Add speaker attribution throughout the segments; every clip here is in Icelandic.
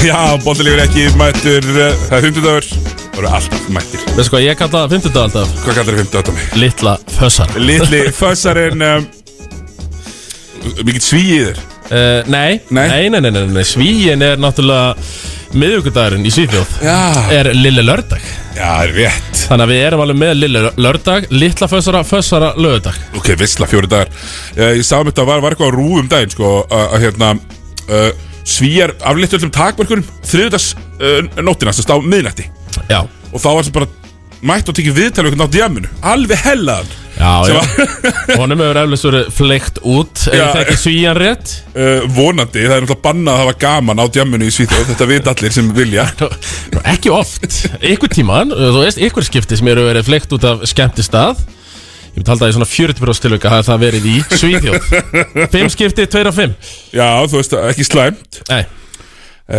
Speaker 1: Já, bóttilegur ekki mættur uh, Það er 50 dagur Það eru alltaf mættir
Speaker 2: Veistu hvað ég kalla það 50 alltaf?
Speaker 1: Hvað kallar það 50 dagur?
Speaker 2: Litla fössar
Speaker 1: Litli fössarinn um, Mikið svíiður
Speaker 2: uh, nei.
Speaker 1: Nei.
Speaker 2: Nei, nei, nei, nei, nei Svíin er náttúrulega miðvikudagurinn í Svíþjóð
Speaker 1: Já
Speaker 2: Er lille lördag
Speaker 1: Já, rétt
Speaker 2: Þannig að við erum alveg með lille lördag Litla fössara, fössara lögudag
Speaker 1: Ok, vissla fjóri dagar uh, Ég sá um þetta var, var eitthvað á rúum daginn sko Að að, hérna uh, Svíjar afléttu öllum takmörkunum Þriðudags uh, nóttina Sest á miðnætti
Speaker 2: Já
Speaker 1: Og þá var sem bara Mætt og tekið viðtal við einhvern á djaminu Alveg hellaðan
Speaker 2: Já,
Speaker 1: Sem
Speaker 2: já
Speaker 1: var-
Speaker 2: Honum hefur eflust verið fleikt út Ef
Speaker 1: Já.
Speaker 2: það ekki svíjan rétt
Speaker 1: uh, vonandi, það er náttúrulega bannað að hafa gaman á djamminu í Svíþjóð, þetta veit allir sem vilja
Speaker 2: Nú, Ekki oft Ykkur tíman, þú veist, ykkur skipti sem eru verið fleikt út af skemmti stað Ég myndi halda að í svona 40% tilöka hafa það verið í Svíþjóð 5 skipti, 2 af 5
Speaker 1: Já, þú veist, ekki slæmt
Speaker 2: Nei,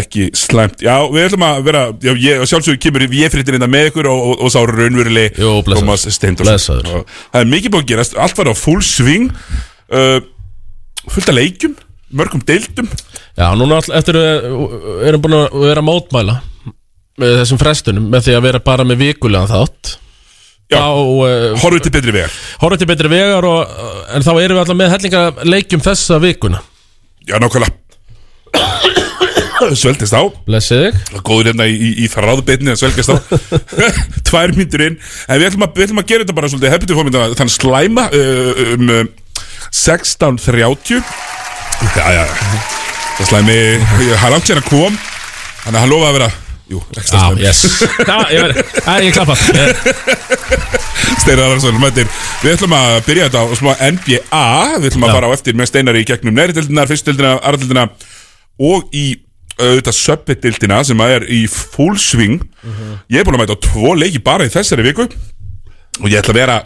Speaker 1: ekki slæmt, já, við ætlum að vera já, ég, sjálfsögur kemur ég frittir innan með ykkur og, og, og sá raunverili
Speaker 2: Jú, blessaður.
Speaker 1: Thomas Steindorsson
Speaker 2: Blessaður.
Speaker 1: Og það er mikið búin að gerast, allt var á full swing uh, fullt af leikjum mörgum deildum
Speaker 2: já, núna all, eftir við erum búin að vera að mótmæla með þessum frestunum með því að vera bara með vikulegan þátt
Speaker 1: Já.
Speaker 2: Þá uh,
Speaker 1: horfum til betri vegar
Speaker 2: horfum til betri vegar og, eh, en þá erum við alltaf með hellinga leikjum þessa vikuna
Speaker 1: já, nákvæmlega sveltist á
Speaker 2: Blessið þig
Speaker 1: góður hérna í, í, í þráðbeinni að svelgast á tvær myndur inn en við ætlum að, við ætlum að gera þetta bara svolítið hefndu fórum þetta þann slæma uh, um uh, 16.30 já já það slæmi það er átt sér að kom þannig að hann lofaði að vera jú, ekki
Speaker 2: Já,
Speaker 1: slæmi
Speaker 2: yes Já, ég verið, að ég klappa Eh,
Speaker 1: Steinar Ararsson mætir Við ætlum að byrja þetta á smá NBA Við ætlum að
Speaker 2: Já.
Speaker 1: fara á eftir með Steinar í gegnum næriðildina, fyrstildina, aðrildina og í uh, auðvitað söppetildina sem að er í full swing
Speaker 2: Mhm.
Speaker 1: Ég er búin að mæta á tvo leiki bara í þessari viku og ég ætla að vera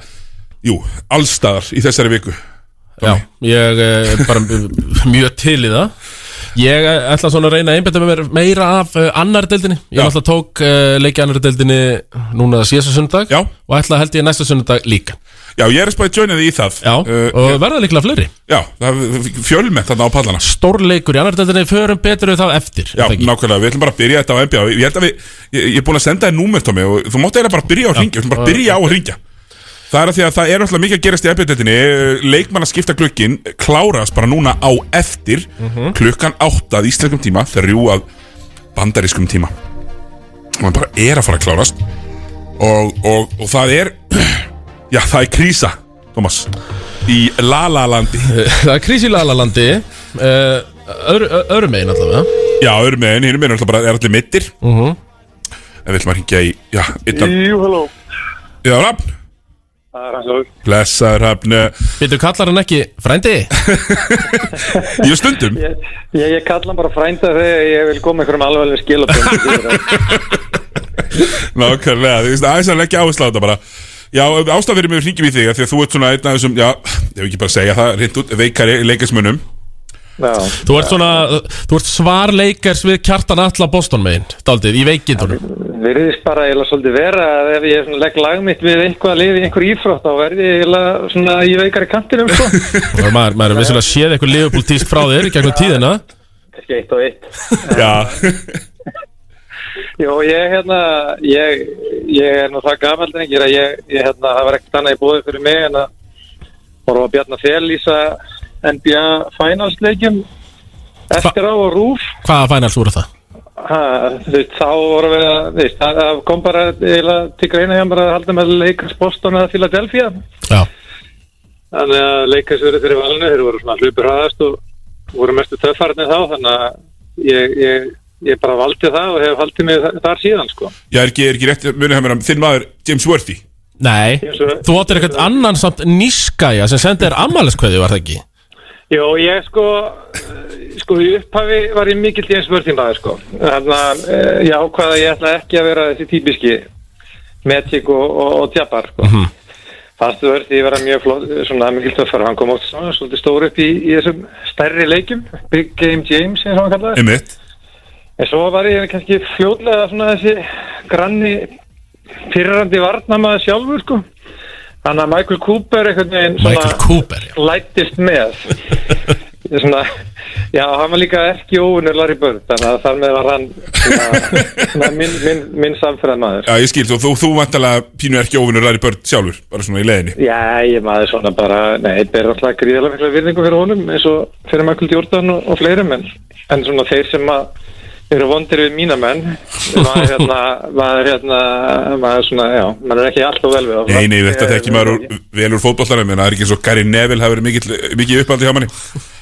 Speaker 1: jú, allstaðar í þessari viku
Speaker 2: Já, ég er bara mjög til í það Ég eh, ætla svona að reyna að einbetta með mér meira af uh, annar deildinni Ég
Speaker 1: Já.
Speaker 2: náttúrulega tók uh, leiki annar deildinni núna síðasta sunnudag
Speaker 1: Já.
Speaker 2: Og ætla held ég næsta sunnudag líka
Speaker 1: Já, ég er að spáði joinið í það
Speaker 2: Já,
Speaker 1: uh,
Speaker 2: og verða líklega fleiri
Speaker 1: já það fjölmenn þarna á pallana
Speaker 2: Stórleikur í annar deildinni, förum betur við þá eftir
Speaker 1: Já,
Speaker 2: er það ekki?
Speaker 1: nákvæmlega, við ætlum bara að byrja þetta á NBA Ég, held að við, ég, ég er búin að senda þér númer, Tómi og þú mátt eiginlega bara byrja á að ringja, við ætlum bara að byrja á að ringja Það er að því að það er alltaf mikið að gerast í epidetinni Leikmann að skipta glukkin klárast bara núna á eftir
Speaker 2: Mhm.
Speaker 1: klukkan átta að íslenskum tíma þrjú að bandarískum tíma og hann bara er að fara að klárast og, og, og það er já, það er krísa, Tómas í Lalalandi
Speaker 2: Það er krísi í Lalalandi uh, öðru, öðru megin allavega
Speaker 1: Já, öðrum með einn, hinum með einn, alltaf bara er allir mittir En við ætlum að ringja í, já, yttan
Speaker 3: Jú, halló.
Speaker 1: Já, Rafn,
Speaker 3: Það er hans og
Speaker 1: blessaður Rafn Ég
Speaker 2: Býttu kallar hann ekki frændi?
Speaker 1: er stundum
Speaker 3: ég, ég, ég kalla hann bara frænda þegar ég vil koma einhverjum alveg skilaböndum.
Speaker 1: Nákvæmlega, þú veist, aðeins að leggja áherslu á þetta bara Já, ástaf fyrir mig að ringjum í þig af Því að þú ert svona einn af þessum, já, ég vil ekki bara segja það Rint út, veikari leikismunum
Speaker 3: Já,
Speaker 2: Þú ert svona, þú ert svar leikers við kjartan alla Boston megin Daldið, í veikindunum
Speaker 3: virðist bara eiginlega svolítið vera að ef ég svona legg lag mitt við einhvað lið í einhver ífrátt þá verði ég eiginlega svona í veikari kantinum sko.
Speaker 2: Og maður, maður er vissulega séð eitthvað liðbúltísk frá þér í gegnum tíðina
Speaker 3: Kannski eitt og eitt.
Speaker 1: Já,
Speaker 3: Jó, ég hérna, ég, ég er nú það gamaldin ekki að ég, ég hérna, það var ekkert annað í búið fyrir mig en að voru að bjarna þér lýsa NBA Finals leikjum eftir á og rúf.
Speaker 2: Hvaða fænals voru það?
Speaker 3: Ha, þú veist, þá vorum við að, þú veist, það það kom bara eiginlega til greina hjá mér að halda með Lakers Boston að Philadelphia.
Speaker 2: Já,
Speaker 3: Þannig að Lakers verið fyrir valinu, þeir voru svona hlupur hraðast og voru mestu töffarnir þá, þannig að ég, ég, ég bara valdi það og hef haldið mig þa- þar síðan, sko.
Speaker 1: já, er ekki, er ekki rétt munið hefur Þinn maður, James Worthy
Speaker 2: nei Þú áttir eitthvað annan samt nýskæja sem sendi þér ammæliskveði var það ekki?
Speaker 3: Jó, ég sko, eh, sko í upphafi var ég mikill í eins vörðinmaður, sko. Þannig að eh, ég ákvaða að ég ætla ekki að vera þessi típiski Magic og, og, og Tjapar, sko. fannst þú verið því að vera mjög flott eh, svona mikil töffara, hann kom oft svona svolítið stór upp í, í þessum stærri leikjum Big Game James eins og hann kallaði
Speaker 1: Einmitt
Speaker 3: en svo var ég kannski fljótlega svona þessi granni pyrrandi varnamaður sjálfur sko Þannig að Michael Cooper einhvern veginn
Speaker 2: Michael Cooper, já
Speaker 3: lættist með Ég svona, já, hann var líka ekki óunur Larry Bird, þannig að þar með var hann svona, svona minn, minn, minn samfæða maður.
Speaker 1: Já, ég skil, þú, þú, þú vantalega pínu ekki óvinnur Larry Bird sjálfur, bara svona í leiðinni
Speaker 3: Já, ég maður svona bara, nei, þetta er alltaf gríðalega mikla virðingu fyrir honum eins og fyrir Michael Jordan og, og fleirum en, en svona þeir sem að eru vondir við mína menn maður hérna, maður hérna maður svona, já, maður er ekki alltaf vel við áfram.
Speaker 1: Nei, nei, þetta
Speaker 3: Ég-
Speaker 1: þekki maður úr- vel úr fótbollanum en það er ekki svo Gary Neville hafi verið mikill- mikið uppaldi hjá manni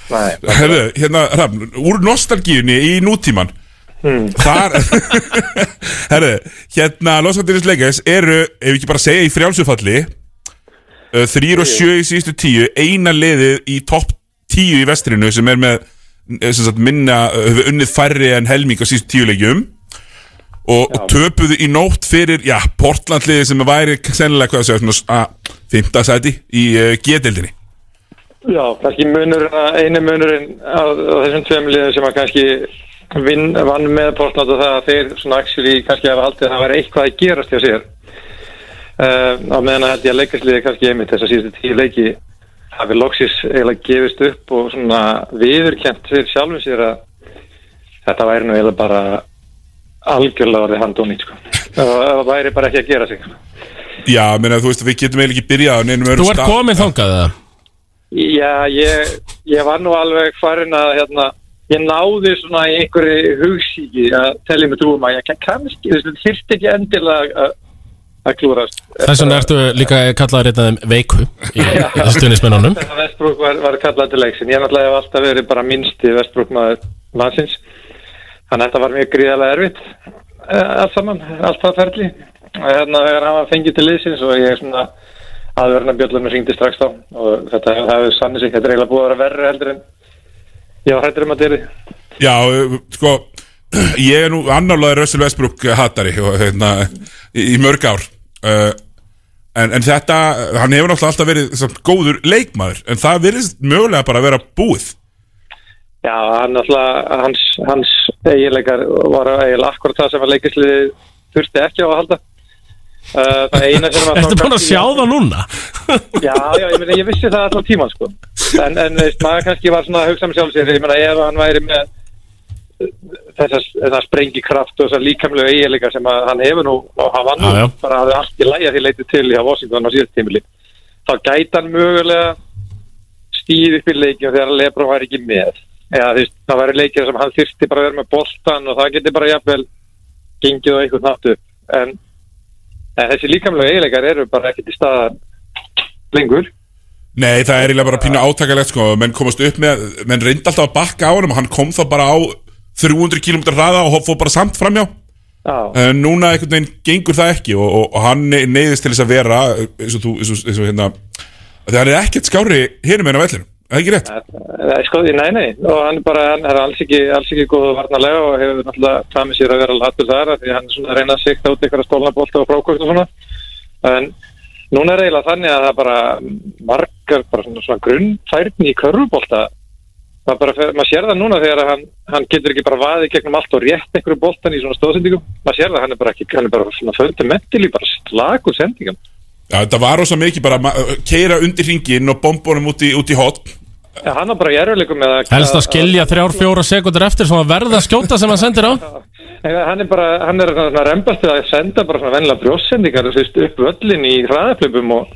Speaker 3: Nei,
Speaker 1: Herðu, hérna, Rafn, úr nostalgíunni í nútíman Þar Herðu, hérna Los Angeles Lakers eru, ef við ekki bara segja í frjálsufalli þrýr og sjö í síðustu tíu eina liðið í topp tíu í vestrinu sem er með eh, sem sagt, minna, eh, hefur unnið færri en helming á síðustu tíu leikjum og, og töpuðu í nótt fyrir já, Portlandliði sem væri sennilega hvað að segja, svona að, fimmta sæti í uh, G-deildinni
Speaker 3: já, kannski munur einu munurinn á, á þessum tveim liðum sem að kannski vinn, vann með Portland og það að þeir svona actually kannski hafa haldið að það var eitthvað að gerast hjá sér uh, á meðan að held ég að leikastliði kannski einmitt þess að síðustu tíu leiki hafi loksis eiginlega gefist upp og svona viðurkjent fyrir sjálfum sér að þetta væri nú eiginlega bara algjörlega orðið handónýtt sko. það væri bara ekki að gera sig
Speaker 1: Já, meina, þú veist, við getum eiginlega ekki byrjað á neinum öðrum
Speaker 2: Þú ert
Speaker 1: stað.
Speaker 2: komin þangað það
Speaker 3: Já, ég, ég var nú alveg farin að hérna, ég náði svona í einhverju hugsíki að telja mig trúum að ég kann- kannski, þú veist, þyrst ekki endilega að- að klúrast.
Speaker 2: Þess vegna ertu líka kallaður einn af þeim veiku í, í stuðnismennunum
Speaker 3: Þegar Vestbrúk var, var kallað til leiksin, ég náttúrulega hef alltaf verið bara minnsti Vestbrúk maður mannsins, þannig að þetta var mjög gríðarlega erfitt eh, allt saman, allt það ferli. Og Hérna er hann að fengið til liðsins og ég er svona aðverðna bjöllunum ringdi strax þá og þetta hefur sannir sig, þetta er eiginlega búið að vera verra heldur en ég var hættur um að dyrir því.
Speaker 1: Já, uh, sko, ég er nú annarlega Russell Westbrook hattari og, hérna, í, í mörg ár. Uh, en, en þetta, hann hefur náttúrulega alltaf verið samt, góður leikmaður, en það virðist mögulega bara að vera búið.
Speaker 3: Já, hann alltaf, hans, hans eiginleikar var eiginlega akkurat það sem að leikisliði þurfti ekki á að halda. Uh, það eina sem að...
Speaker 2: Ertu búin að sjá það núna?
Speaker 3: Já, já, ég, meina, ég vissi það alltaf tíma, sko. En, en veist, maður kannski var svona að hugsa um sjálf sér, ég meina ef hann væri með þessar þessa sprengikraft og þessar líkamlega eiginleikar sem að hann hefur nú og hann vann nú
Speaker 2: Já, já.
Speaker 3: bara hafði allt í læja því leiti til hjá Washington á síðast tímili. Þá gæti hann mögulega stíð upp í leikjum þegar Lebron var ekki með Já, því, það væri leikir sem hann þyrsti bara að vera með boltan og það geti bara jafnvel gengið á einhvern nátt upp en, en þessi líkamlega eiginleikar eru bara ekkert í staðan lengur
Speaker 1: Nei, það er eiginlega bara pínu átakalegt, sko, menn komast upp með, menn reyndi alltaf að bakka á hann og hann kom þá bara á 300 km hraða og fór bara samt framjá.
Speaker 3: Já,
Speaker 1: En núna einhvern veginn gengur það ekki og, og, og hann ne- neyðist til þess að vera eh, eins og þú, eins og, eins og hérna þegar hann er ekkert skári hinum en á vellinu Það er ekki rétt
Speaker 3: það er sko, nei, nei og hann er bara, hann er alls ekki, alls ekki góð varnalega og hefur náttúrulega tamið sér að vera latur þar af því hann er svona að reyna að sikta út einhverja stólnabolta og frákvökt og svona en núna er eiginlega þannig að það bara margar bara svona, svona grunnfærni í körfubolta maður, bara, fer- maður sér það núna þegar að hann, hann getur ekki bara vaðið gegnum allt og rétt einhverju boltan í svona stóðsendingum maður sér það að hann er bara ekki, hann er bara svona fundamental í bara slagur sendingum
Speaker 1: Já, þetta var rosa mikið bara að keira undir hringin og bombunum út í, út í hot
Speaker 3: ja, hann er bara í erfileikum með að
Speaker 2: Helst að skilja þrjár, fjóra sekundur eftir svona verða að skjóta sem hann sendir á
Speaker 3: Nei, hann er bara, hann er svona svona rembast að senda bara svona vennilega brjósendingar þú veist, upp völlin í hraðaflöpum og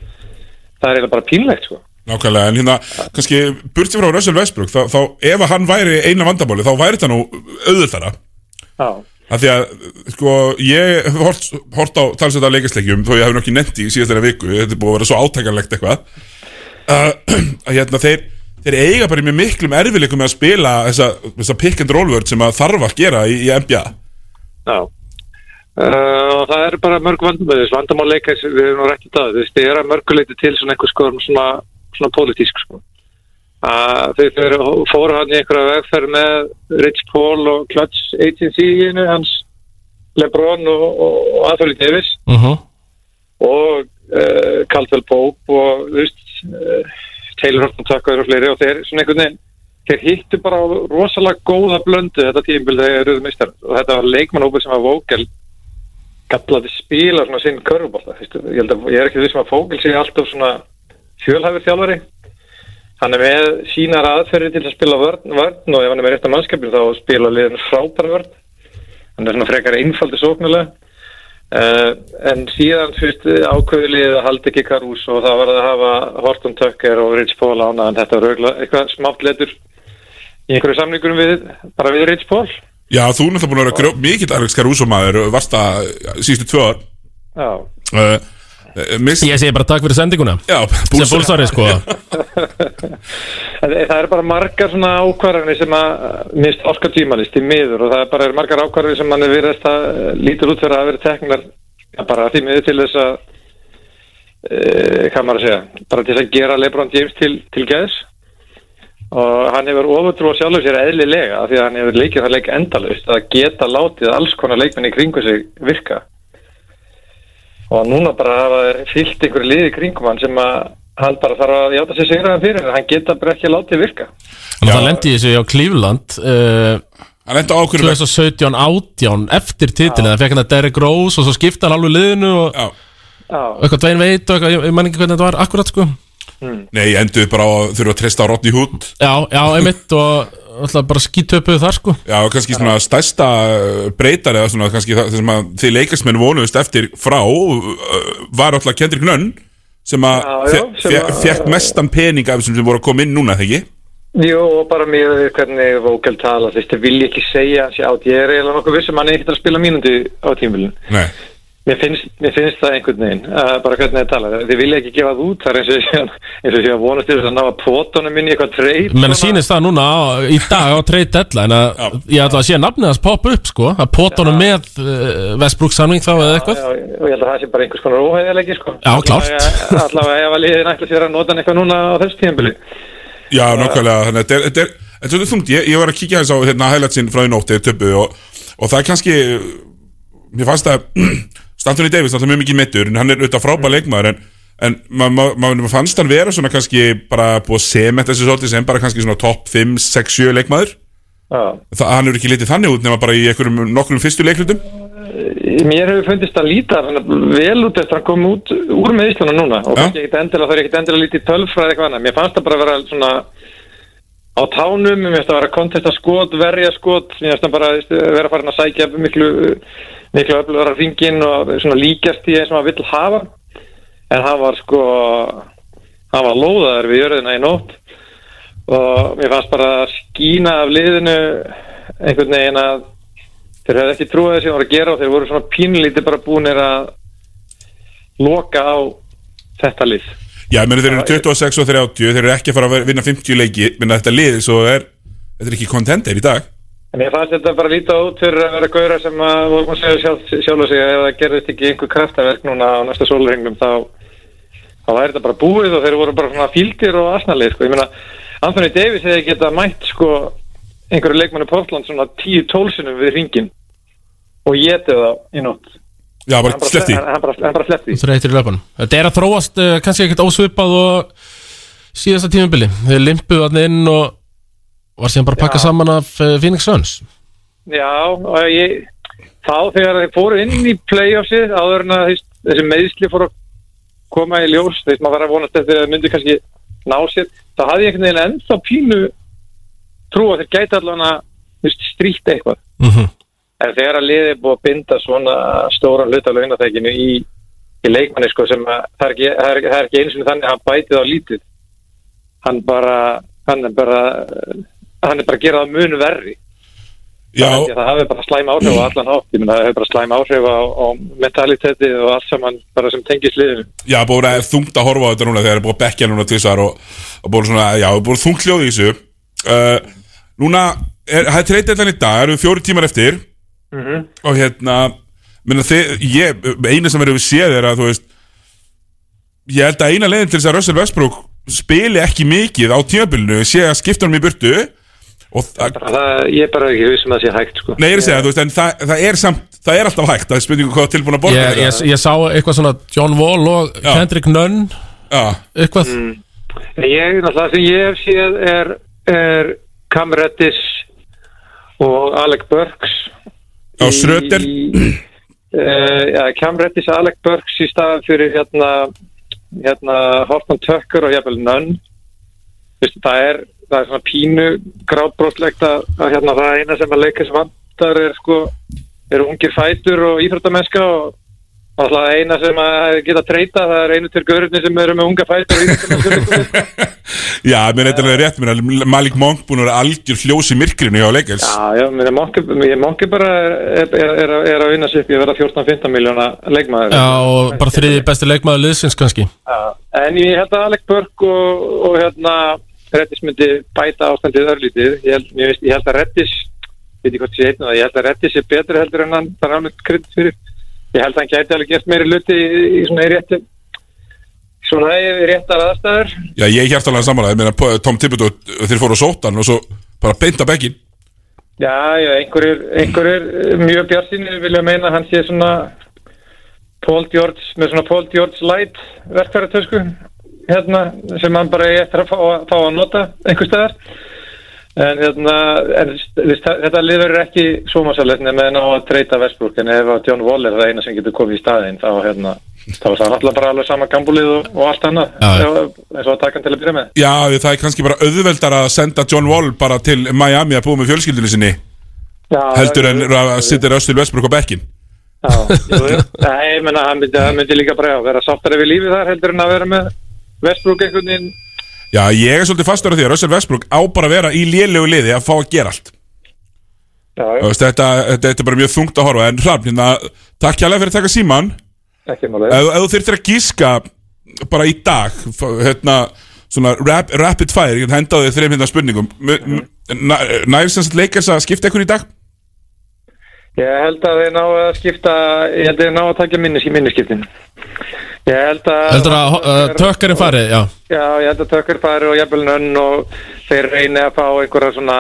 Speaker 3: það er eiginlega bara pínlegt sko.
Speaker 1: Nákvæmlega, en hérna, kannski burti frá Russell Westbrook, þá, þá ef að hann væri eina vandamáli, þá væri þetta nú auðvöldara
Speaker 3: Já,
Speaker 1: af því að, sko, ég hef hort, hort á talsvölda leikasleikjum þó ég hef nokkið nefndi í síðastlega viku þetta er búið að vera svo átakanlegt eitthvað uh, að hérna, þeir, þeir eiga bara í mjög miklum erfileikum með að spila þessa, þessa pick and roll vörd sem að þarf að gera í, í NBA
Speaker 3: já. Uh, og það eru bara mörg vandamál þess vandamál leikans, við hefum nú rættið það þú veist, þið eru að mörguleiti til svona einhvers skoðum svona, svona pólitísk sko. að þau fyrir fóru hann í einhverja vegferð með Rich Paul og Clutch agency-inu hans Lebron og, og, og Anthony Davis
Speaker 2: uh -huh.
Speaker 3: og uh, Caldwell Pope og þú veist, uh, Taylor Horton Tucker og fleiri og þeir svona einhvern veginn þeir hittu bara á rosalega góða blöndu þetta tímbil þegar þeir eruðu mistar og þetta var leikmannhópur sem var vókel gallandi spila svona sinn körfubólta ég, held að- ég er ekki því sem að fókil sé alltaf svona fjölhæfur þjálfari hann er með sínar aðferði til að spila vörn, vörn og ef hann er með rétt að mannskapin þá spila liðin frábæra vörn hann er svona frekar einfaldi sóknulega uh, en síðan fyrst ákveðlið að halda ekki Karús og það var að hafa Horton Tucker og Rich Paul ána en þetta var auðvitað eitthvað smátt letur í einhverju samlingurum við bara við Rich Paul
Speaker 1: Já, þú er náttúrulega búin að vera grjó, mikill Alex Caruso maður og varst að síðustu tvö ár
Speaker 3: Já,
Speaker 1: uh, uh, miss,
Speaker 2: Ég segi bara takk fyrir sendinguna
Speaker 1: Já,
Speaker 2: Sem
Speaker 1: búlsa
Speaker 2: bólsari sko
Speaker 3: það eh, það eru bara margar svona ákvarðanir sem að eh, minnst orka tímanist í miður og það er bara eru margar ákvarðanir sem mann er virðast að eh, lítur út fyrir að vera teknar ja, bara því miður til þess að eh, hvað maður að segja bara til að gera Lebron James til, til geðs og hann hefur ofurtrú á sjálfur sér eðlilega af því að hann hefur leikið það leik endalaust að geta látið alls konar leikmenn í kringu sig virka og núna bara hafa þeir fyllt einhverju liði í kringum hann sem að hann bara þarf að játa sér sigraðan fyrir en hann geta bara ekki látið virka
Speaker 2: Þannig að það lendi ég þessu hjá Cleveland uh,
Speaker 1: Hann enda ákveður með
Speaker 2: 2017 18 eftir titilin Það fekk hann að Derrick Rose og svo skipta hann alveg liðinu og
Speaker 1: Já,
Speaker 3: Já,
Speaker 2: eitthvað dvein veit og eitthvað, ég, ég man ekki hvernig þetta var akkurat sko
Speaker 1: nei, endur bara að þurfa að treysta á Rodney Hood
Speaker 2: Já, já, einmitt og alltaf bara skítöpuð þar sko
Speaker 1: Já, og kannski svona stærsta uh, breytar eða svona kannski það það sem að þið leikastmenn vonuðust eftir frá uh, var alltaf Kendrick Nunn sem að
Speaker 3: Já, já,
Speaker 1: fe-
Speaker 3: sem
Speaker 1: fe-
Speaker 3: að-
Speaker 1: fekk mestan pening af þessum sem voru að koma inn núna, þegar ekki?
Speaker 3: jú, og bara mér við hvernig Vogel tala, þú veist, það vil ég ekki segja hans ég átt, ég er eiginlega nokkuð vissum hann er ekkert að spila mínundu á tímvilin
Speaker 1: Nei,
Speaker 3: mér finnst, mér finnst það einhvern veginn uh, bara hvernig það tala, þið vilja ekki gefa það út það er eins og ég sé að- eins og ég sé að vonast til þess að ná að pótunum inn í eitthvað treyt
Speaker 2: Menn sýnist það núna á, í dag á trade deadline að
Speaker 1: Já.
Speaker 2: ég ætla að sé nafnið hans poppa upp sko að pota honum með uh, Westbrook samning þá eða eitthvað
Speaker 3: Já, já, og ég held að það sé bara einhvers konar óhæðilegi sko.
Speaker 2: Já, klárt.
Speaker 3: Allavega- Allavega ef að liðin ætla sér að nota hann eitthvað núna á þessu tíðanbili
Speaker 1: já, nákvæmlega þannig að þetta er- þetta er þetta er svolítið þungt, ég, ég var að kíkja þess á hérna highlightsinn frá í nótti töpu og, og það er kannski mér fannst að Stantoni Davis alltaf mjög mikið mittur en hann er auðvitað frábær leikmaður en, en maður ma, ma, ma fannst hann vera svona kannski bara búið að sementa þessu svolítið sem bara kannski svona topp 5, 6, 7 leikmaður
Speaker 3: Já.
Speaker 1: það, hann er ekki litið þannig út nema bara í einhverjum nokkrum fyrstu leiklutum
Speaker 3: Mér hefur fundist að líta hann vel út eftir að hann kom út úr með Íslanda núna og
Speaker 1: Já.
Speaker 3: kannski ekkit endilega, það er ekkit endilega lítið tölfræði eitthvað annað. Mér fannst það bara að vera svona á tánum, mér finnst það að vera að kontesta skot, verja skot, mér finnst það bara veist, vera farin að sækja miklu, miklu öflugur að ringin og svona líkast í eins og maður vill hafa. En hann var sko, hann var lóðaður við jörðina í nótt og mér fannst bara að skína af liðinu einhvern veginn að þeir hefði ekki trúið þessi að voru að gera og þeir voru svona pínlítið bara búinir að loka á þetta lið
Speaker 1: já, meni þeir eru 26 og 30 þeir eru ekki að fara að vera- vinna 50 leiki minna þetta lið, svo er þetta er ekki kontender í dag
Speaker 3: en ég fannst þetta bara líta út fyrir að vera gauðra sem að voru að segja sjálf, sjálf að segja ef það gerðist ekki einhver kraftaverk núna á næsta sólurhengum þá þá væri þetta bara búið og þeir voru bara svona fíldir og asnalið sko. ég meina Anthony Davis hefði geta mætt sko einhverju leikmannu Portland svona 10-12 sinum við ringin og getið þá í nótt
Speaker 1: já, bara
Speaker 3: hann bara,
Speaker 1: sleppti
Speaker 3: hann, hann bara, hann bara sleppti
Speaker 2: Þreytir í löpunum Þetta er að þróast uh, kannski ekkert ósvipað og síðasta tímabili Þeir limpuðu hann inn og var síðan bara að pakka
Speaker 3: Já.
Speaker 2: saman af uh, Phoenix Suns
Speaker 3: Já, og ég, þá þegar þeir fóru inn í playoffsið áður en að þess- þessi meðsli fóru að koma í ljós, þess maður var að vonast eftir að myndi kannski ná sér, þá hafði ég einhvern veginn ennþá pínu trú að þeir gæti allan að strýtt eitthvað.
Speaker 2: mm -hmm.
Speaker 3: En þegar að liðið er búið að binda svona stóran hluta launatækinu í, í leikmanni sko sem að það er ekki, það er, það er ekki eins og þannig að hann bætið á lítið. Hann bara, hann er bara, hann er bara að gera það mun verri.
Speaker 1: já,
Speaker 3: Það held ég að það hafi bara slæm áhrif á allan hátt, ég menn það hafi bara slæm áhrif á, á mentalitetið og allt saman bara sem tengist liðinu.
Speaker 1: já, búið að þungt að horfa á þetta núna þegar það er búið að bekja núna tvisar og, og búið svona, já, búið þungt hljóð í þessu uh, núna er, það er treytið þetta í dag, það eru fjóri tímar eftir og hérna minna, þið, ég, eina sem erum við séð er að þú veist ég held að eina leiðin til þess að Russell Westbrook spili ekki mikið á tímabilinu sé að skipta honum í burtu og það,
Speaker 3: Bara Það, ég er bara ekki vissum að það sé hægt sko.
Speaker 1: nei, ég er að segja, þú veist, en það, það er samt það er alltaf hægt, það er spurningu hvað tilbúin að borga
Speaker 2: ég, ég, ég sá eitthvað svona John Wall og
Speaker 1: Já.
Speaker 2: Kendrick Nunn
Speaker 1: Já,
Speaker 2: eitthvað
Speaker 3: Mm. Nei, Ég, náttúrulega það sem ég hef séð er, er Cam Reddish og Alec Burks.
Speaker 1: Já, Schröder.
Speaker 3: Í- uh, Camrettis Alec Burks í staðan fyrir hérna, hérna Horton Tucker og jafnvel Nunn Vist, það, er, það er svona pínu grátbrotlegt að, að hérna, það er eina sem að leikast vandar er sko er ungir fætur og íþróttamennska og og alltaf eina sem að geta treyta það er einu til görðinni sem eru með unga fætur og íþróttamennska
Speaker 1: Já, mér er þetta rétt, mér er Malik Monk búin að vera algjör fljós í myrkrinu hjá Lakers
Speaker 3: Já, já, meni, Monki, Monki bara er, er, er, er að vinna sér upp í að vera 14-15 miljóna leikmaður
Speaker 2: Já, og bara þriði besti leikmaður liðsins kannski
Speaker 3: Já. En ég held að Alec Burke og, og hérna Rettis myndi bæta ástandið örlítið Ég held, ég veist, ég held að Rettis veit ég hvort ég heitna það, ég held að Rettis er betri heldur en hann þar alveg krydd fyrir Ég held að hann gæti alveg gert meiri luti í, í svona í rétti svona í réttar aðstæður
Speaker 1: Já, ég er hjartalega samanlega, ég meina Tom Thibodeau þeir fóru á sótan og svo bara beinta bekkin
Speaker 3: Já, já, einhverjir, einhverjir mjög bjarsinni vilja meina að hann sé svona Paul George, með svona Paul George Light verkfæratösku hérna, sem hann bara er eftir að fá, fá að nota einhver staðar en, hérna, en þess- þetta liður ekki svo masalegt nema en á að treyta Vestbrúk en ef að John Wall er það eina sem getur komið í staðinn þá hérna, þá er það náttúrulega bara alveg sama gambúlið og, og allt annað
Speaker 2: Já, já.
Speaker 3: Ef- eins og að taka hann til að byrja með
Speaker 1: Já, það er kannski bara auðveldar að senda John Wall bara til Miami að búa með fjölskyldinu sinni
Speaker 3: já,
Speaker 1: heldur en að sitja Röstil Vestbruk á bekkin
Speaker 3: Já, jú, jú. Nei, ég menna, hann myndi, hann myndi líka bara að vera sáttar yfir lífið þar heldur en að vera með Vestbrúk einhvern veginn
Speaker 1: Já, ég er svolítið fastur af því að Röstil Vestbruk á bara að vera í lélegu liði að fá að gera allt
Speaker 3: Já,
Speaker 1: Þú
Speaker 3: já,
Speaker 1: veist, þetta, þetta, þetta er bara mjög þungt að horfa en hrapp, hérna, takk hérlega fyrir að taka síman
Speaker 3: ekki málega
Speaker 1: ef, ef þú þurftir að gíska bara í dag f- hérna, svona rap, rapid fire, ég get hendaði þreim hérna spurningum næri sem sagt leikars að skipta eitthvað í dag?
Speaker 3: Ég held að þið ná að skipta ég held að þið ná að taka minniski minniskiptin Ég held að
Speaker 2: Heldur að uh, tökkarinn fari, já
Speaker 3: Já, ég held að tökur fari og jafnvel nönn og þeir reyni að fá einhverja svona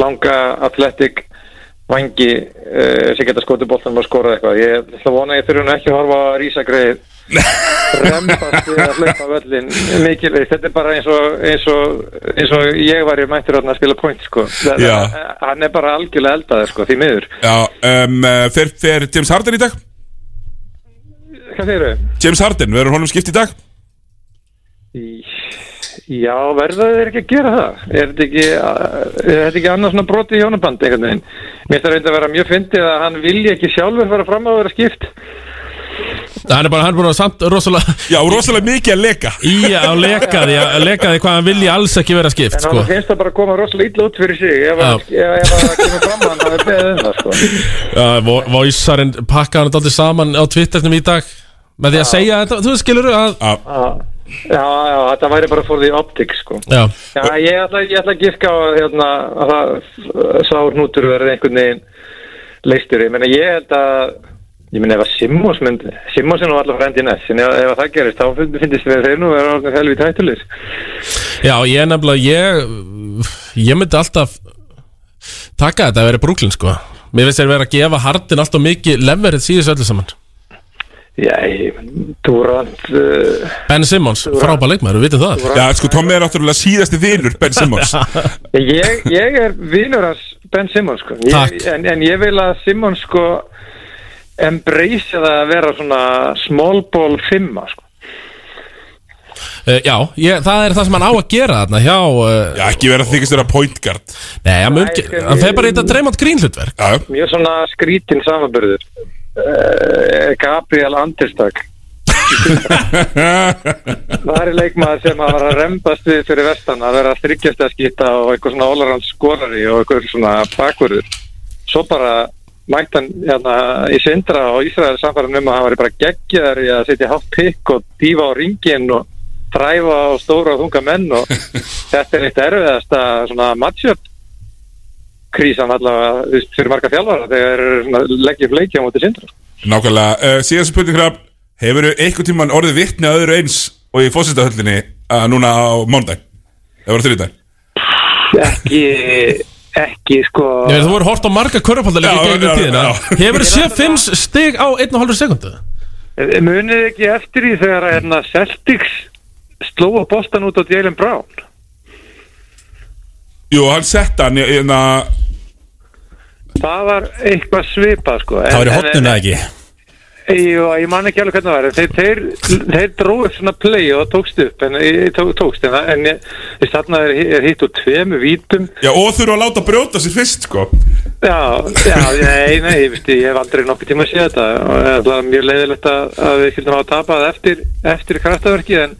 Speaker 3: langa atletik vangi uh, sem geta skotið boltanum og skorað eitthvað Ég ætla að vona að ég þurfi nú ekki að horfa að rísa greið rembast við að hlaupa völlin mikilvægt, þetta er bara eins og eins og, eins og ég var í mættur þarna að spila point sko, Það-
Speaker 1: Já.
Speaker 3: hann er bara algjörlega eldaður sko, því miður
Speaker 1: Já, um, eh, fer, fer James Harden í dag?
Speaker 3: Hvað segir þau?
Speaker 1: James Harden, verður honum skipt í dag?
Speaker 3: Já, verða þeir ekki að gera það er þetta ekki, er þetta ekki annars svona broti í hjónabandi einhvern veginn mér það reyndi að vera mjög fyndið að hann vilji ekki sjálfur fara fram á að vera skipt
Speaker 2: Hann er bara, hann er búin að samt rosalega
Speaker 1: Já, og rosalega mikið að leika
Speaker 2: í að leka því að leka því hvað hann vilji alls ekki vera skipt
Speaker 3: en
Speaker 2: sko.
Speaker 3: hann finnst það bara að koma rosalega illa út fyrir sig ef
Speaker 2: Já.
Speaker 3: að- ef- ef að það kemur fram að hann hafi beðið um það sko.
Speaker 2: uh, Voisarinn pakkaði hann aldrei saman á Twitternum í dag með því að segja þetta, þú skilur að
Speaker 1: Já,
Speaker 3: Já, já, þetta væri bara for the optics sko
Speaker 2: Já,
Speaker 3: Já, ég ætla, ég ætla að gifka á hérna, að það sá hnútur verið einhvern veginn leistur. Ég meina, ég held að, ég meina, ef að Simmons myndi, Simmons er nú allar frendi næst, en ef, ef að það gerist, þá finn- finnist við þeir nú vera orðin helvið tættulis.
Speaker 2: já ég er nefnilega ég, ég myndi alltaf taka þetta að vera brúklinn sko Mér finnst þeir vera að gefa hardin alltaf mikið leverið síðis öllu saman
Speaker 3: Já, ég, Durant, uh,
Speaker 2: Ben Simmons, frábæð leikmaður, við vitum það
Speaker 1: já sko, Tommy er náttúrulega síðasti vinur Ben Simmons
Speaker 3: ég, ég er vinur hans Ben Simmons, sko. Ég,
Speaker 2: Takk.
Speaker 3: en, en ég vil að Simmons, sko, embrace það að vera svona small ball fimma, sko.
Speaker 2: uh, Já, ég, það er það sem hann á að gera þarna hjá uh,
Speaker 1: Já, ekki vera að þykist vera point guard
Speaker 2: Nei, hann, mun,
Speaker 3: Nei,
Speaker 2: hann fer bara í þetta dreymant grínhlutverk
Speaker 1: Já, já.
Speaker 3: mjög svona skrítin samanbörður uh, Gabriel Anderstak það er leikmaður sem að var að rembast við fyrir vestan að vera þryggjast að skýta og eitthvað svona ólarand skorari og eitthvað svona bakvörður svo bara mætti hann hérna, í syndra og Ísraður samfæran um að hann var bara geggjaður í að setja hátt pikk og dýfa á ringin og dræfa á stóra og þunga menn og þetta er eitt erfiðasta svona matchup krísan allavega þú veist, fyrir marga þjálfara þegar þeir eru svona leggjum leikja á móti sindra
Speaker 1: Nákvæmlega, uh, síðan spurning hrab Hefur þú einhvern tímann orðið vittni að öðru eins og í fósistahöllinni uh, núna á mándag? Það var þrjóðdag
Speaker 3: ekki ekki sko
Speaker 2: Ég veit, þú voru hort á marga körfaldalegi
Speaker 1: Já,
Speaker 2: í gegnum
Speaker 1: já,
Speaker 2: tíðina
Speaker 1: já.
Speaker 2: Hefur séð fimm stig á 1,5 sekundu?
Speaker 3: eh, munið þið ekki eftir í þegar að hérna, Celtics slóa bostan út á Jalen Brown
Speaker 1: Jú, hann sett hann í- hérna,
Speaker 3: það var eitthvað svipað sko en,
Speaker 4: Það var í
Speaker 3: en-
Speaker 4: hotnuna ekki
Speaker 3: Jó, ég man ekki alveg hvernig það var en þeir, þeir, þeir dróðu svona play og það tókst upp en ég tók, tókst en, en ég, ég þarna er, er hitt úr tveimu vítum
Speaker 1: Já, og þurfa að láta brjóta sér fyrst, sko
Speaker 3: já, já, nei, nei, ég, veist, ég hef aldrei nokkuð tíma að sé þetta og það er mjög leiðilegt að, að við skildum að tapa það eftir, eftir kraftaverki en,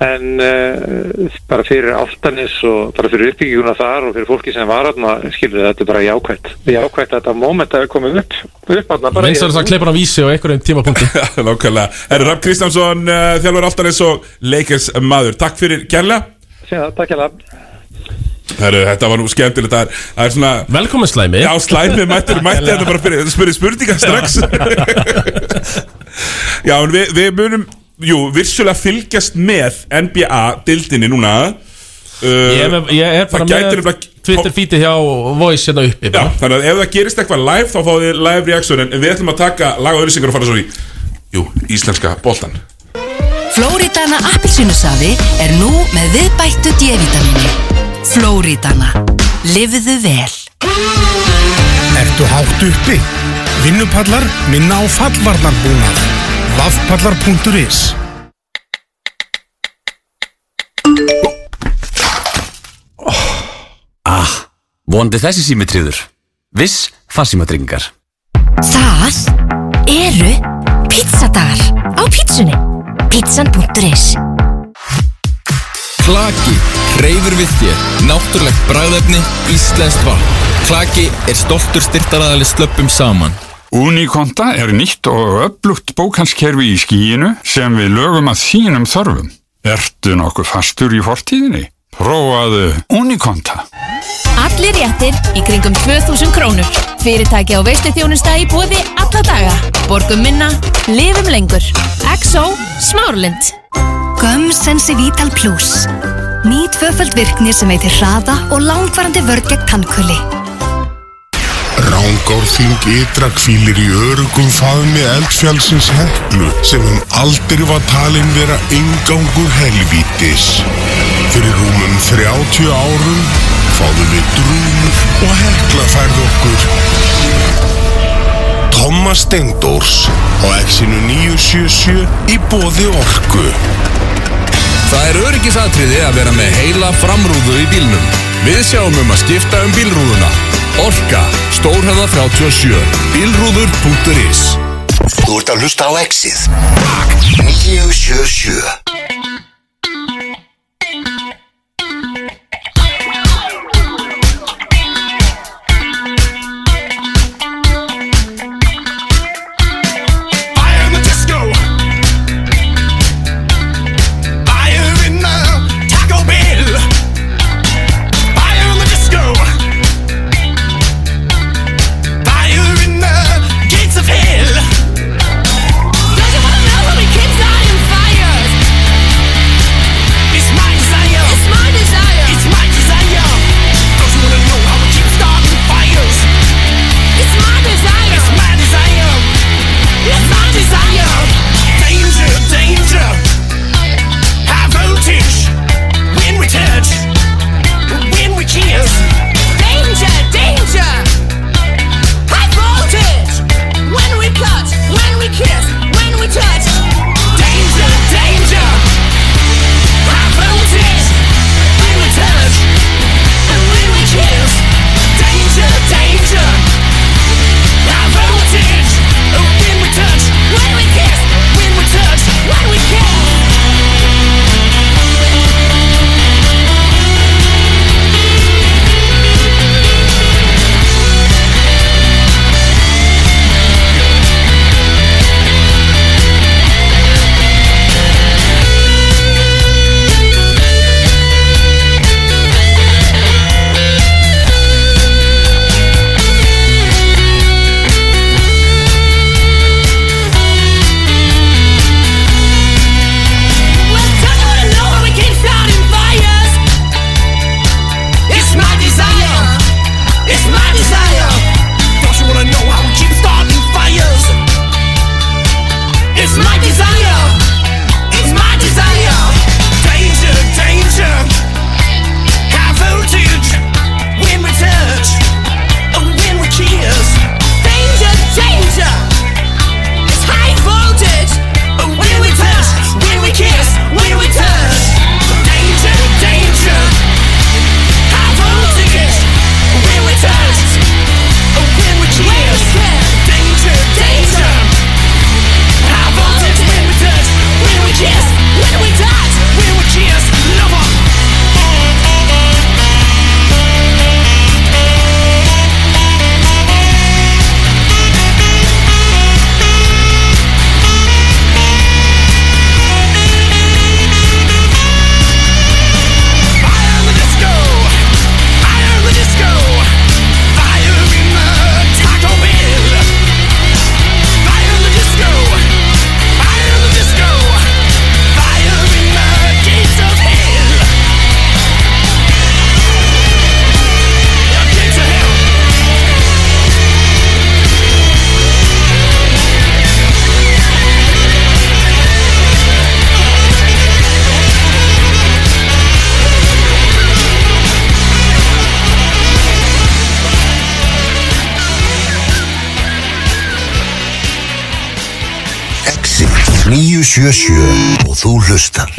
Speaker 3: en uh, bara fyrir áltanis og bara fyrir uppbygginguna þar og fyrir fólki sem var aðna skilur þetta er bara jákvætt jákvætt að þetta moment að við komum upp upp aðna bara
Speaker 2: Vinsar þess að kleipa hann á vísi á einhverjum tímapunkti
Speaker 1: Nákvæmlega Herra Rapp Kristjánsson, uh, þjálfur Altanis og leikers maður Takk fyrir kærlega
Speaker 3: Sér, takk ég laf
Speaker 1: Herru, þetta var nú skemmtilegt Það er, það er svona
Speaker 2: Velkomin slæmi
Speaker 1: Já, slæmið mættir, mætti þetta bara fyrir Þetta spurði spurninga strax Já, en við, við munum Jú, virsulega fylgjast með NBA-dildinni núna Eh,
Speaker 2: Ég er, með- ég er bara
Speaker 1: Það gæti
Speaker 2: með
Speaker 1: nefnilega-
Speaker 2: Twitter feedið hjá Voice hérna
Speaker 1: Já,
Speaker 2: uppi bara.
Speaker 1: þannig að ef það gerist eitthvað live þá fáið þið live reaksjón en við ætlum að taka laga og auðlýsingar og fara svo í Jú, íslenska boltan
Speaker 4: Flóridana appelsínusafi er nú með viðbættu D-vitamíni. Flóridana. Lifðu vel.
Speaker 5: Ertu hátt uppi? Vinnupallar minna á fallvarnarbúnað. Vafpallar.is
Speaker 6: Vonandi þessi símitriður. Viss farsímatryggingar.
Speaker 4: Það eru pizzadagar á pizzunni. Pizzan.is
Speaker 7: Klaki reyfur við þér Náttúrlegt bræðefni, íslenskt vatn Klaki er stoltur styrtaraðali slöppum saman
Speaker 8: Unikonta er nýtt og upplugt bókalskerfi í skíinu sem við lögum að þínum þörfum. Ertu nokkuð fastur í fortíðinni? Prófaðu Unikonta.
Speaker 9: Allir réttir í kringum 2000 krónur. Fyrirtæki á veislu þjónusta í bóði alla daga. Borgum minna, lifum lengur. XO Smárlind.
Speaker 4: Göm Sensi Vital Plus. Ný tvöföld virkni sem veitir hraða og langvarandi vörð gegn tannkvöli.
Speaker 10: Rángárþing ytra kvílir í örugum faðmi eldfjálsins heklu sem hún aldrei var talin vera ingangur helvítis. Fyrir rúmum 30 árum fáðum við drúmur og hekla færð okkur. Thomas Steindors á exinu 977 í bóði orku.
Speaker 7: Það er öryggisatriði að vera með heila framrúðu í bílnum Við sjáum um að skipta um bílrúðuna Orka, stórhæða 37 Bílrúður.is
Speaker 11: Þú ert að hlusta á Exið 977
Speaker 5: I am the disco I am in the Taco Bell I am the disco I am in the gates of hell
Speaker 9: Don't you wanna know when we keep dying fires?
Speaker 11: 977 og þú hlustar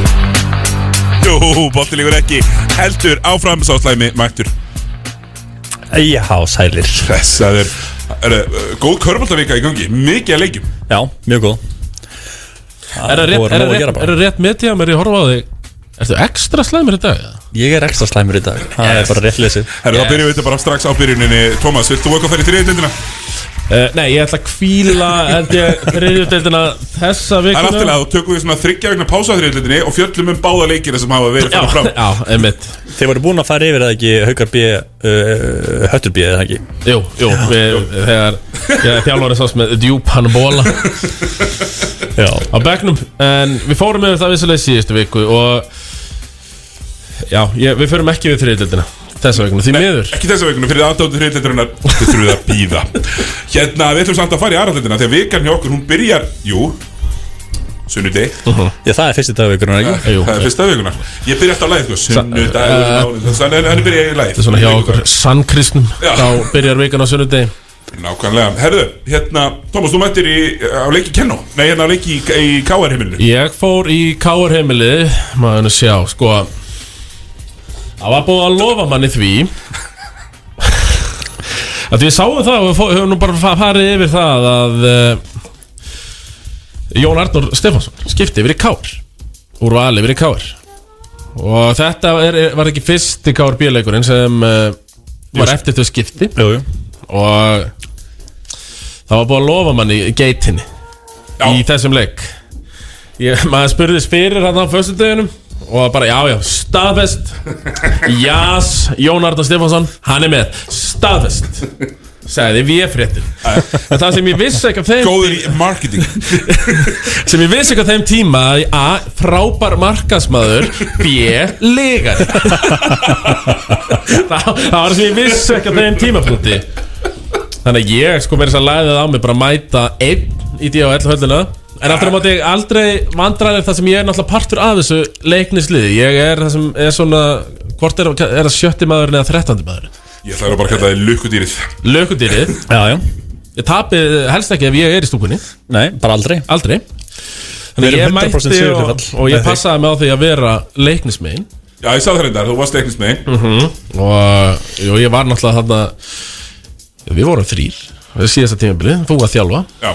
Speaker 1: Jú, bótti líkur ekki Heldur áfram sáslæmi, mættur
Speaker 12: Já, sælir
Speaker 1: Þessaður er, uh, Góð körbóltavika í gangi, mikið að leikjum
Speaker 12: Já, mjög góð
Speaker 2: Er það rétt,
Speaker 12: voru
Speaker 2: er
Speaker 12: nóg að
Speaker 2: það
Speaker 12: gera
Speaker 2: rétt,
Speaker 12: bara.
Speaker 2: er það rétt metið að mér ég horfa á þig Ertu ekstra slæmur í dag?
Speaker 12: Ég er ekstra slæmur í dag Það er bara rétt lesið
Speaker 1: Herru, þá byrjum við þetta bara strax á byrjuninni Tómas, vilt þú eitthvað fara í þriðjöldina?
Speaker 2: Uh, nei, ég ætla að kvíla held ég þriðjöldina þessa
Speaker 1: Það er
Speaker 2: vikuna
Speaker 1: aftur að þú tökum við svona þryggja vegna pása á þriðjöldinni og fjöllum um báða leikina sem hafa verið fara fram
Speaker 2: Já, einmitt
Speaker 12: Þeir voru búin að fara yfir það ekki Haukar B, uh, Höttur B eða ekki
Speaker 2: Jú, jú, við, þegar ég er þjálfarið sást með djúpan bóla Já Á begnum, en við fórum með það vissulega í síðustu viku og Já, ég, við förum ekki við þriðjöldina þessa vikuna, því miður
Speaker 1: Ekki þessa vegna, fyrir aðdóttu þriðjöldurinnar Þið þurfum við að býða Hérna, við ætlum samt að fara í aðraldina Þegar vikan hjá okkur, hún byrjar, jú Sunnudeg
Speaker 12: Já, það er fyrsti dagveikunar ekki
Speaker 1: Það er fyrsta vikuna Ég byrja alltaf að læða, sko, sunnudag Þannig að hann byrja í læð
Speaker 2: Eh, Þetta er svona hjá okkur sannkristum
Speaker 1: Já.
Speaker 2: Þá byrjar vikan á sunnudegi
Speaker 1: Nákvæmlega, herðu, hérna Tómas, þú mættir í, á leiki Kenno Nei, hérna á leiki í, í KR heimilinu
Speaker 2: Ég fór í K.R. heimilið Maður nú sjá, sko Það var búið að lofa manni því Að við sáum það og við fó- höfum nú bara fa- farið yfir það að uh, Jón Arnór Stefánsson skipti yfir í K.R. Úr vali yfir í K.R. Og þetta er, er- var ekki fyrsti K.R. bíleikurinn sem uh, var eftir þau skipti
Speaker 12: jú, jú.
Speaker 2: Og það var búið að lofa manni í geitinni Í þessum leik ég, Maður spurðist fyrir hann á föstudeginum Og bara já já, staðfest Jás, Jón Arnar Stefánsson Hann er með, staðfest Segði við fréttin En það sem ég vissi ekki af þeim
Speaker 1: Góður í marketing
Speaker 2: Sem ég vissi ekki af þeim tíma að A. Frábær markasmaður B. Legar það, það var sem ég vissi ekki af þeim tímapunkti Þannig að ég sko verið þess að læðið á mig bara að mæta einn í D.O.L. höllina En aftur á móti ég aldrei vandræðir það sem ég er náttúrulega partur af þessu leiknisliði Ég er það sem er svona, hvort er, er það sjötti maðurinn eða þrettandi maðurinn
Speaker 1: Ég ætla bara að kalla það lukkudýrið
Speaker 2: Lökudýrið Já, já Ég tapi helst ekki ef ég er í stúkunni
Speaker 12: Nei, bara aldrei
Speaker 2: Aldrei Þannig
Speaker 12: Við
Speaker 2: ég
Speaker 12: erum 100%
Speaker 2: mætti og,
Speaker 12: sigurhlutfall
Speaker 2: og
Speaker 12: með
Speaker 2: ég
Speaker 12: þig.
Speaker 2: passaði mig á því að vera leiknismegin
Speaker 1: Já, ég sagði það reyndar, þú varst leiknist með
Speaker 2: mm og jú, ég var náttúrulega þarna við vorum þrýr síðasta tímabili, þú að þjálfa
Speaker 1: Já.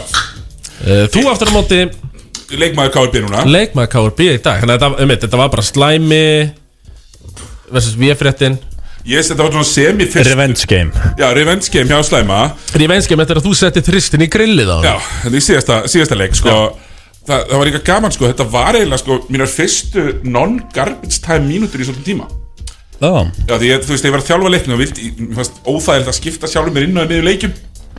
Speaker 2: Eh, þú aftur á móti
Speaker 1: Leikmaður KRB núna
Speaker 2: leikmaður KRB í dag þannig að þetta, um, þetta var bara slæmi versus VF-réttin
Speaker 1: Yes, þetta var svona semi fyrst
Speaker 12: Revenge game
Speaker 1: Já, revenge game hjá Slæma
Speaker 2: Revenge game eftir að þú setti þristin í grillið á hann.
Speaker 1: Já, þetta er í síðasta, síðasta leik, sko Þa, það var líka gaman, sko, þetta var eiginlega, sko, mínar fyrstu non-garbage time mínútur í svolítið tíma
Speaker 12: Já,
Speaker 1: Já, því ég, þú veist, ég var að þjálfa leiknum og vildi, mér fannst óþægilegt að skipta sjálfur mér inn og niður leikjum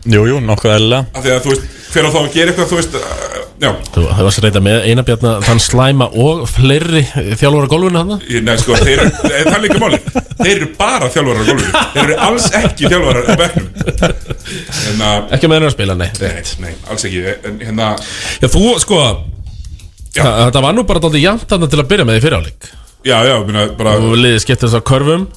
Speaker 12: jú, jú, nokkuð eðlilega
Speaker 1: af því að, þú veist, hver á þá að gera eitthvað, þú veist, uh, já
Speaker 2: þú þú varst reynda með einabjarna þann slæma og fleiri þjálfara gólfinu hann
Speaker 1: Ég- Nei, sko, þeir eru, eh, það er líka máli Þeir eru bara þjálfarar á gólfinu Þeir eru alls ekki þjálfarar á bekknum Hérna,
Speaker 2: ekki með hennar að spila, nei
Speaker 1: nei, nei, alls ekki En hérna,
Speaker 2: Já, þú, sko þa- þetta var nú bara dálítið jæmt þarna til að byrja með því fyriráleik
Speaker 1: já, já, minna, bara
Speaker 2: og liðið skipti þess að körfum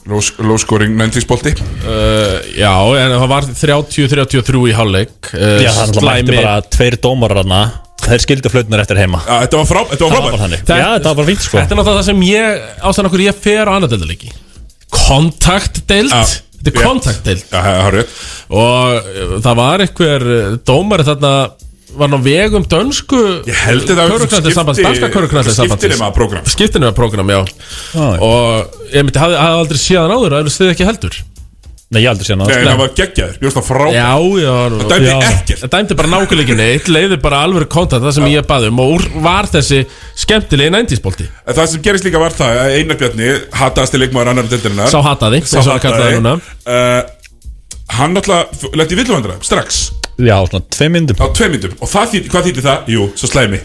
Speaker 1: Lóskoring, næntíksbolti
Speaker 2: Uh, já, en það var 30-33 í hálfleik uh,
Speaker 12: Já, það er alltaf mætti bara tveir dómarar hana Þeir skildu flutnar eftir heima
Speaker 1: Já, þetta var frá, þetta var
Speaker 12: Það var bara
Speaker 1: frábært
Speaker 12: þannig Já, þetta var bara fínt sko
Speaker 2: Þetta er náttúrulega það sem ég, ástæðan okkur ég fer á annað deildalegi Kontaktdeild
Speaker 1: Já,
Speaker 2: Þetta er
Speaker 1: rétt.
Speaker 2: kontaktdeild
Speaker 1: Já, það er rétt
Speaker 2: Og uh, það var einhver uh, dómari þarna Var ná vegum dönsku Ég
Speaker 1: held þetta hafi
Speaker 2: sambands,
Speaker 1: skipti-
Speaker 2: Danska körurknallið sambands
Speaker 1: skiptinema prógram.
Speaker 2: Skiptinema program, já
Speaker 12: Ah,
Speaker 2: Og ég myndi, hafði, hafði aldrei séðan áður Það er stuðið ekki heldur
Speaker 12: Nei, ég aldrei sé hana
Speaker 1: Nei, það var geggjaður, ég veist það frábært
Speaker 2: Já, já Það
Speaker 1: dæmdi
Speaker 2: já.
Speaker 1: ekkert.
Speaker 2: Það dæmdi bara nákvæmlega ekki neitt Leiði bara alveg kontakt það sem ég baði um Og úr var þessi skemmtilegi næntísbólti
Speaker 1: En Það sem gerist líka var það að Einar Bjarni hataðasti leikmaður annar deildarinnar
Speaker 2: Sá hataði,
Speaker 1: Sá
Speaker 2: eins og hann kallar það
Speaker 1: hataði
Speaker 2: núna.
Speaker 1: uh, Hann alltaf lenti í villuvandra strax
Speaker 12: Já, svona tvei myndum
Speaker 1: á tveim myndum Og það þýtti, hvað þýtti það? Jú, svo slæmi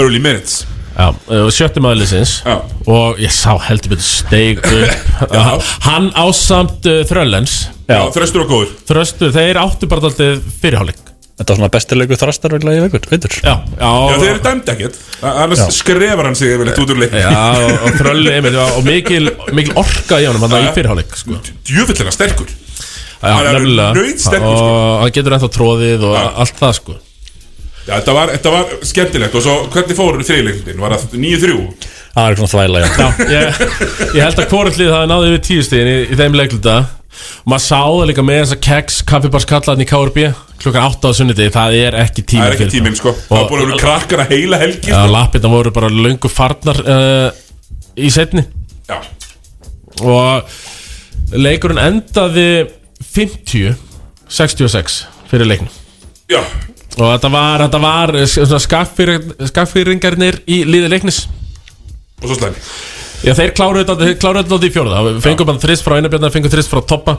Speaker 1: Early minutes
Speaker 2: Já, og sjötti maður liðsins
Speaker 1: Já.
Speaker 2: Og ég sá heldur betur steig upp
Speaker 1: Já.
Speaker 2: Hann ásamt uh, Þröllens
Speaker 1: Já, þröstur og góður
Speaker 2: Þröstu, þeir áttu bara daldið fyrirháleik
Speaker 12: Þetta var svona bestilegu þrastar veglega í vegur, veitur
Speaker 2: Já, já,
Speaker 1: Já, þeir eru dæmd ekkert A- Annars
Speaker 12: Já.
Speaker 1: skrefar hann sig yfirleitt út úr leik
Speaker 2: já og, og Þrölli, einmitt Og mikil, mikil orka í honum hann
Speaker 1: Já.
Speaker 2: í fyrirháleik sko.
Speaker 1: Djöfellina sterkur
Speaker 2: Já,
Speaker 1: Hann er
Speaker 2: nefnilega
Speaker 1: nautsterkur, sko.
Speaker 2: Og hann getur ennþá tróðið og allt það sko
Speaker 1: Já, þetta var, þetta var skemmtilegt og svo hvernig fóru þriðleikundin? Var það 9-3?
Speaker 12: Það er svona þvæla, já
Speaker 2: ég, ég held að hvorallið það náði yfir tíu stíðin í, í þeim leikluta og maður sá það líka með þessa keks kaffibarskallaðin í KRB klukkan 8 á sunniti, það er ekki tími
Speaker 1: Það er ekki
Speaker 2: fyrir
Speaker 1: tíminn sko Það var búin að vera krakkar að heila helgi
Speaker 2: Já,
Speaker 1: sko.
Speaker 2: lappirna voru bara löngu farnar uh, í setni
Speaker 1: Já.
Speaker 2: Og leikurinn endaði 50 66 fyrir leiknum
Speaker 1: Já.
Speaker 2: Og þetta var, þetta var eh, svona skaffýring- skaffýringarnir í liði leiknis
Speaker 1: Og svo slæmi
Speaker 2: Já, þeir kláruðu þetta- þeir kláruðu þetta út í fjórða Það Fengum hann þrist frá einabjörna, fengum þrist frá toppa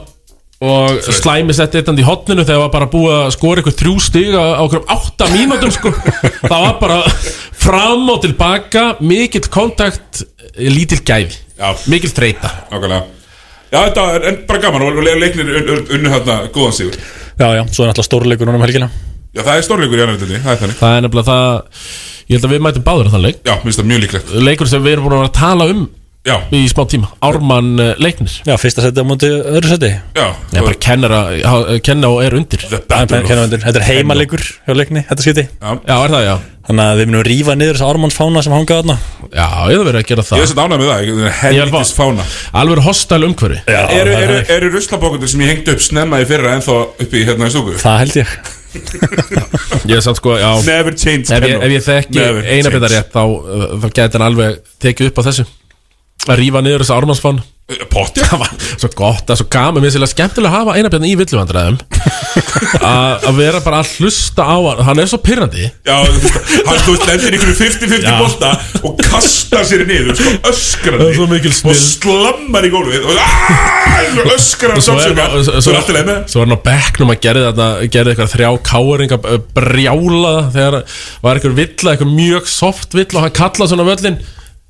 Speaker 2: Og slæmi setti eitt hann í hotninu Þegar var bara búið að skora ykkur þrjú stig Á á okkur átta mínútum sko Það var bara fram og tilbaka Mikill kontakt eh, Lítil gæði,
Speaker 1: Já.
Speaker 2: mikill þreita
Speaker 1: Nákvæmlega Já, þetta er en bara gaman og le- leiknir un- un- unnu hérna góðan sigur
Speaker 12: Já, já, svo er náttúrulega stórleikur núna um helgina
Speaker 1: Já, það er stórleikur í annar deildinni, það er þannig
Speaker 2: Það er nefnilega það Ég held að við mætum báður á þann leik
Speaker 1: Já, minnst það mjög líklegt
Speaker 2: Leikur sem við erum búin að vera að tala um
Speaker 1: Já.
Speaker 2: Í smá tíma, Ármann eh, leiknir
Speaker 12: Já, fyrsta seti á móti öðru seti
Speaker 1: Já,
Speaker 2: Ég bara kennar að ha- kenna og er hérna undir
Speaker 12: Kenna- kenna undir. hérna Þetta er heimaleikur hjá leikni, þetta skiti
Speaker 1: Já,
Speaker 2: er það, já
Speaker 12: Þannig að við munum rífa niður þessa ármannsfána sem hangaði þarna
Speaker 2: Já, ég þarf verið að gera það
Speaker 1: Ég er sett ánægð með það, ég- það er helvitis fána
Speaker 2: Alveg hostal umhverfi
Speaker 12: Já,
Speaker 1: Eru, eru, eru ruslabókundir sem ég hengdi upp snemma í fyrra ennþá uppi hérna í stúku?
Speaker 12: Það held ég
Speaker 2: Ég er samt sko, já
Speaker 1: Never change
Speaker 2: Ef ég,
Speaker 1: Kenno.
Speaker 2: ef ég þekki
Speaker 1: Never
Speaker 2: eina
Speaker 1: change.
Speaker 2: betar rétt þá, uh, þá geti hann alveg tekið upp á þessu að rífa niður þessa ármannsfán
Speaker 1: Potti?
Speaker 2: Það var svo gott, það er svo gaman Mér finnst skemmtilega að hafa eina betan í villuvandræðum Að að vera bara að hlusta á hann Hann er svo pyrrandi
Speaker 1: Já, þú veist, hann þú veist, lendir ykkur 50-50
Speaker 2: Já.
Speaker 1: bolta og kastar sér niður, sko,
Speaker 2: Það er
Speaker 1: öskrandi
Speaker 2: svo mikil
Speaker 1: og
Speaker 2: snill.
Speaker 1: slammar í gólfið og Ah! aaaah, öskrandi samsöka Þú er alltaf leið með
Speaker 2: Svo var hann á bekknum að gerði þetta Gerði eitthvað þrjá káeringa eh, Brjála þegar var eitthvað villa Eitthvað mjög soft villa og hann kallaði svona völlin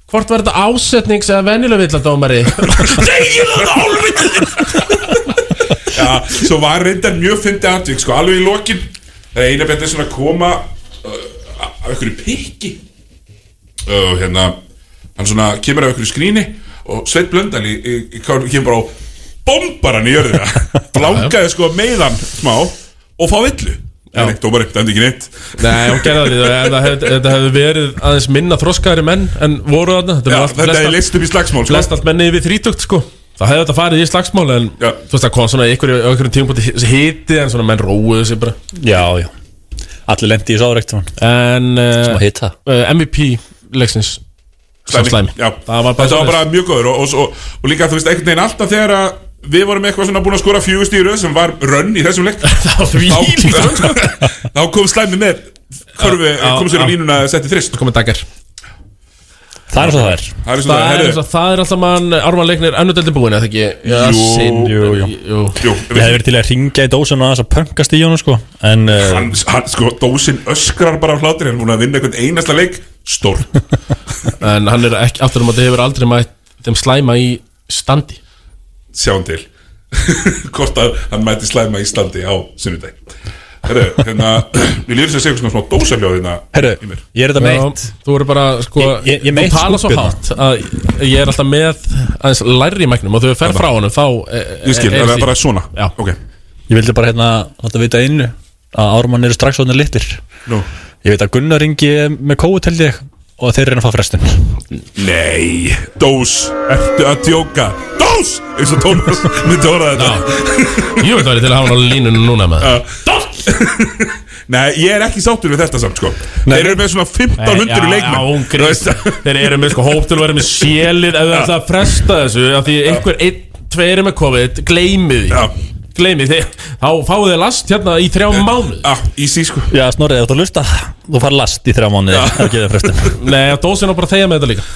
Speaker 2: Hvort var þetta ásetnings eða venjulega villa dómari
Speaker 1: Já, svo var reyndar mjög fyndið atvik, sko, alveg í lokin Það er eina betið svona að koma uh, af ykkur pikki og hérna hann svona kemur af ykkur skrýni og Sveit Blöndal í, í, í kár- kemur bara á bombar hann í jörðina langaði sko að meiða hann smá og fá villu en eitt dómar eitt, ekki neitt
Speaker 2: Nei, hún gerði það ekki en það hef- Þetta hefði verið aðeins minna þroskaðari menn En voru þarna Þetta
Speaker 1: Já,
Speaker 2: var allt-
Speaker 1: þetta
Speaker 2: flest
Speaker 1: er
Speaker 2: allt-
Speaker 1: list upp í slagsmál sko.
Speaker 2: flest allt menni yfir þrítugt sko Það hefði þetta farið í slagsmál en þú veist það kom svona í einhverju- á einhverjum tímpúti hiti en svona menn róuðu sig bara
Speaker 12: Já, já Allir lendi í sáreikt
Speaker 2: En
Speaker 12: Sem að
Speaker 2: uh,
Speaker 12: hita
Speaker 2: uh, MVP leiksins Sá
Speaker 1: Slæmi.
Speaker 2: Slæmi
Speaker 1: Já,
Speaker 2: Það var
Speaker 1: þetta
Speaker 2: bara
Speaker 1: var
Speaker 2: svoleiðis.
Speaker 1: bara mjög góður og, og, og, og líka þú veist einhvern veginn alltaf þegar að við vorum eitthvað svona búin að skora fjögur stíru sem var rönn í þessum leik þá, sko. þá kom slæmi með korfi,
Speaker 2: Já,
Speaker 1: kom sér á
Speaker 2: já.
Speaker 1: línuna að setja þrist sko.
Speaker 2: komið dagar
Speaker 12: Það er svo það er
Speaker 1: það er svona,
Speaker 2: Það er,
Speaker 1: herru,
Speaker 2: eins og- það er alltaf mann Ármann leiknir önnudeldin búin eða ekki
Speaker 1: Jú,
Speaker 12: jú, jú.
Speaker 2: jú.
Speaker 1: jú,
Speaker 12: Ég hefði verið til að ringja í dósun og aðeins að pöngast í honum sko En uh,
Speaker 1: hann, hann, sko, dósin öskrar bara á hlátir hann er búin að vinna einhvern einasta leik stór,
Speaker 2: En hann er ekki aftur um að það hefur aldrei mætt þeim slæma í standi
Speaker 1: sjáum til hvort að hann mæti slæma Íslandi á sunnudag herru, hérna, við lífum sér segjum svona smá dósaljóð hérna
Speaker 12: herru, ég er þetta
Speaker 2: Já,
Speaker 12: meitt
Speaker 2: Þú eru bara sko
Speaker 12: Ég- ég- ég meitt
Speaker 2: Þú tala svo
Speaker 12: skúbbjörn.
Speaker 2: hátt að ég er alltaf með aðeins læri í mæknum og þegar þú fer frá honum þá e,
Speaker 1: Ég skil, það er bara svona
Speaker 2: Já.
Speaker 1: Ok,
Speaker 12: Ég vildi bara hérna láta vita einu að Ármann eru strax orðin litir
Speaker 1: nú
Speaker 12: Ég veit að Gunnar ringi með kóu til þig og þeir reyna að fá frestun
Speaker 1: Nei, dós, ertu að djóka Dós, eins og Tómas myndi orða þetta
Speaker 2: Jú, það er til að hafa hann á línunum núna með
Speaker 1: Já. Nei, ég er ekki sáttur við þetta samt sko Þeir eru með svona 1500
Speaker 2: Nei, já, já, hún
Speaker 1: leikmenn
Speaker 2: grís. Þeir eru með sko hóp til að vera með sélið ef þau ætla að fresta þessu af því einhver einn, tveir er með COVID gleymið því
Speaker 1: Já,
Speaker 2: gleymið því þá fáið þið last hérna í þrjá mánuð
Speaker 1: já, easy sko
Speaker 12: Já, snorrið, þú ert að lusta Þú far last í þrjá mánuði að geða frestun
Speaker 2: Nei, að dósin á bara að þegja með þetta líka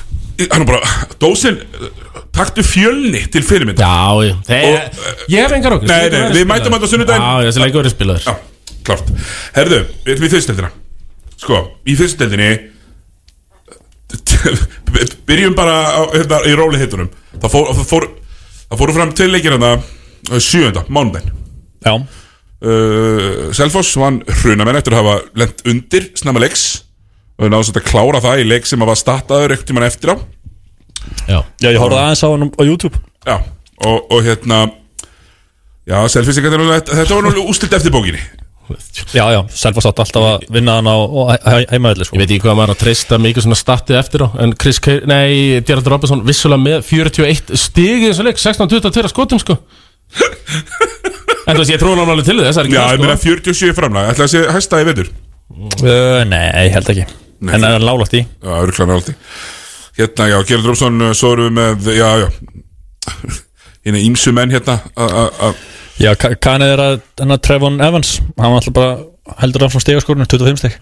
Speaker 1: Hann er bara, dósin, taktu fjölni til fyrirmynda
Speaker 2: Já, ég, þeir, ég hef engar okkur
Speaker 1: Nei, nei, við mætum þetta á sunnudaginn.
Speaker 2: Já, þessi leikur er spilaður
Speaker 1: Já, klart Herðu, við erum í fyrsteldina Sko, í fyrsteldinni Byrjum bara á, hérna, í róli hittunum Það fór, það fór, það fóru fram til leikir hana Sjöunda, mánudaginn
Speaker 12: Já,
Speaker 1: uh, Selfoss vann hrunamenn eftir að hafa lent undir snemma leiks og við náðum svolítið að klára það í leik sem að var startaður ekkert tímann eftir á
Speaker 2: Já,
Speaker 12: já ég horfði aðeins á hann á YouTube
Speaker 1: Já, og, og hérna Já, selfissingar þetta var nú ústilt eftir bókinni
Speaker 12: Já, já, Selfoss átt alltaf að vinna hann á heimaðli sko.
Speaker 2: Ég veit ekki hvað maður er að treysta mikið svona statið eftir á En Chris K... Nei, Gerard Robinson vissulega með 41 stig í þessu leik 16-22 skotum sko En þú veist, ég trúi hann alveg til þess það er
Speaker 1: Já,
Speaker 2: ekki það, sko?
Speaker 1: ég meina sko. 47 framlega, ætla að sé hæsta í vetur
Speaker 12: uh, Nei, held ekki
Speaker 1: Nei. En
Speaker 12: það er nálægt í
Speaker 1: Já, örgulega nálægt í Hérna, já, Gerard Robson, uh, svo erum við með, já, já Hérna ímsu menn hérna að- að- að-
Speaker 12: Já, kannið er að hann að Trevon Evans Hann var alltaf bara heldur áfram stegaskorinu 25 steg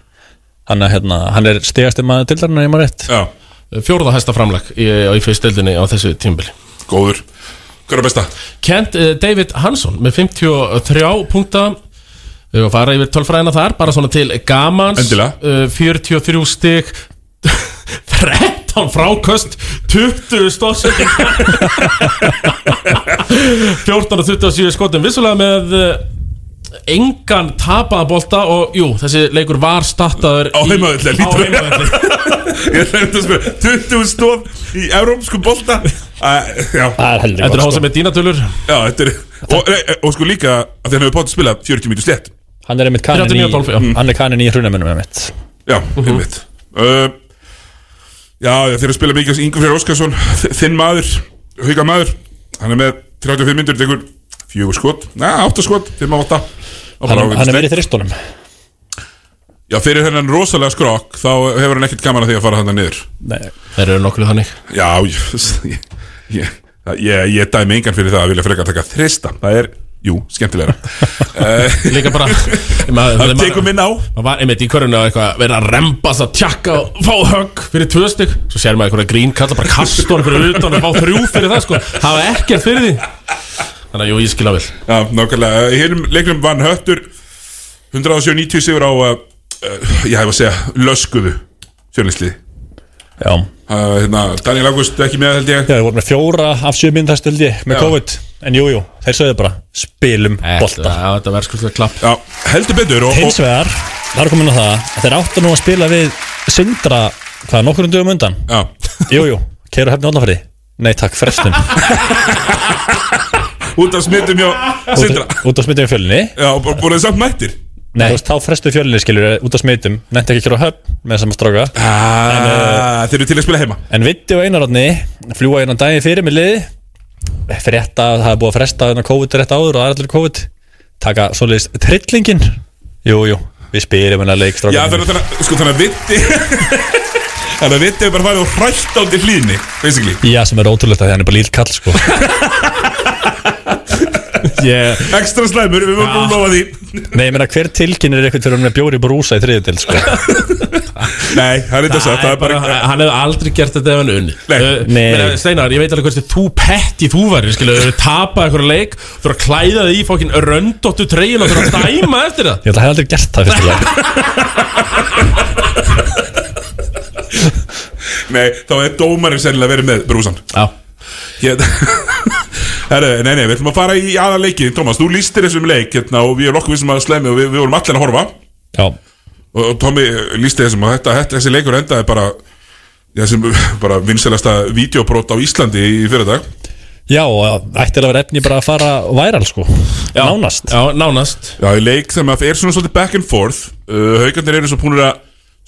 Speaker 12: Hann er, hérna, hann er stegasti maður dildarinn Ég maður rétt
Speaker 1: Já
Speaker 2: Fjórða hæsta framleg í, í fyrstildinni á þessu tímbili
Speaker 1: Góður Hver er besta?
Speaker 2: Kent uh, David Hansson með 53 punkta Við erum að fara yfir tölfræðina þar Bara svona til gamans
Speaker 1: Endilega.
Speaker 2: uh, 43 stig 13 fráköst 20 stórsendingar 14 og 27 skotum Vissulega með uh, engan tapaða bolta Og jú, þessi leikur var startaður Á
Speaker 1: heimavelli,
Speaker 2: Á
Speaker 1: lítur.
Speaker 2: heimavelli
Speaker 1: Ég ætla að spyrja 20 stóð í eurómsku bolta Æ, Já Það
Speaker 12: er heldur sko.
Speaker 2: Þetta er hósa með dínatölur
Speaker 1: Já, þetta er Og, e, og sko líka að þeir hefur bótt að spila 40 mínútur slett
Speaker 12: Hann er einmitt kannin í,
Speaker 1: 39, já.
Speaker 12: hann er kannin í hrunamunum einmitt
Speaker 1: Já,
Speaker 12: Mhm.
Speaker 1: einmitt uh, Já, já, þeir eru að spila mikið Ingur Freyr Óskarsson, þ- þinn maður Hauka maður, hann er með 35 myndur Tekur fjögur skot, neða, átta skot 5 á 8
Speaker 12: Hann, hann er verið þristunum
Speaker 1: Já, fyrir hennan rosalega skrok Þá hefur hann ekkert gaman að því að fara hann niður
Speaker 12: Nei,
Speaker 2: þeir eru nokkuð þannig
Speaker 1: Já, ég, ég, ég, ég, ég dæmi engan fyrir það að vilja frekar taka þrista Það er, jú, skemmtilega
Speaker 2: Líka bara
Speaker 1: Það tekur minn á
Speaker 2: maður var einmitt í körunni á eitthvað verið að rembast að tjakka og fá högg fyrir tvö stygg svo sér maður einhverja grín kalla bara kastor fyrir utan og fá þrjú fyrir það sko hafa ekkert fyrir því þannig að jú ég skilja vel
Speaker 1: Já, nákvæmlega Í hinnum leiknum vann Höttur 190 sigur á uh, uh, Ég hef að segja, löskuðu Fjörlinsliði
Speaker 12: Já
Speaker 1: uh, hérna, Daniel August ekki með held ég
Speaker 12: Já, við vorum með fjóra af sjö minn þar stöldi með
Speaker 1: Já.
Speaker 12: COVID En jú, jú, þeir sögðu bara spilum bolta
Speaker 2: Já, þetta verður skulda klapp
Speaker 1: Já, heldur betur og,
Speaker 12: Hins vegar, það er komin á það að þeir áttu nú að spila við Sindra, hvað, nokkur dögum undan
Speaker 1: Já
Speaker 12: Jú, jú, keiru hefni átnafæri Nei, takk, frestun
Speaker 1: Út af smittum hjá Sindra
Speaker 12: Út- Út á smittum í fjölinni
Speaker 1: Já, og bara- voru þið samt mættir
Speaker 12: Nei Þú veist, þá frestu fjölinni, skilur, út á smittum Nefndi ekki að kera á höfn með saman stráka
Speaker 1: ah, Þeir eru til að spila heima
Speaker 12: En Vitti og Einarotni fljúa einan daginn fyrir með liði Frétta, að það er búið að fresta þennan COVID rétt áður og aðrallir COVID Taka svoleiðis trillingin Jú, jú, við hérna spyrum hennar leik
Speaker 1: Já,
Speaker 12: strákarnir.
Speaker 1: þannig að- þannig að, sko, þannig að vitti Þannig að vitti hefur bara farið og hrætt átt í hlýðni Basically
Speaker 12: Já, sem er ótrúlegt að því hann er bara líl kall sko yeah.
Speaker 1: Ekstra slæmur, við vorum búin að lofa því
Speaker 12: Nei, ég meina hver tilkynir eitthvað fyrir hann með bjóri brúsa í þriðutil sko
Speaker 1: Nei, það er þetta satt Ah. Það er bara
Speaker 2: Eh, hann hefði aldrei gert þetta ef hann unni
Speaker 12: Nei.
Speaker 2: Meina, Steinar, ég veit alveg hversu þú petti þú væri skilu, þú tapa eitthvað leik þú eru að klæða þig í fokkin röndóttu treyjun og þú eru að dæma eftir það
Speaker 12: Ég held að hann aldrei gert það fyrst og
Speaker 1: Nei, þá er dómarinn sennilega verið með brúsan
Speaker 2: Já
Speaker 1: Hér... Herru, nei, nei, við ætlum að fara í aða leikin Tómas, þú lístir þessum leik hérna, og við erum okkur við sem að slemmi og við, við vorum allir að horfa
Speaker 12: Já
Speaker 1: Og, og Tómi eh, lísti þessum og þetta, þetta, þessi leikur endaði bara Já, sem bara vinselasta videobrót á Íslandi í fyrirdag
Speaker 12: Já, og ættir að vera efni bara að fara væral sko já, Nánast
Speaker 2: Já, nánast
Speaker 1: Já, í leik sem að er svona svolítið back and forth uh, Haukarnir eru svo búinir að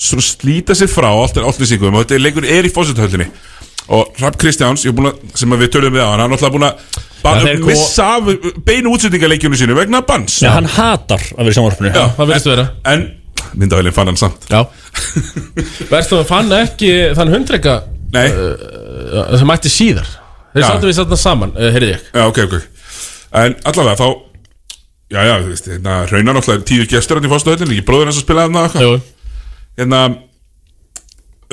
Speaker 1: svona slíta sér frá allt er átlýsingum og þetta er leikur er í fósithöllinni og Rapp Kristjáns, ég er búin að, sem að við tölum við á hann, hann er náttúrulega búin að
Speaker 2: Já,
Speaker 1: bara
Speaker 2: þeir kom-
Speaker 1: missa af beinu útsendingaleikjunu sínu vegna bans
Speaker 12: Já, hann hatar að vera í sjónvarpinu
Speaker 1: Já,
Speaker 2: það verðist vera
Speaker 1: En myndavælinn fann hann samt
Speaker 2: Já Verst að það fann ekki þann hundreika
Speaker 1: Nei
Speaker 2: uh, sem mætti síðar Þeir
Speaker 1: Já.
Speaker 2: sáttu við sattum saman, uh, heyrði ég
Speaker 1: Já, ok, ok En allavega þá Já, já, þú veist, hérna Raunar náttúrulega tíu gestur hann í fósithöllinni, ekki bróður hans að spila hann og eitthvað. Hérna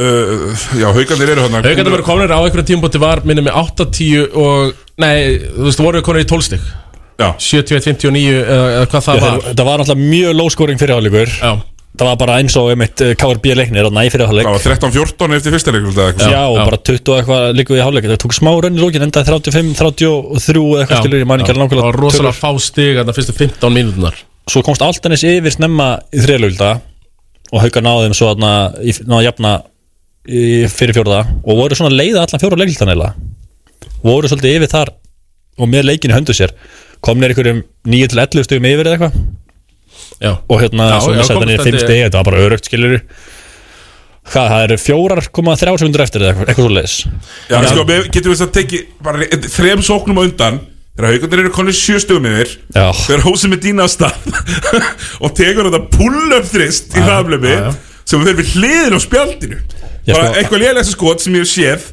Speaker 1: uh, Já, haugarnir eru hann
Speaker 2: Haukarnir voru komnir á einhverjum tímabóti var minnum með 8-10 og Nei, þú veist, voru konir í 12 stík
Speaker 1: Já
Speaker 2: 71-59 eða eða hvað það var
Speaker 12: Það var náttúrulega mjög lóskóring fyrirháleikur
Speaker 2: Já
Speaker 12: Það var bara eins og einmitt eh, KRB leiknir að næ fyrirháleik
Speaker 1: Það var 13-14 eftir fyrsta leik
Speaker 12: Já, já, bara 20 og eitthvað líku í háleik Það tók smá raun í lókin, endaði 35, 33 eða
Speaker 2: Já,
Speaker 12: eitthvað skilur, ég man ekki
Speaker 2: já.
Speaker 12: alveg nákvæmlega
Speaker 2: Það var rosalega fá stig að það fyrstu 15 mínútunar
Speaker 12: svo komst Altanis yfir snemma í þriðlugilda og haukar náðum svo aðna, í, náða jafna í, fyrir fjórða og voru svona að leiða allan fjóra leikildan eila voru svolítið yfir þar og með leikin í höndu sér kom neður einhverjum 9-11 stugum yfir eða eitthvað
Speaker 2: Já.
Speaker 12: og hérna
Speaker 2: Já,
Speaker 12: svo
Speaker 2: já,
Speaker 12: við setja
Speaker 2: komst
Speaker 12: niður 5
Speaker 2: þetta-
Speaker 12: stegi þetta var bara örugt skilur hvað, það eru 4,3 sekundur eftir eða eitthvað- eitthvað svo leiðis
Speaker 1: Já, sko, við getum við að teki bara re- þrem sóknum á undan Þegar haugarnir eru konið sjö stöðum yfir
Speaker 12: Já.
Speaker 1: Þegar hósið með dýna á stað Og tekur þetta pull-up þrist Í haflömi Sem þeir við hliðin á spjaldinu
Speaker 12: Já,
Speaker 1: Bara
Speaker 12: sko-
Speaker 1: eitthvað lélegasta skot sem ég hef séð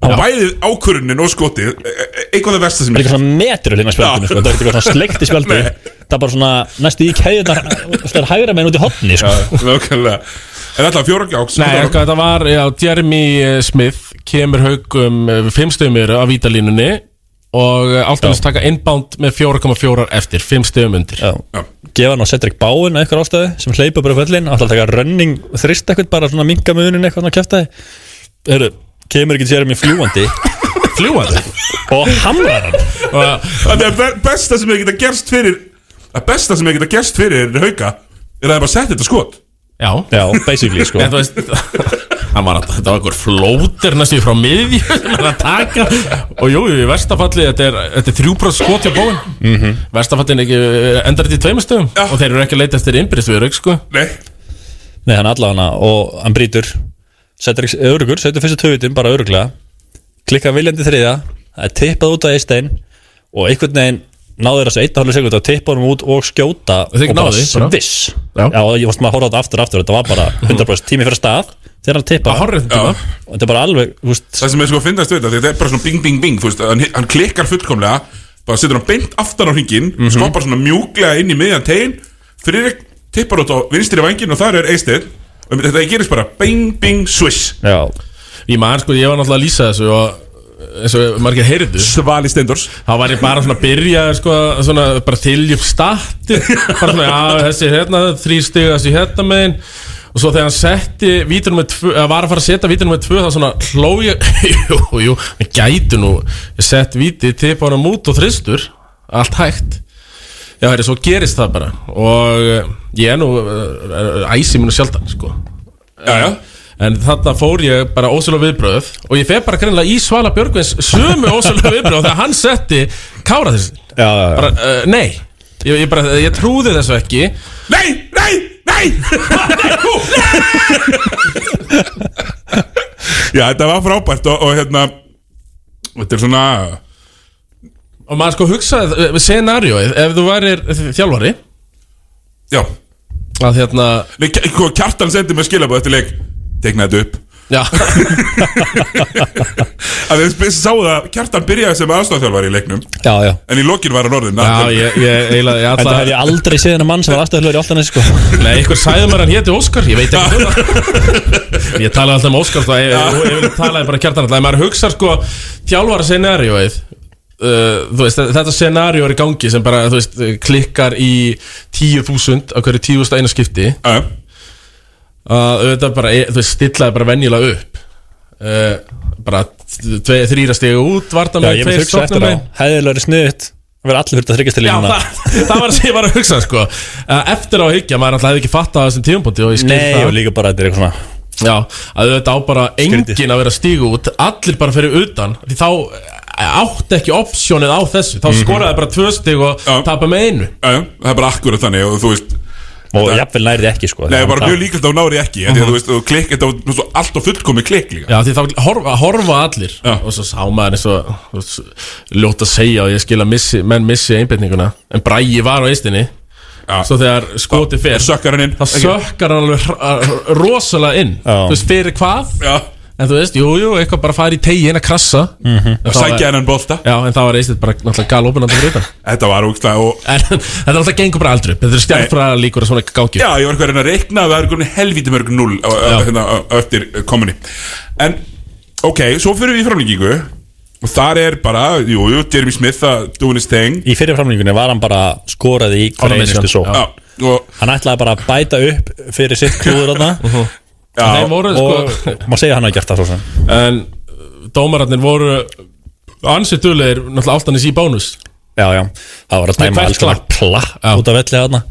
Speaker 1: Á bæði ákvörunin og skotið e- e- Eitthvað það versta sem
Speaker 12: Það er
Speaker 1: ég
Speaker 12: eitthvað svona metur hérna spjaldinu
Speaker 1: Já.
Speaker 12: sko. Það er eitthvað svona sleikt í spjaldi
Speaker 1: Nei.
Speaker 12: Það er bara svona næstu í kæðunar Það er hægra meginn út í hotni sko.
Speaker 1: Nákvæmlega En alltaf fjóra gjáks
Speaker 2: Nei, sko, þetta var, já, Jeremy eh, Smith kemur haugum fimmstöðum yfir af vítalínunni og alltaf taka inbound með 4,4 eftir, fimmstöðum undir
Speaker 12: Já. Gefa hann á Cedric Bowen að eitthvað ástæðu sem hleypa bara fellin Alltaf taka running þrist eitthvað bara svona minga munin eitthvað að kæfta þið Heru, Kemur ekki sér mér fljúandi
Speaker 2: Fljúandi?
Speaker 12: Og hamrar hann
Speaker 1: Það er be- besta sem ég geta gerst fyrir Það besta sem ég geta gerst fyrir hauga Er að það bara setja þetta skot
Speaker 2: Já,
Speaker 12: Já, basically sko
Speaker 2: En þú veist Hann var að, þetta var einhver flóter næstu frá miðju sem hann er að taka og jú, jú, í verstafalli, þetta er, þetta er þrjúbróð skot hjá bóin mm -hmm. verstafallin ekki, eh, endar þetta í tveimur stöðum og þeir eru ekki að leita eftir innbyrðist við rauk, sko
Speaker 1: Nei
Speaker 12: Nei, hann allavega og hann brýtur Cedric örugur, setur fyrstu töfutin bara öruglega Klikka viljandi þriða Það er tippað út á Eistein Og einhvern veginn náður þessu 1,5 sekund að tippa honum út og skjóta
Speaker 2: Og þeir
Speaker 12: og bara
Speaker 2: náðu því, bara.
Speaker 12: sviss
Speaker 2: Já.
Speaker 12: Já, og ég varst maður að horfa á þetta aftur og aftur Þetta var bara 100% tími fyrir stað Þegar hann tippa
Speaker 2: Bara hárréttum tíma.
Speaker 12: Og þetta er bara alveg, þú veist
Speaker 1: Það sem er sko að finnast við þetta Þetta er bara svona bing bing bing þú veist, hann, hann klikkar fullkomlega Bara setur hann beint aftan á hringin mm Skoppar svona mjúklega inn í miðjan tegin Friðrik tippar út á vinstri vangin Og þar er Eistir Og þetta gerist bara bing bing swish
Speaker 12: Já
Speaker 2: Ég man sko, ég var náttúrulega að lýsa þessu og eins og margir heyrðu
Speaker 1: Svali Steindors
Speaker 2: Þá var ég bara svona að byrja sko, svona, bara þylja upp stati bara svona, já, þessi hérna, þrý stiga þessi hérna megin og svo þegar hann setti vítunum með tvö, eða var að fara að setja vítunum með tvö þá svona hló ég jú, jú, hann gæti nú sett víti, tipa hann út og þristur allt hægt Já, herri, svo gerist það bara og eh, ég er nú eh, æsi mínu sjaldan, sko
Speaker 1: Já, já
Speaker 2: En þarna fór ég bara ósölu viðbröð og ég feg bara greinlega í Svala Björgvins sömu ósölu viðbröð þegar hann setti kára þess
Speaker 12: Já, já,
Speaker 2: bara, uh, Nei, ég, ég, bara, ég trúði þessu ekki
Speaker 1: Nei, nei, nei Já, þetta var frábært Og, og hérna Þetta er svona
Speaker 2: Og maður sko hugsaði uh, scenarióið Ef þú værir þjálfari
Speaker 1: Já
Speaker 2: Að hérna
Speaker 1: Nei, Kj- sko, Kjartan sendi mér skilabóð eftir leik Tekna þetta upp
Speaker 2: Já
Speaker 1: Að við sáum það að Kjartan byrjaði sem aðstofþjálfari í leiknum
Speaker 12: Já, já
Speaker 1: En í lokin var hann orðin
Speaker 2: Já, ég, ég, eiginlega- ég
Speaker 12: Þetta hef
Speaker 2: ætla
Speaker 12: ég aldrei séð hennar mann sem var aðstöðulegur í alltaf sko.
Speaker 2: Nei, ykkur sæðum að hann héti Óskar Ég veit ekki hvað það Ég talaði alltaf um Óskar Það ég, ég, ég talaði bara kjartan alltaf En maður hugsa sko Þjálfara scenarióið uh, þú veist, Þetta scenarió er í gangi Sem bara þú veist, klikkar í 10.000 Á hverju 10.000 einu skipti
Speaker 1: Já
Speaker 2: að auðvitað bara, e- þú veist, stillaði bara venjulega upp uh, bara tve, þrýra stiga út varta
Speaker 12: Já,
Speaker 2: með
Speaker 12: ég með hugsa eftir á Hæðilega sniðut Við erum allir fyrir að þryggjast til
Speaker 2: Já, það, það var það sem ég var að hugsa sko. Eh, Eftir á að hyggja, maður alltaf hefði ekki fattað á þessum tíðumbúti og ég skil
Speaker 12: Nei,
Speaker 2: það
Speaker 12: og líka bara þetta er eitthvað svona
Speaker 2: Já, að þetta á bara enginn að vera stígu út Allir bara fyrir utan Því þá eh, átti ekki opsjónið á
Speaker 1: Mhm.
Speaker 2: þessu Þá skoraði bara tvö stíg og ja. tapa með einu
Speaker 1: Já, eh, það er bara akkurat þannig og þú veist
Speaker 12: Og jafnvel nærið ekki sko
Speaker 1: Nei, bara mjög líkast á nári ekki uh -huh. Þú veist, og klikk, þetta var svo allt og fullkomi klikk líka
Speaker 2: Mhm. Já, því þá horfa, horfa allir og svo sá maður eins og þú veist, ljótt að segja og ég skil að missi, menn missi einbyrninguna en Bræi var á eistinni
Speaker 1: Já.
Speaker 2: svo þegar skoti fer
Speaker 1: sökkar hann inn
Speaker 2: þá sökkar hann alveg hra- r- rosalega inn
Speaker 1: Já.
Speaker 2: þú veist fyrir hvað
Speaker 1: Já.
Speaker 2: en þú veist, jú, jú, eitthvað bara farið í tegin að krassa
Speaker 1: Mhm.
Speaker 2: En
Speaker 1: Og
Speaker 2: þá
Speaker 1: sækja
Speaker 2: var-
Speaker 1: hennan bolta.
Speaker 2: Já, en þá var eistinn bara náttúrulega gal opinandi fyrir utan
Speaker 1: Þetta var ógstlega og
Speaker 2: en þetta náttúrulega gengur bara aldrei upp þetta er stjálfræða líkur að svona gangi
Speaker 1: Já, ég var eitthvað að reyna að reikna að það er komin helvítið mörg null á- á- hérna, á- á eftir uh, kominni En, ok, svo fyrir við í framlíkingu og þar er bara, jú, jú, Jeremy Smith að doing his thing
Speaker 12: Í fyrir framlíkingunni var hann bara skoraði í hverja
Speaker 1: Formation.
Speaker 12: einustu sók
Speaker 1: Já. og,
Speaker 12: Hann ætlaði bara að bæta upp fyrir sitt klúður þarna
Speaker 1: já,
Speaker 2: Þeir voru,
Speaker 12: Og
Speaker 2: sko-
Speaker 12: maður segja að hann hafa gert það svo sem
Speaker 2: en uh, dómararnir voru ansett duðlegir náttúrulega áltanis í bónus
Speaker 12: Já, já, það var að
Speaker 2: Nei,
Speaker 12: dæma
Speaker 2: hvert
Speaker 12: alls konar kla út af velli þarna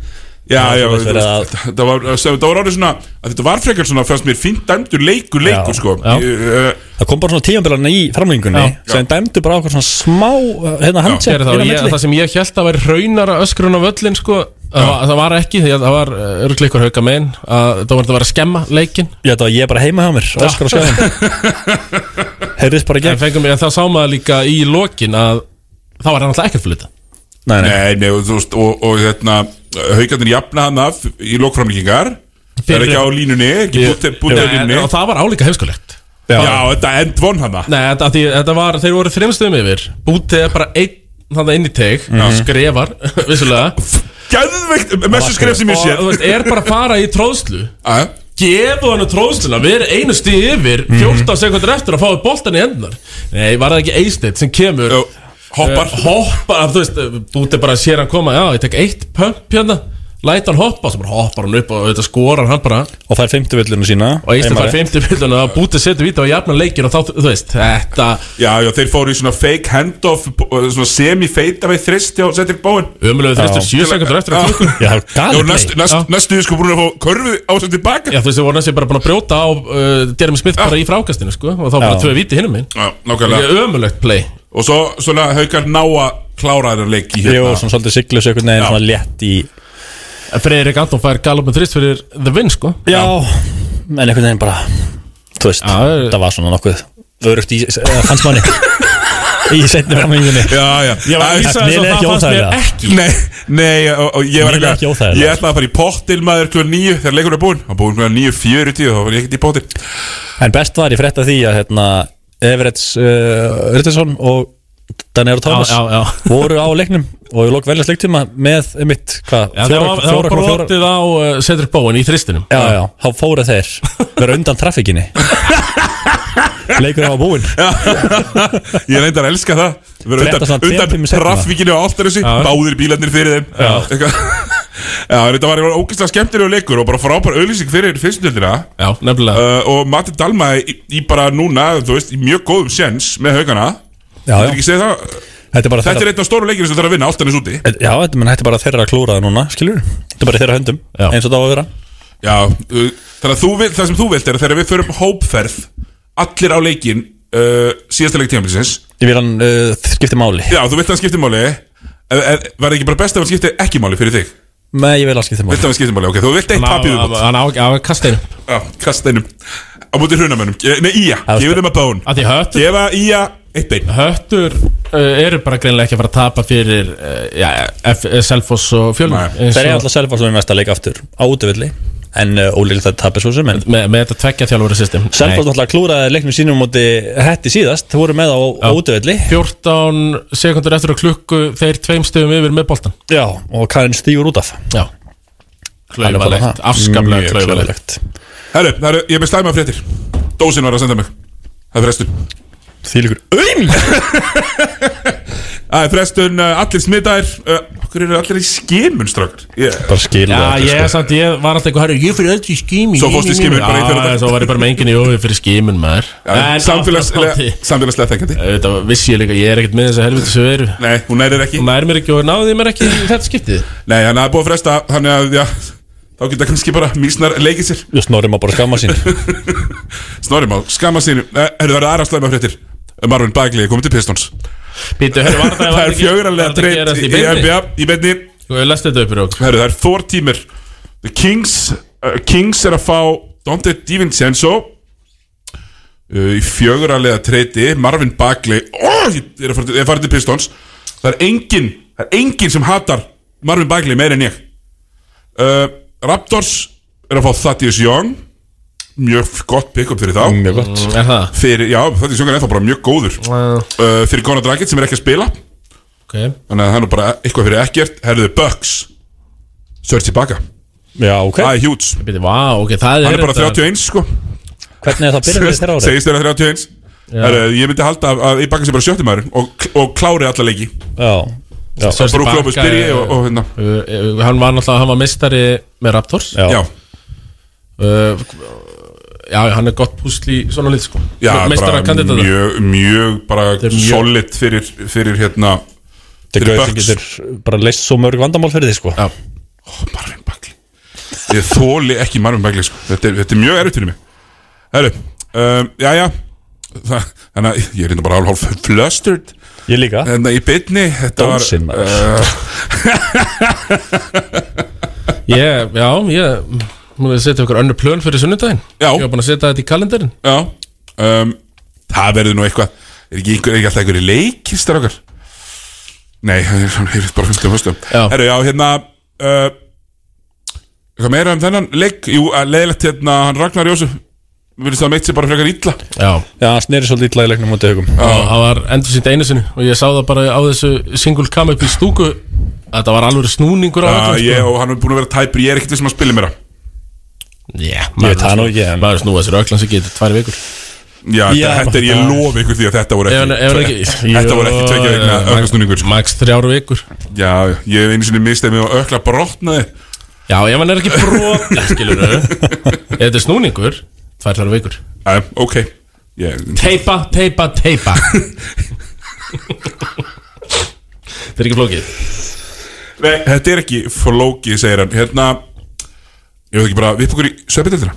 Speaker 1: Já,
Speaker 12: Það
Speaker 1: já,
Speaker 12: var
Speaker 1: þú
Speaker 12: verið að-
Speaker 1: veist, þetta var, þetta var orðið svona að þetta var frekar svona, fannst mér fínt dæmdur leikur, leikur,
Speaker 12: Já,
Speaker 1: sko
Speaker 12: já.
Speaker 1: Ég, uh,
Speaker 12: Það kom bara svona tíambilarna í framlíkingunni
Speaker 2: Já.
Speaker 12: sem dæmdu bara okkur svona smá uh, hérna handset
Speaker 2: Sér þá,
Speaker 12: inn á
Speaker 2: ég,
Speaker 12: milli.
Speaker 2: það sem ég held að væri raunara öskrun á völlin sko, það var- það var ekki, því að það var örgli ykkur hauka megin að það var að vera að skemma leikin
Speaker 12: Ég þetta var ég bara heima hjá mér Óskar og skjáðum Heyrðist bara
Speaker 2: ekki En fengum ég að það sá maður líka í lokin að þá var hann alltaf ekkert fyrir þetta
Speaker 1: Nei, nei, og, þú veist, og, og hérna Haukarnir jafna hann af í lokframlíkingar Það er ekki á línunni, ekki bútið búti á línunni
Speaker 2: Og það var álíka hefskulegt
Speaker 1: Já, þetta endvon hann
Speaker 2: Nei, þetta, því, þetta var, þeir voru þreimstöðum yfir Bútið er bara einn þannig inn í teg
Speaker 1: Mhm.
Speaker 2: Skrefar, vissulega
Speaker 1: Gæðveikt, mestu skref sem ég Eh, sé
Speaker 2: Og þú veist, er bara að fara í tróðslu
Speaker 1: Aja.
Speaker 2: Gefu hann tróðsluna, við erum einu stíð yfir
Speaker 1: Mhm.
Speaker 2: 14 sekundur eftir að fáið boltan í endunar Nei, var það ekki Eisteit sem kemur Jó,
Speaker 1: hoppar.
Speaker 2: Eh. Hoppar, þú veist, uh, þú ert bara að sér hann koma Já, ég tek eitt pump hérna Læt hann hoppa, svo bara hoppar hann upp og þetta skorar hann bara
Speaker 12: Og fær fymtu villuna sína
Speaker 2: Og Eisteit
Speaker 12: Heimari.
Speaker 2: fær 50 bílun og bútið setur víta og jafnar leikin og þá, þú veist, þetta
Speaker 1: Já, já, þeir fóru í svona fake handoff eh, Svona semi-feita við þrist Já, settir bóin
Speaker 2: Umlöðu
Speaker 12: þristur, sjö
Speaker 2: sekundur eftir
Speaker 1: að
Speaker 2: klukku Já, galið
Speaker 1: Já, næstu,
Speaker 2: play.
Speaker 1: næstu, næstu sko búin að fá körfu á sér tilbaka
Speaker 2: Já, þú veist, þau voru næstu bara búin að brjóta á uh, Jeremy Smith bara í frákastinu, sko Og þá bara
Speaker 1: Já.
Speaker 2: tvö víti hinum minn
Speaker 1: Já, nákvæmlega
Speaker 2: Þetta er ömulegt play
Speaker 1: Og svo svona haukar ná að klára þeirra leik í
Speaker 12: Jó, svona svolítið siglu sig einhvern veginn svona létt í
Speaker 2: Freyrik Anton fær galopin þrist fyrir The Win, sko
Speaker 12: Já, en einhvern veginn bara Þú veist, það var svona nokkuð Örugt í, eða fannst manni Í setni framhenginni
Speaker 1: Já, já
Speaker 12: Ég var að lýsa þessu og það fannst mér ekki
Speaker 1: Nei, nei og, og ég var
Speaker 12: Mér er ekki
Speaker 1: eitthvað
Speaker 12: óþægilega.
Speaker 1: Ég ætlaði að fara í pottil maður kl. 9 þegar leikurinn er búinn Það var búinn kl. 9.40 og þá var ég ekkert í pottil
Speaker 12: En best var ég frétta því að hérna, Everetts uh, Rittisson og Daniel Thomas
Speaker 2: Já, já, já.
Speaker 12: voru á leiknum og ég lók velja sleiktíma með mitt, hvað,
Speaker 2: Já, það var, það var brotið á uh, Cedric Bowen í þristinum
Speaker 12: Já, já, þá fóru þeir vera undan trafíkinni Leikur á búinn
Speaker 1: Ég reyndar að elska það Við erum
Speaker 12: Frétta svona
Speaker 1: undan,
Speaker 12: tveim tímum
Speaker 1: undan
Speaker 12: seinna.
Speaker 1: trafíkinu á Altanessi
Speaker 12: Já.
Speaker 1: Báðir bílarnir fyrir þeim
Speaker 12: Já.
Speaker 1: Eitthvað. Já, en þetta var ógæslega skemmtilegu leikur og bara frábær auðlýsing fyrir fyrstundildina
Speaker 2: Já, nefnilega
Speaker 1: uh, Og Matti Dalma í, í bara núna, þú veist, í mjög góðum sens með haugana
Speaker 12: Já, já.
Speaker 1: Þetta er ekki að segja það
Speaker 12: Þetta er bara
Speaker 1: Þetta er
Speaker 12: þeirra
Speaker 1: einn af stóru leikir sem þarf að vinna Altanes úti
Speaker 12: Já, þetta menn, þetta er bara þeirra að klúra það núna, skilur Þetta er bara í þeirra höndum, eins og það á að vera
Speaker 1: Já, uh, þannig að þú vilt, það sem þú vilt er að þegar við förum hópferð Allir á leikin uh, Síðasta leik tímabilsins
Speaker 12: Ég vil hann uh, skipti máli
Speaker 1: Já, þú vilt að hann skipti máli en, en, Var það ekki bara best að hann skipti ekki máli fyrir þig?
Speaker 12: Nei, ég vil hann skipti máli
Speaker 1: Vilt að hann skipti máli, ok, þú vilt eitt
Speaker 2: Hann á-
Speaker 1: papið upp
Speaker 2: Hann á að kasta einu
Speaker 1: Já, kasta einum Á múti hrunamönnum, Eh, nei, Ía, gefur þeim að bón
Speaker 2: Að því höttur
Speaker 1: Gefa Ía eitt bein
Speaker 2: Höttur uh, eru bara greinlega ekki að fara að tapa fyrir uh, já, F- eh, Selfoss og Fjölnir Eins
Speaker 12: Þeir eru
Speaker 2: og-
Speaker 12: alltaf Selfoss um næsta leik aftur á útivilli en uh, ólíkt að tapir svo sem en
Speaker 2: með, með þetta tveggja þjálfur system
Speaker 12: Selfoss náttúrulega klúraði leiknum sínum á móti hætti síðast, þú voru með á, á útivilli
Speaker 2: 14 sekundur eftir að klukku þeir tveim stöðum yfir með boltan
Speaker 12: Já, og Karin stígur út af
Speaker 2: Já Klaufalegt, afskaplega klaufalegt
Speaker 1: Herru, það eru, ég er með slæma fréttir Dósin var að senda mig Það er frestun
Speaker 12: Því líkur
Speaker 1: Öym Það er frestun, uh, allir smitaðir uh, Okkur eru allir í skimun, strákar yeah.
Speaker 12: Bara skilur
Speaker 2: Já, ég, samt, ég var alltaf eitthvað, herru, ég fyrir öll í skími
Speaker 1: Svo fórstu í skimun bara í
Speaker 2: Já,
Speaker 1: fyrradag.
Speaker 2: Svo var ég bara með enginn í ofi fyrir skímun maður En
Speaker 1: Samfélagslega
Speaker 2: aftur á móti-
Speaker 1: Samfélagslega þengandi
Speaker 2: Þetta vissi ég líka, ég er ekkert með þessa helviti sem veru
Speaker 1: Nei, hún nærir ekki
Speaker 2: Hún nærir mér ekki og náði mér ekki í þetta skiptið
Speaker 1: Nei, hann er búið að fresta Þannig að, já Þá geta kannski bara mísnar leikið sér
Speaker 12: Just snorri má bara skamma sín
Speaker 1: Snorri má skamma Eh, sín Herru, það eru aðra slæma fréttir Marvin Bagley er komið til Pistons
Speaker 2: Býtu, herru, var það-
Speaker 1: Það
Speaker 2: var
Speaker 1: er
Speaker 2: það
Speaker 1: fjögurarlega
Speaker 2: ekki- var það ekki
Speaker 1: dreitt
Speaker 2: gerast í
Speaker 1: í
Speaker 2: beinni?
Speaker 1: NBA Í beinni
Speaker 2: Sko, ég lest þetta upp í rók
Speaker 1: Herru, það er Thor tímir The Kings uh, Kings er að fá Dante DiVincenzo uh, Í fjögurarlega treyti Marvin Bagley oh, Ég er að fara til- ég er að fara til Pistons Það er engin Það er engin sem hatar Marvin Bagley meir en ég uh, Raptors er að fá Thaddeus Young mjög f- gott pick-up fyrir þá
Speaker 12: Mjög gott. Mm,
Speaker 2: er það?
Speaker 1: Fyrir, já, Thaddeus Young er ennþá bara mjög góður uh, fyrir Conor Dragic sem er ekki að spila
Speaker 2: okay.
Speaker 1: þannig að það er nú bara eitthvað fyrir ekkert herðu Bucks Serge Ibaka
Speaker 12: Já, ok
Speaker 1: Það er hjúts
Speaker 2: Býtu, vá, ok, það er
Speaker 1: Hann er bara
Speaker 2: þetta-
Speaker 1: 31 sko
Speaker 12: Hvernig er það byrjað fyrir þeirra árið?
Speaker 1: Segist þeirra 31 herðu, Ég myndi halda að, að Ibaka sé bara sjötti maður og, og klári alla leiki
Speaker 12: Já, já.
Speaker 2: Serge
Speaker 1: Brooke
Speaker 2: Ibaka
Speaker 1: Lopez byrji
Speaker 2: er-
Speaker 1: og, og hérna
Speaker 2: Uh, uh, Hann var náttúrulega, hann var mistari með Raptors
Speaker 1: Já. Já.
Speaker 2: Uh, Já, hann er gott púsli í svona lít sko
Speaker 1: Já,
Speaker 2: Meistara
Speaker 1: bara
Speaker 2: kandidata
Speaker 1: mjög, mjög bara
Speaker 2: er mjög-
Speaker 1: solid fyrir, fyrir hérna
Speaker 12: Þetta er gauð sem getur bara leist svo mörg vandamál fyrir því sko
Speaker 2: Já
Speaker 1: Ég þóli ekki Marvin Bagley sko. þetta, er, þetta er mjög erfitt fyrir mig Herru, um, já já Þannig að ég er hérna bara hálf hálf flustered
Speaker 12: Ég líka
Speaker 1: Þannig að í bytni Þetta var
Speaker 12: Dósin,
Speaker 1: uh,
Speaker 2: Ég, já, ég Múið að setja okkur önnur plön fyrir sunnudaginn
Speaker 1: Já
Speaker 2: Ég var búin að setja þetta í kalendarin
Speaker 1: Já um, Það verður nú eitthvað Er ekki, einhver, er ekki alltaf einhverju leikir strákar? Nei, það er svona Ég er bara fyrstu og fyrstu
Speaker 2: Já.
Speaker 1: Herru, já, hérna uh, Eitthvað meira um þennan leik Jú, að leiðilegt hérna Hann Ragnar Jósu Virðist það meitt sér bara frekar illa
Speaker 2: Já
Speaker 12: Já, hann sneri svolítið illa í leiknum mútið hugum
Speaker 2: Og það var endur sínt einu sinni Og ég sá það bara á þessu single come up í stúku að Þetta var alveg snúningur á
Speaker 1: Já,
Speaker 2: öllum,
Speaker 1: Eh,
Speaker 2: sko.
Speaker 1: ég og hann er búin að vera tæpur Ég er ekkert þessum að spila meira
Speaker 2: Já,
Speaker 12: Ég veit það nú ekki en-
Speaker 2: Maður snúið sér öglansi getur tvær vikur
Speaker 1: Já,
Speaker 2: Já,
Speaker 1: þetta- þetta er, ég
Speaker 2: bara-
Speaker 1: lofi ykkur því að þetta voru
Speaker 2: Ef hann- ef hann
Speaker 1: ekki,
Speaker 2: ekki-
Speaker 1: Þetta voru ekki
Speaker 2: Jó,
Speaker 1: tvekja vegna sko.
Speaker 2: eh,
Speaker 1: öklasnúningur
Speaker 2: Max þrjára vikur
Speaker 1: Já, ég hef einu sinni mistað mig á ökla brotnaði
Speaker 2: Já, ef hann er ekki brot Skilur Ef þetta er snúningur Tvær þrjára vikur
Speaker 1: Já, ok ég,
Speaker 2: Teipa, teipa, teipa Þetta er ekki flókið
Speaker 1: Nei, þetta er ekki flókið, segir hann Hérna, ég veit ekki bara, við okkur í söpindildina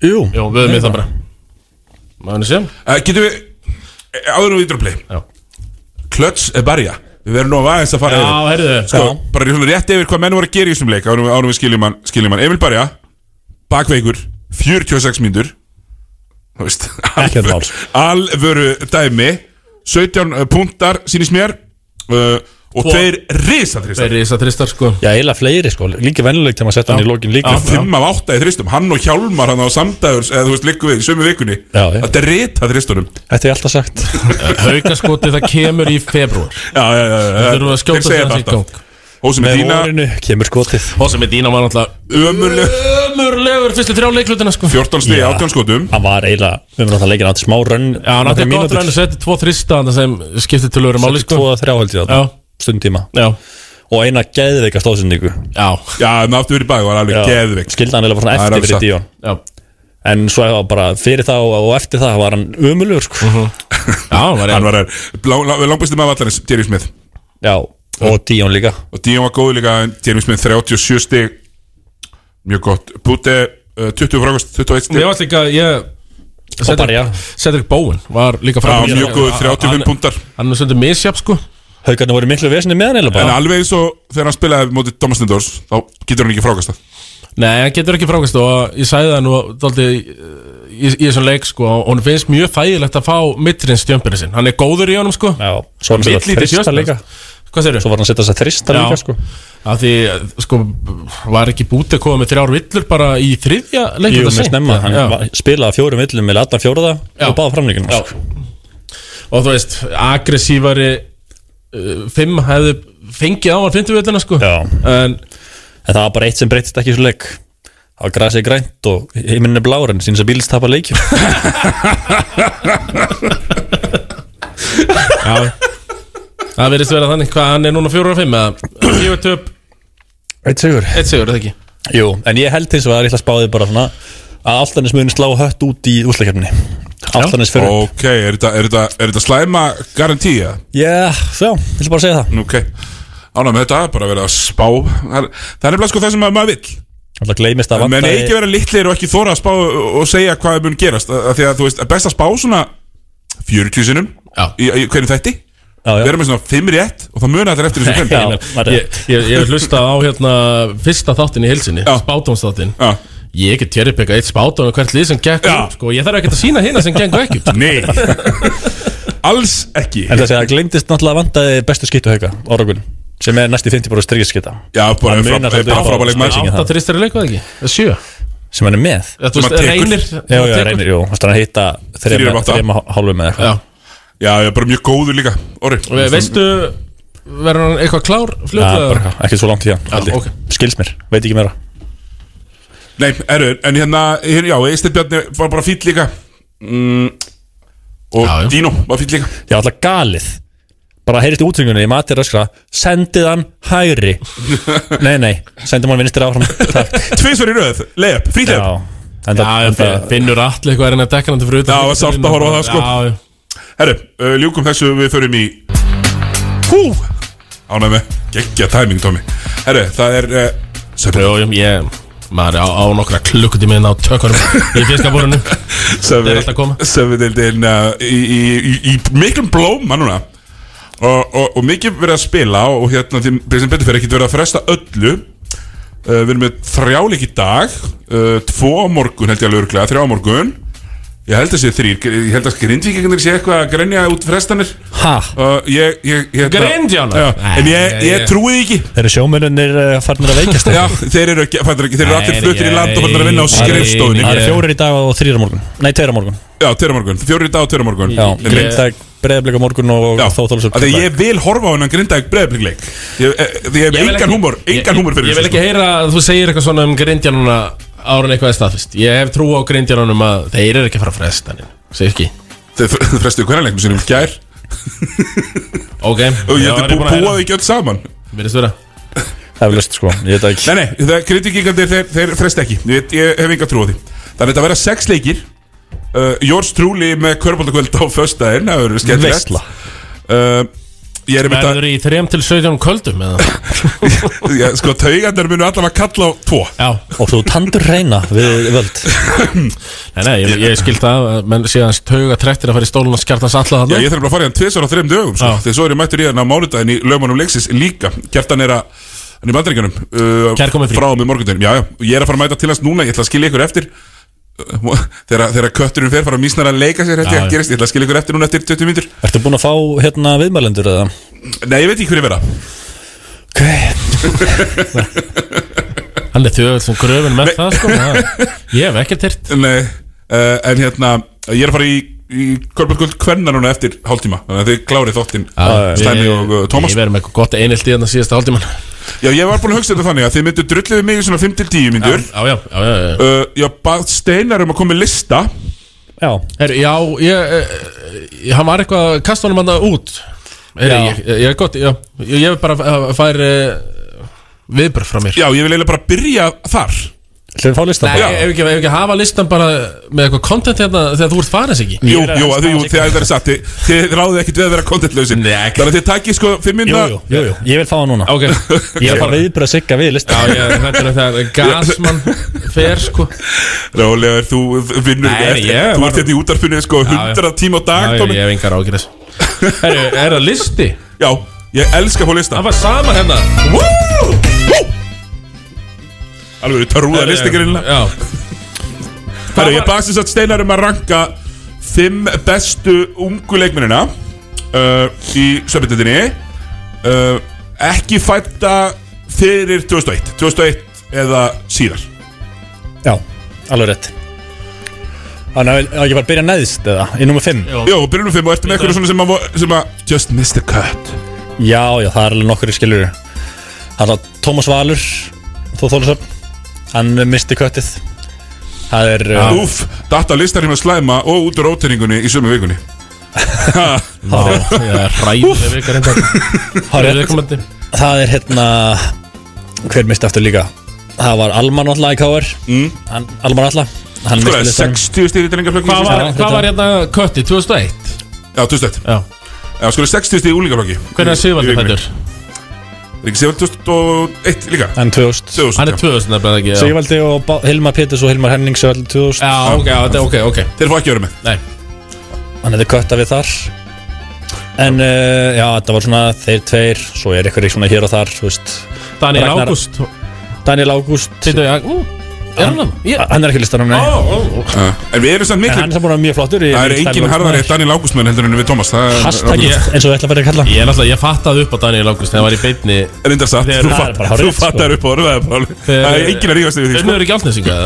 Speaker 12: Jú
Speaker 2: Jó, við höfum við það bara Máðinu séum
Speaker 1: uh, Getum við, eh, áður og ídrupli
Speaker 2: Já
Speaker 1: Klöts er barja Við verðum nú að aðeins að fara
Speaker 2: Já,
Speaker 1: yfir.
Speaker 2: heyrðu
Speaker 1: Sko, bara svona rétt yfir hvað menn voru að gera í þessum leik Árum, árum við skiljum hann, skiljum hann Emil barja, bakveikur 46 mínútur Þú veist,
Speaker 12: Ekkert mál.
Speaker 1: alvöru dæmi 17 puntar, sínist mér uh, Og
Speaker 2: Tvo.
Speaker 1: tveir risatrista
Speaker 2: Tveir risatristar sko
Speaker 12: Já, eiginlega fleiri sko Líki vennuleg til maður setja hann í lokin líka
Speaker 1: Fimm af átta í þristum, hann og Hjálmar hann á samdægur, eða þú veist, liggu við, í sömu vikunni
Speaker 12: Já, já.
Speaker 1: Þetta er rita þristunum
Speaker 12: Þetta er alltaf sagt
Speaker 2: Haukaskoti það kemur í februar
Speaker 1: Já, já, já, já
Speaker 2: Þurfum við að skjóta
Speaker 1: Þeir segja
Speaker 2: þessi í
Speaker 1: þetta
Speaker 2: gang.
Speaker 1: alltaf. Hósi með
Speaker 12: Með
Speaker 1: dýna,
Speaker 12: vorinu kemur skotið
Speaker 2: Hósa með dýna var náttúrulega
Speaker 1: ömurleg
Speaker 2: Ömurlegur fyrstu þrjá leiklutina sko
Speaker 1: 14 stegi, 18 skotum
Speaker 12: Hann var eiginlega Við verðum alltaf leikin átti smá rönn
Speaker 2: Já, hann átti gott ræðin að setja tvo þrista Þannig sem skipti til öru máli sko
Speaker 12: Tvo að þrjá held ég
Speaker 2: Já,
Speaker 12: þetta Stund tíma
Speaker 2: já,
Speaker 12: Og eina geðveika stóðsendingu
Speaker 2: já,
Speaker 1: Já, en aftur verið bæði var alveg geðveik
Speaker 12: Skildi hann eiginlega bara
Speaker 1: Það er alveg satt.
Speaker 2: já.
Speaker 12: svona eftir fyrir Díón En svo var bara fyrir það og, og eftir það var hann umulugur sko
Speaker 2: Mhm. Já, hann var
Speaker 1: Hann
Speaker 2: einn
Speaker 1: var þær, langbæsti maður vallarins, Jerry Smith
Speaker 12: Já, og Díón líka
Speaker 1: Og dýna var góð líka, en Jerry Smith 37 steg Mjög gott Búti, uh, 20 frákast, 21
Speaker 2: Ég
Speaker 1: steg
Speaker 2: var líka, ég
Speaker 12: Og bara já
Speaker 2: Cedric Bowen var líka
Speaker 1: Já,
Speaker 2: fram
Speaker 1: mjög góð, 35 pundar
Speaker 2: Hann er svolítið misjap sko
Speaker 12: Haukarnir voru í miklu vesinni með hann eiginlega
Speaker 1: En
Speaker 12: bara
Speaker 1: alveg eins og þegar hann spilaði mótið Thomas Lindors Þá getur hann ekki frákastað
Speaker 2: Nei, hann getur ekki frákast og ég sagði það nú daldi, í, í þessum leik sko og hún finnst mjög þægilegt að fá mittrins stjömpinu sinn Hann er góður í honum sko
Speaker 12: Já, svo var hann að setja
Speaker 2: Mittlítið
Speaker 12: þrista
Speaker 2: stjömpinu.
Speaker 12: líka
Speaker 2: Hvað segir
Speaker 12: Svo var hann að setja þess að þrista
Speaker 2: Já.
Speaker 12: líka sko
Speaker 2: Af því sko var ekki bútið að koma með þrjár villur bara í þriðja leik
Speaker 12: Jú,
Speaker 2: þetta
Speaker 12: með
Speaker 2: seint?
Speaker 12: snemma, hann
Speaker 2: Já.
Speaker 12: var- spilaði á fjórum villum með latan fjóruða
Speaker 2: Já.
Speaker 12: og sko. báða framlíkinu
Speaker 2: Já. Og þú veist, aggressívari uh, Fimm hefði fengið á hann fymtu villina sko
Speaker 12: Já.
Speaker 2: En
Speaker 12: En það var bara eitt sem breytist ekki í svo leik Það var grasið grænt og himinn er blár en síns að bílis tapa leikjum
Speaker 2: það verðist vera þannig hvað hann er núna fjórar og fimm eða fjórar töp,
Speaker 12: Eitt sigur
Speaker 2: eitt sigur er það ekki
Speaker 12: Jú, en ég held eins og það er eitthvað spáðið bara svona að Altanis muni slá hött út í úslakefni Altanis fyrir upp
Speaker 1: Ok, er þetta- er þetta er þetta slæma garantíja?
Speaker 12: Já, já, ég vil bara segja það
Speaker 1: Ok, ánægum þetta er bara verið að spá Það er það er nefnilega sko það sem að maður vill
Speaker 12: Það gleymist að
Speaker 1: Það menn
Speaker 12: vantaði
Speaker 1: ekki vera litlir og ekki þóra að spá og segja hvað mun gerast Af Því að þú veist, að best að spá svona 40 sinnum
Speaker 2: Já.
Speaker 1: í, í hverjum þætti
Speaker 12: Já, já.
Speaker 1: Vera með svona 5 rétt og það muna allir eftir þessum 5
Speaker 12: Já,
Speaker 1: Já,
Speaker 12: það er
Speaker 2: Ég,
Speaker 12: rétt.
Speaker 2: ég, ég hef hlustað á hérna fyrsta þáttin í heilsinni,
Speaker 1: Já.
Speaker 2: spátumsþáttin
Speaker 1: Já.
Speaker 2: Ég get tjeriðbygga eitt spátum og hvert lið sem gekk
Speaker 1: Já.
Speaker 2: upp sko. Ég þarf ekki að sína hérna sem gekk ekki upp
Speaker 1: Nei Alls ekki
Speaker 12: En þessi að gleymdist náttúrulega að vantaði bestu skýttu hauka orðugun sem er næst í 50% strykjaskýta
Speaker 1: Já, bara
Speaker 12: Það munar um samt að fá
Speaker 1: frábæleik maður
Speaker 12: spilsingin.
Speaker 2: Átta þristari leik var það ekki? Eða Sjö
Speaker 12: sem hann er með
Speaker 2: Eða, þú
Speaker 1: Sem
Speaker 2: veist,
Speaker 1: að tekur.
Speaker 2: reynir
Speaker 12: Já, já, reynir, jú, hann að hitta
Speaker 1: Þrír
Speaker 12: þrema
Speaker 1: af átta.
Speaker 12: þrema hálfum eða
Speaker 2: já.
Speaker 12: eitthvað
Speaker 1: Já, ég er bara mjög góður líka Orri
Speaker 2: Ve, Veistu, verður hann eitthvað klár
Speaker 12: Já, Ah, bara
Speaker 2: fljótlega?
Speaker 12: eitthvað, ekki svo langt í hann
Speaker 2: Ah, ok.
Speaker 12: Skils mér, veit ekki meira
Speaker 1: Nei, erur, en hérna, hér- já, Eistir Bjarni var bara fýll líka mm, Og
Speaker 2: Já, já.
Speaker 1: Dino var fýll líka
Speaker 12: Já, alltaf galið Bara heyrist í útringunni, ég mati röskra Sendið hann hægri Nei, nei, sendum hann vinstri áfram Takk
Speaker 1: Tvisvar í röð, leiðab, fýll
Speaker 12: Já,
Speaker 2: Já,
Speaker 12: enda,
Speaker 2: ég
Speaker 12: enda,
Speaker 2: finn- finnur allir eitthvað er hann að dekka hann til fyrir utan.
Speaker 1: Já, það var sárt að horfa á það, sko.
Speaker 2: Já, já.
Speaker 1: Herru, uh, ljúkum þessu við förum í Hú Ánæg með geggja tæming, Tómi Herru, það er uh, Söpindildin
Speaker 2: Jó, jú, ég Maður er á, á nokkra klukkutíminn á tökurum í fiskabúrinu
Speaker 1: Söfi-
Speaker 2: er allt að koma.
Speaker 1: Söfudildin uh, í, í, í, í miklum blóma núna og, og, og mikið verið að spila og og hérna því því sem betur fyrir ekkert verið að fresta öllu uh, við erum með þrjáleik í dag uh, tvo á morgun held ég alveg örglega þrjá á morgun ég held að sé þrýr ég held að grindvíkingarnir sé eitthvað að grenja út frestanir
Speaker 12: ha?
Speaker 1: Uh, ég, ég, ég,
Speaker 12: Grindjánar?
Speaker 1: Já, en ég,
Speaker 12: Nei,
Speaker 1: ég
Speaker 12: ég-
Speaker 1: trúi því ekki
Speaker 12: Þeir eru sjómennir farnir að veikast
Speaker 1: Já, þeir eru, ekki, fættir, þeir eru allir fluttir í land og fannir að vinna á skrifstofunni
Speaker 12: Það eru fjórir í dag og þrýra morgun Nei, tveira morgun
Speaker 1: Já, tveira morgun, fjórir í dag og tveira morgun
Speaker 12: Já, Grindavík, breyðablik á morgun og þá þólusum
Speaker 1: Þegar ég vil horfa á hennan grindaðið breyðblikleik Því ég hef engan húmor Engan húmor fyrir sko.
Speaker 2: Ég vil ekki heyra að þú segir eitthvað svona um grindjanuna árun eitthvað er staðfist Ég hef trú á grindjanunum að þeir eru ekki að fara að fresta hann Segir ekki
Speaker 1: Þeir sko. frestuðu hverja leiknum sinum gær
Speaker 2: Ok
Speaker 1: Og ég hefði bú, búað ekki öll saman
Speaker 2: Verðist vera
Speaker 12: Það er lust sko, ég veit það ekki
Speaker 1: Nei, nei, kritikingandi þeir, þeir fresta ekki ég, ég hef enga trú á því Þannig að þetta verða sex leikir uh, Jórs Trúli með körbóldakvöld á föstudaginn Það verður skemmt
Speaker 2: Veisla.
Speaker 1: uh, Ég er með
Speaker 2: Verður í 3 til 17 köldum eða
Speaker 1: Já, sko, taugandar munu allavega kalla á tvo
Speaker 2: Já
Speaker 12: Og þú tandur reyna við völd
Speaker 2: Nei, nei, ég, ég skil það að menn síðan tauga trektir að fara í stólun og skjartast alla
Speaker 1: Já,
Speaker 2: þarna
Speaker 1: ég þarf bara að fara í hann tvisar á þreim dögum sko. Þegar svo er ég mættur í hann á mánudaginn í lögmanum leiksins líka Kjartan er að hann er í bandaríkjanum uh,
Speaker 2: Kærkomið frí.
Speaker 1: Frá og með morgundaginum, já, já Og ég er að fara að mæta til hans núna, ég ætla að skilja ykkur eftir Uh, Þegar, þegar kötturinn fer fara að mísnar að leika sér
Speaker 12: Já,
Speaker 1: Þetta
Speaker 12: já.
Speaker 1: gerist, ég ætla að skilja ykkur eftir núna eftir 20 mínútur
Speaker 12: Ertu búin að fá hérna viðmælendur eða?
Speaker 1: Nei, ég veit ekki hverju vera
Speaker 2: Hann er þjóðvöld sem gröfin með það sko Já. Ég hef ekkert hirt
Speaker 1: Nei, uh, en hérna Ég er að fara í, í Körbjörgöld Kvenna núna eftir hálftíma Þannig að þið klárið þóttin Stæmi og uh, Tómas
Speaker 2: Við verðum eitthvað gott einhilt í þarna síðasta hálftíman
Speaker 1: Já, ég var búin að hugsa þetta þannig að þið myndu drullið við mig í svona 5-10 myndur
Speaker 2: Já, já, já, já, já.
Speaker 1: uh, Ég bað Steinar um að koma með lista
Speaker 12: Já
Speaker 2: Her, Já, ég, ég Hann var eitthvað að kasta honum hann út Her,
Speaker 1: Já.
Speaker 2: ég, ég, ég er gott, já Ég, ég vil bara að fær viðbröð frá mér
Speaker 1: Já, ég vil eiginlega bara byrja þar
Speaker 12: Hljóðum fá listan
Speaker 2: Nei,
Speaker 1: Já.
Speaker 2: ef ekki, ef ekki hafa listan bara með eitthvað content hérna þegar þú ert farins ekki
Speaker 1: Jú, jú, að því- jú, þegar það er satt Þið, þið ráðið ekkert við að vera kontentlausin Þannig að þið takkið sko 5 minna
Speaker 12: Jú, jú, jú, ég vil fá það núna
Speaker 2: Ok.
Speaker 12: Ég er bara viðbröð að sigga við listan
Speaker 2: Já, ég, þetta er þetta gasmann fer sko
Speaker 1: Rálegar, þú vinnur
Speaker 2: Nei,
Speaker 1: eftir-
Speaker 2: ég
Speaker 1: Þú
Speaker 2: var-
Speaker 1: ert hérna í útarfinu sko 100 tíma á dag
Speaker 2: Já,
Speaker 1: Tommi.
Speaker 2: ég hef engar ágjur þess Herru, er það listi?
Speaker 1: Já, ég elska að fá lista
Speaker 2: Það var sama hérna
Speaker 1: Woo! Woo! Alveg, það rúða
Speaker 2: Herru,
Speaker 1: listi greinlega
Speaker 2: Já
Speaker 1: Herru, ég baðst þess að Steinar um að ranka 5 bestu ungu leikmennina uh, Í söpindinni uh, Ekki fætta fyrir 2001 2001 eða síðar
Speaker 12: Já, alveg rétt Þannig að á ég bara að byrja neðst eða Í nummer 5
Speaker 1: Jó, byrjunum 5 og ertu með eitthvað svona sem að, vo- sem að Just missed the cut
Speaker 12: Já, já, það er alveg nokkur skilur Það er að Tómas Valur Þú þólusöfn Hann misti köttið Það er uh,
Speaker 1: Úf, data listar hérna slæma og út úr óteiningunni í sömu vikunni
Speaker 12: það er-
Speaker 2: Já, ræðileg vikar enda Það er rekommandi
Speaker 12: Það er hérna Hver misti aftur líka Það var Alman Alla í KR mm. Alman Alla Hann
Speaker 1: Sko,
Speaker 12: misti listanum
Speaker 1: 60 stíði drengaflökk
Speaker 2: Hvað var, hvað var hérna kötti, 2001?
Speaker 1: Já, 2001
Speaker 2: Já
Speaker 1: Já, sko, 60 stíði úlíkaflökki
Speaker 2: Hvernig er Sigvaldi fættur?
Speaker 1: Er ekki Sigvaldi 2001 líka?
Speaker 12: Hann 2000
Speaker 1: 2000
Speaker 2: Hann er 2000 nefnilega ekki já.
Speaker 12: Sigvaldi og Bá- Hilmar Péturs og Hilmar Hennings er allir 2000
Speaker 2: Já, ok, já, þetta er ok, ok
Speaker 1: Þeir fá ekki að vera með
Speaker 2: Nei
Speaker 12: Hann hefði kötta við þar En uh, já, þetta var svona þeir tveir Svo er eitthvað svona hér og þar þú veist,
Speaker 2: Daniel
Speaker 12: Ragnar-
Speaker 2: Ágúst
Speaker 12: Daniel Ágúst
Speaker 2: Sýttu ég að, ú, er hann Ah. að Ég-
Speaker 12: Hann er ekki listanum, nei
Speaker 2: Ó, ó, ó.
Speaker 1: Já. En við erum samt
Speaker 12: En
Speaker 1: miklu
Speaker 12: hann er samt búin að vera mjög flottur í-
Speaker 1: Það er
Speaker 12: í-
Speaker 1: engin
Speaker 12: í-
Speaker 1: harðari Daniel Ágústmann heldur en við Tómas Það er
Speaker 12: Hashtag eins og við ætla að vera að kalla
Speaker 2: Ég er náttúrulega, ég fattaði upp á Daniel Ágúst þegar hann var í beinni
Speaker 1: Rindar satt,
Speaker 2: Þeir-
Speaker 1: þú
Speaker 2: það er
Speaker 1: fatt-
Speaker 2: bara
Speaker 12: hárrétt,
Speaker 1: þú
Speaker 12: sko.
Speaker 1: fattar upp á orðið það er bara alveg- Það er engin að ríðast yfir því
Speaker 2: Þeir
Speaker 1: sko.
Speaker 2: eru ekki álsnesinga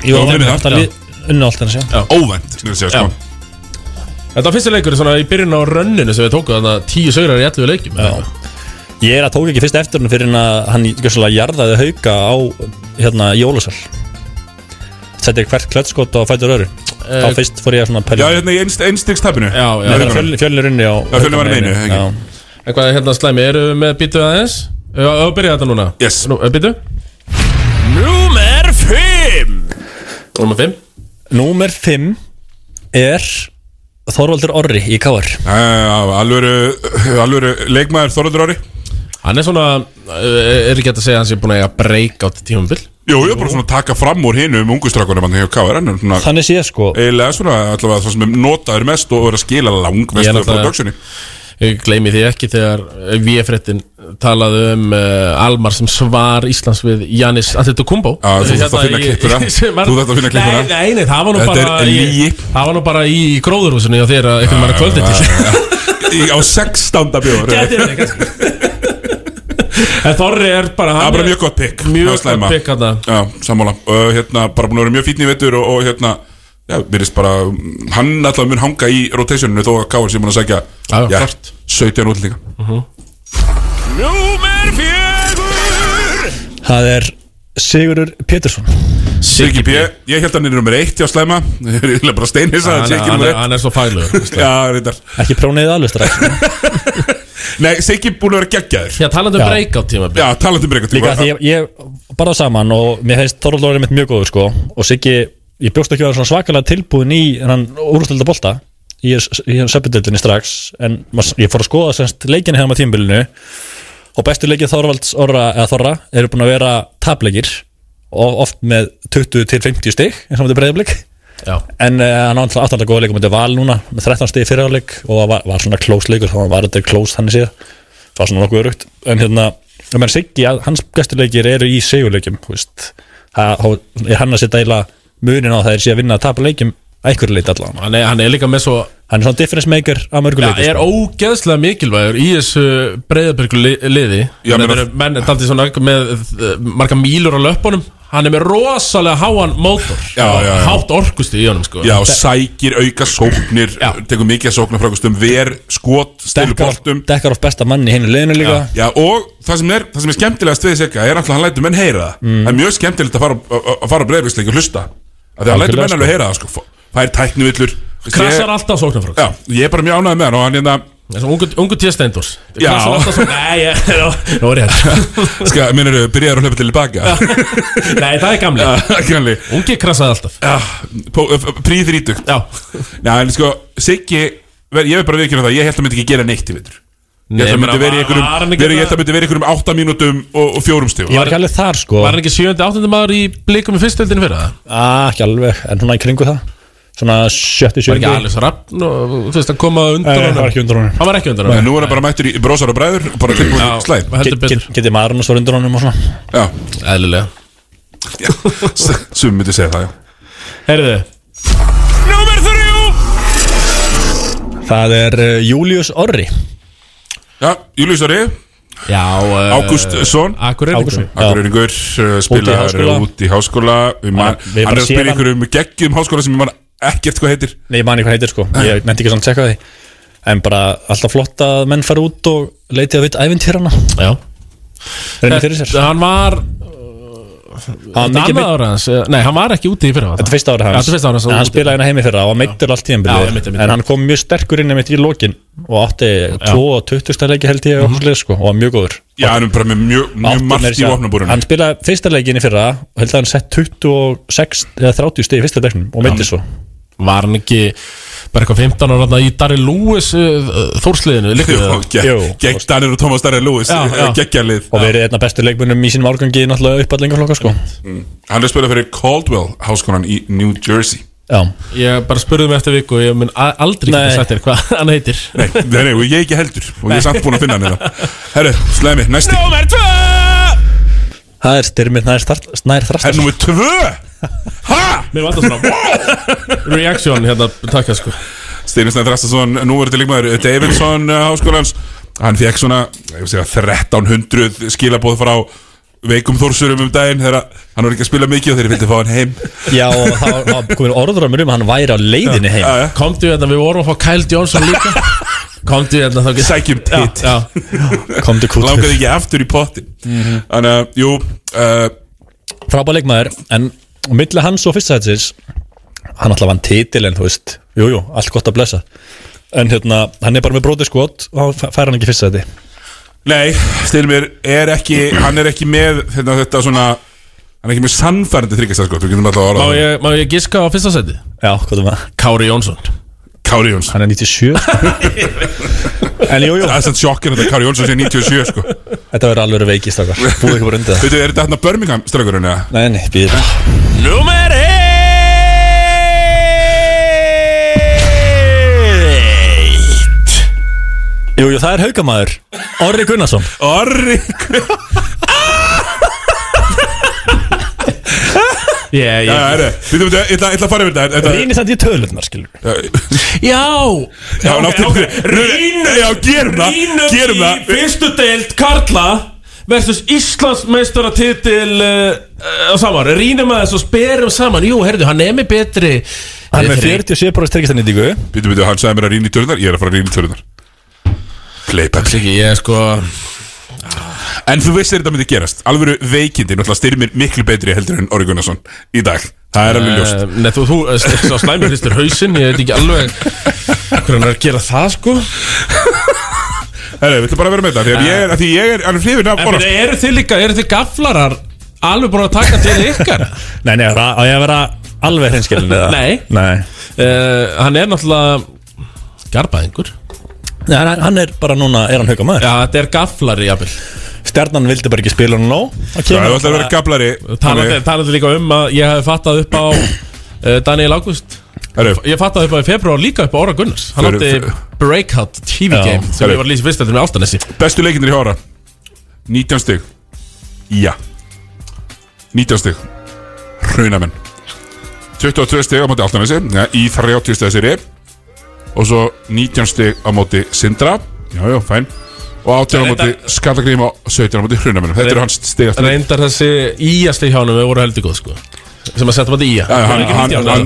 Speaker 12: Jú,
Speaker 1: Já,
Speaker 12: hann
Speaker 1: munið
Speaker 12: er
Speaker 1: það.
Speaker 12: alltaf lið- unnu allt henni
Speaker 2: Já.
Speaker 1: Óvænt, skulum við segja sko.
Speaker 2: Þetta var fyrsta leikur svona í byrjun á rönninu sem við tókum þannig að tíu sögurar í 11 leikjum Já,
Speaker 12: Ég er að tók ekki fyrst eftir hann fyrir en að hann gjössalega jarðaði hauka á hérna jólasal Setti hvert klötskot og fættur öru Þá fyrst fór ég að
Speaker 1: Eh,
Speaker 12: svona
Speaker 1: Já,
Speaker 12: pæla
Speaker 1: hérna í einstegstapinu
Speaker 2: já, já.
Speaker 12: Þegar fjöl- Fjölnir unni á
Speaker 1: Já, Fjölnir var í neinu, ekki?
Speaker 12: Já,
Speaker 2: Eitthvað er hérna slæmi, eru við með býtu aðeins? Já, og byrja þetta núna
Speaker 1: Yes.
Speaker 2: Nú, eh, býtu Númer 5 Númer 5
Speaker 12: Númer 5 er Þorvaldur Orri í KR
Speaker 1: Alvöru leikmaður Þorvaldur Ári
Speaker 2: Hann er svona, uh, er ekki hægt að segja að hann sé búin að eiga break átt tímumbil
Speaker 1: Jú, ég er bara svona að taka fram úr hinu um ungustrakunum hann hjá K.R. en svona
Speaker 12: Þannig sé sko
Speaker 1: eiginlega svona allavega það sem er notaður mest og er að skila lang
Speaker 2: Ég er
Speaker 1: mest frá
Speaker 2: náttúrulega-
Speaker 1: produksinni
Speaker 2: ég gleymi því ekki þegar VF-réttin talaði um uh, Almar sem svar Íslands við Janis Antetokounmpo
Speaker 1: Já, þú þarft að finna klippuna. Þú þarft að finna klippuna.
Speaker 2: Nei, nei, nei, það var nú
Speaker 1: Þetta
Speaker 2: bara
Speaker 1: er
Speaker 2: í,
Speaker 1: lygi.
Speaker 2: Það var nú bara í gróðurhúsinu hjá þér að einhvern veginn kvöldið
Speaker 1: Ah,
Speaker 2: til
Speaker 1: Í- á 16. bjóður
Speaker 2: Gæti verið, En Þorri er bara
Speaker 1: Það er bara mjög gott pick
Speaker 2: Mjög
Speaker 1: Það er slæma.
Speaker 2: gott pick þarna.
Speaker 1: Já, sammála uh, hérna, Bara búin að vera mjög fínn í vettur og, og hérna Já, virðist bara mm, Hann alltaf mun hanga í rotationinu Þó að Káur sé búin að segja
Speaker 2: Já, Mhm.
Speaker 1: já,
Speaker 2: klárt.
Speaker 1: 17 útlendinga
Speaker 5: Númer fjögur
Speaker 12: Það er Sigurur Pétursson
Speaker 1: Siggi B, ég held að hann er nummer 1 hjá slæma Ég er eiginlega bara steinhissa að
Speaker 2: Hann-
Speaker 1: sé ekki
Speaker 2: hann-
Speaker 1: númer eitt.
Speaker 2: hann er svo fælugur, veist það.
Speaker 1: Já, reyndar
Speaker 12: Ekki próniðið alveg strax
Speaker 1: Nei, Siggi búin að vera geggjaður
Speaker 2: Já, talandi um breakout tíma
Speaker 1: Já, talandi um breakout
Speaker 12: Líka því ég, ég bara saman og mér hefðist Þorvaldóri mitt mjög góður sko og Siggi, ég bjóst ekki að vera svona svakalega tilbúin í hann úrústelda bolta í, í söpindildinni strax en mas, ég fór að skoða semst leikinu hérna með tímbilinu og bestu leikið Þorvalds orra eða Þorra eru búin að vera tapleikir og oft með 20 til 50 stig eins og þetta breyðablik
Speaker 2: Já.
Speaker 12: en uh, hann átti alltaf góða leikum þetta val núna með 13 stig fyrirháleik og var, var svona close leikur þá var þetta close þannig síðan var svona nokkuð örugt en hérna, ég menn Siggi, að- hans gæstuleikir eru í segjuleikjum þú veist. Það- þá er hann að setja eila munin á það er síðan að vinna að tapa leikjum að einhverju leiti allan
Speaker 2: hann er, hann er líka með svo
Speaker 12: hann er svona difference maker að mörgu sko.
Speaker 2: Já,
Speaker 12: leiti
Speaker 2: er ógeðslega mikilvægur í þessu breyðabyrgu liði
Speaker 1: Já,
Speaker 2: Þannig
Speaker 1: meina-
Speaker 2: að eru menn er daldið svona með eh, marga mílur á löpunum Hann er með rosalega háan mótor
Speaker 1: Já, já, já.
Speaker 2: Hátt orkusti í honum sko
Speaker 1: Já, sækir, auka sóknir Tekur mikið að sókna frákustum Ver, skot, stilu
Speaker 12: Dekkar-
Speaker 1: boltum
Speaker 12: dekkar of besta mann í hennu liðinu líka
Speaker 1: Já, já, og það sem er, það sem er skemmtilegast við Sigga er alltaf að hann lætur menn heyra það
Speaker 2: Mm.
Speaker 1: Það er mjög skemmtilegt að fara, að, að fara breyðvísleik og hlusta að því að hann lætur
Speaker 2: Algjörlega,
Speaker 1: menn alveg heyra það sko. Það er tæknivillur
Speaker 2: Krasar alltaf sóknarfrá
Speaker 1: Já, ég er bara mjög ánægð með hann og hann hérna
Speaker 2: Þessu ungu, ungu tíðsteindur
Speaker 1: Já.
Speaker 2: Krasar alltaf sóknarfrá Nei, ég- nú- nú er ég hérna
Speaker 1: Ska, minnur, byrjaður að hlaupa til baka
Speaker 2: Nei, það er gamli
Speaker 1: Kanli
Speaker 2: Ungi krasaði alltaf
Speaker 1: Príð þrítugt
Speaker 2: Já
Speaker 1: Já, en sko, Siggi ver- Ég vil bara viðkjöna það, ég held að hann myndi ekki gera neitt í vittur Ég held
Speaker 2: Nei,
Speaker 1: að hann myndi
Speaker 2: bara
Speaker 1: verið í
Speaker 2: var hann
Speaker 1: einhverjum
Speaker 2: ekki
Speaker 1: verið- Ég
Speaker 2: bara-
Speaker 1: held að hann myndi verið í einhverjum 8 mínútum og, og fjórum stíf
Speaker 12: ég var ekki alveg þar sko
Speaker 2: Var hann ekki 7. 8. maður í blikum í fyrstöldinu fyrir það?
Speaker 12: ah, ekki alveg, en svona í kringu það svona 70-70
Speaker 2: Var ekki Alex Rappn og þú veist að koma undan
Speaker 12: Nei, hann Eh, var ekki undan honum.
Speaker 2: Hann var ekki undan
Speaker 1: Nei,
Speaker 2: honum
Speaker 1: nú er hann bara mættur í brósar og bræður og bara tilbúin í slæð
Speaker 2: heldur betur.
Speaker 12: getið maður hann svo undur honum og svona
Speaker 1: Já,
Speaker 2: Eðlilega
Speaker 1: sum myndi segja það, já
Speaker 2: Herðu
Speaker 5: Númer þrjú
Speaker 12: það er uh,
Speaker 2: eh,
Speaker 12: Július Orri
Speaker 1: Já, Július Orri
Speaker 2: Já uh,
Speaker 1: Ágústsson
Speaker 2: Akureyringur.
Speaker 1: Akureyringur uh,
Speaker 12: eh, Úti í
Speaker 1: spilar
Speaker 12: háskóla.
Speaker 1: út í háskóla Við man-
Speaker 12: Við bara
Speaker 1: Hann er að
Speaker 12: séð
Speaker 1: spila
Speaker 12: hann.
Speaker 1: ykkur um geggjum háskóla sem ég man ekkert hvað heitir
Speaker 12: Nei, ég mani hvað heitir sko, ég
Speaker 2: Ah.
Speaker 12: nefndi ekki svona að tjekka því En bara alltaf flott að menn fara út og leiti að veit ævintýrana
Speaker 2: Já Eh,
Speaker 12: Reynir fyrir sér
Speaker 2: Hann var
Speaker 12: Hann var
Speaker 2: Þetta
Speaker 12: mikið
Speaker 2: annað
Speaker 12: meitt-
Speaker 2: ára hans eh, Nei, hann var ekki úti í fyrir
Speaker 12: Þetta er fyrsta ára
Speaker 2: Já,
Speaker 12: hans
Speaker 2: þetta er fyrsta ára hans
Speaker 12: En
Speaker 2: hann
Speaker 12: hann
Speaker 2: var úti.
Speaker 12: spilaði hérna heimi fyrir og meittur allt
Speaker 2: Já, einmitt,
Speaker 12: tíðanbilið
Speaker 2: einmitt.
Speaker 12: En hann kom mjög sterkur inn einmitt í lokin Og átti 2 og 20 leiki held ég
Speaker 2: Mhm.
Speaker 12: mm -hmm. sko, Og var mjög góður
Speaker 1: Já, hann er bara með mjög mjög
Speaker 12: Átti meira
Speaker 1: margt í
Speaker 12: segja-
Speaker 1: vopnabúrunum
Speaker 12: Hann spilaði fyrsta leikinni fyrir það Og held að hann sett 26 eða 30 stig í fyrsta leiknum Og meitti svo
Speaker 2: Var hann ekki Bara eitthvað 15 ára þarna Í Darry Lewis uh, uh, Þórsliðinu Líktu það
Speaker 12: Jú.
Speaker 1: Gegn Danir og Thomas Darren Lewis
Speaker 2: Já, já.
Speaker 1: Geggjalið
Speaker 12: Og verið einna bestu leikmunum í sínum árgangi Náttúrulega uppallingarflokka sko
Speaker 1: Hann er að spila fyrir Caldwell háskólan í New Jersey
Speaker 12: Já
Speaker 2: Ég bara spurði mig eftir viku og Ég mun a- aldrei geta
Speaker 12: Nei.
Speaker 2: sagt þér hvað hann heitir
Speaker 1: Nei, nei, nei, og ég ekki heldur Og ég er samt búin að finna hann hérna Herru, slæmi, næsti
Speaker 5: Númer tvö
Speaker 12: Það er styrmið nær, þar- nær
Speaker 1: Herru,
Speaker 12: þrastar
Speaker 1: númer tvö
Speaker 2: Mér var þetta svona Reaction hérna Takk að sko
Speaker 1: Steinisnæð Þrastason, núverði líkmaður Davidson uh, háskólans Hann fekk svona ég vil segja, 1300 skilabóð frá veikum þórsurum um daginn þegar hann var ekki að spila mikið og þeir vildi fá hann heim
Speaker 12: Já, og það var- það komið orðramur um að hann væri á leiðinni heim
Speaker 1: Já, já.
Speaker 2: Komdu hérna Við vorum að fá Kyle Johnson líka Komdu hérna þá get-
Speaker 1: Sækjum titt
Speaker 2: Já, já.
Speaker 12: Komdu kútur
Speaker 1: Langaði ekki aftur í pottin Þannig að, jú uh,
Speaker 12: Frábæð leikmaður En á milli hans og fyrsta hættis Hann alltaf vann titil en þú veist Jújú, jú, allt gott að blessa En hérna, hann er bara með brótið skot Og hann fæ- fær hann ekki í fyrsta hætti
Speaker 1: Nei, Stilmir er ekki Hann er ekki með þetta, þetta svona Hann er ekki með sannfærandi þryggast sko, Við getum alltaf að orða
Speaker 2: Má
Speaker 1: það.
Speaker 2: ég, má ég giska á fyrsta seti?
Speaker 12: Já, hvað þú maður
Speaker 2: Kári Jónsson
Speaker 1: Kári Jóns
Speaker 12: Hann er 97 En jújú, jú,
Speaker 1: Það er sann sjokkin þetta Kári Jónsson sé 97 sko Veitu,
Speaker 12: þetta verður alveg veikist okkar Búið ekki bara undir það
Speaker 1: er þetta hann að Birmingham ströggurinn eða?
Speaker 12: Nei, nei, býður
Speaker 5: Númer eitt
Speaker 12: Jú, jú, það er haugamaður Orri Gunnarsson
Speaker 1: Orri
Speaker 2: Yeah,
Speaker 1: Já, já, herri, býtum við, ég ætla ég ætla að fara yfir þetta þetta-
Speaker 12: Rýni samt í tölunar, skilur Já
Speaker 1: Já, okay, náttúrulega
Speaker 2: Rýnum
Speaker 1: Já, gerum það
Speaker 2: Rýnum
Speaker 1: Hérna, Gerum
Speaker 2: í
Speaker 1: það
Speaker 2: fyrstu deild Karla versus Íslandsmeistara titil uh, uh, saman, rýnum að þessu og sperum saman Jú, heyrðu, hann er með betri
Speaker 12: Hann er með
Speaker 2: betri-
Speaker 12: 47% tryggastanýtingu
Speaker 1: Býtum við, hann sagði mér að rýna í tölunar Ég er að fara að rýna í tölunar Playback
Speaker 2: Siki, ég er sko
Speaker 1: En þú veist þetta myndi gerast Alvöru veikindi Náttúrulega styrmir miklu betri heldur en Orri Gunnarsson Í dag Það er alveg ljóst
Speaker 2: Eh, Nei, þú, þú, eh, sá slæmi hristir hausinn Ég veit ekki alveg hvernig hann er að gera það, sko
Speaker 1: Herri, við ætlum bara að vera með þetta Því að ég er, af því ég er alveg hrifin af
Speaker 2: eh. En
Speaker 1: Orra
Speaker 2: fyrir, eru þið líka, eru þið gaflarar alveg búin að taka til ykkar?
Speaker 12: Nei, nei, það á ég að vera alveg hreinskilin eða
Speaker 2: Nei.
Speaker 12: Nei
Speaker 2: uh, Hann er náttúrulega garbaðingur
Speaker 12: Nei, hann, hann er bara núna, er hann haugamaður
Speaker 2: Já, þetta er gaflari, jafnvel
Speaker 12: Stjarnan vildi bara ekki spila hann nóg Það
Speaker 1: Það er alltaf að vera gablari
Speaker 2: Talandi talandi líka um að ég hef fattað upp á uh, Daniel August
Speaker 1: Herri,
Speaker 2: Ég fattaði upp á í februar líka upp á Óra Gunnars Hann
Speaker 1: Fyrir-
Speaker 2: átti
Speaker 1: fyrir-
Speaker 2: Breakout TV
Speaker 1: Já,
Speaker 2: Game sem
Speaker 1: fyrir.
Speaker 2: ég var lýsið fyrst eftir með Altanesi
Speaker 1: Bestu leikindir í hóra 19 stig Já 19 stig Raunamenn 22 stig á móti Altanesi ja, Í 30 stig sér Og svo 19 stig á móti Sindra Já, já, fæn Og 18 á móti Skallagrím og 17 á móti Raunamenn Þetta eru hans stig eftir
Speaker 2: Reyndar þessi íjasti hjá hann voru heldur góð sko sem að setja hann í ía
Speaker 1: Hann, hann, hann,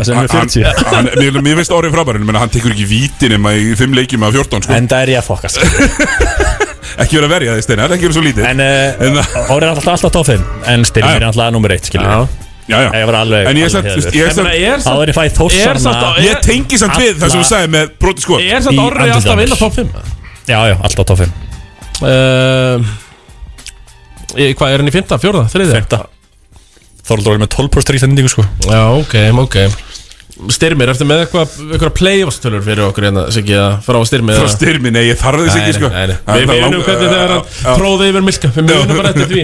Speaker 1: hann, hann, hann, mér, mér veist orðið frábærið, menn hann tekur ekki víti nema í 5 leikjum af 14 sko.
Speaker 12: Enda er ég að fokast
Speaker 1: Ekki verið að verja þig Steinar, ekki verið svo lítið
Speaker 12: En uh, Orri er alltaf alltaf tófinn En
Speaker 1: Já,
Speaker 12: styrmir er
Speaker 1: já.
Speaker 12: alltaf nummer eitt, skilur
Speaker 1: Já, já.
Speaker 12: Ég var alveg
Speaker 1: En ég er
Speaker 12: alveg
Speaker 1: samt-
Speaker 12: heiður.
Speaker 1: ég er samt-
Speaker 2: Ég meina, er
Speaker 12: Þá
Speaker 2: samt-
Speaker 12: er ég fæði
Speaker 2: er samt
Speaker 12: þórsana
Speaker 2: á-
Speaker 1: Ég tengi samt við það sem þú sagði með broti sko
Speaker 2: Eh, Ég er samt
Speaker 12: Í
Speaker 2: orðið alltaf að vinna
Speaker 12: andlitið hans.
Speaker 2: top 5
Speaker 12: Já, já, alltaf top 5
Speaker 2: uh, eh, Hvað er hann í 5. 4. 3.
Speaker 12: 5. Þorvaldur Orri með 12% tryggastanýtingu, sko
Speaker 2: Já, ok, ok Styrmir, ertu með eitthvað eitthvað playoffstölur fyrir okkur hérna Siggi, að fara á styrmir
Speaker 1: Frá styrmi, nei, ég þarf þess
Speaker 2: Nei,
Speaker 1: ekki
Speaker 2: nei,
Speaker 1: sko
Speaker 2: nei, nei.
Speaker 1: Það er
Speaker 2: Við
Speaker 1: það
Speaker 2: munum
Speaker 1: lang-
Speaker 2: hvernig þegar hann
Speaker 1: Já.
Speaker 2: tróði yfir Milka Við munum bara eftir því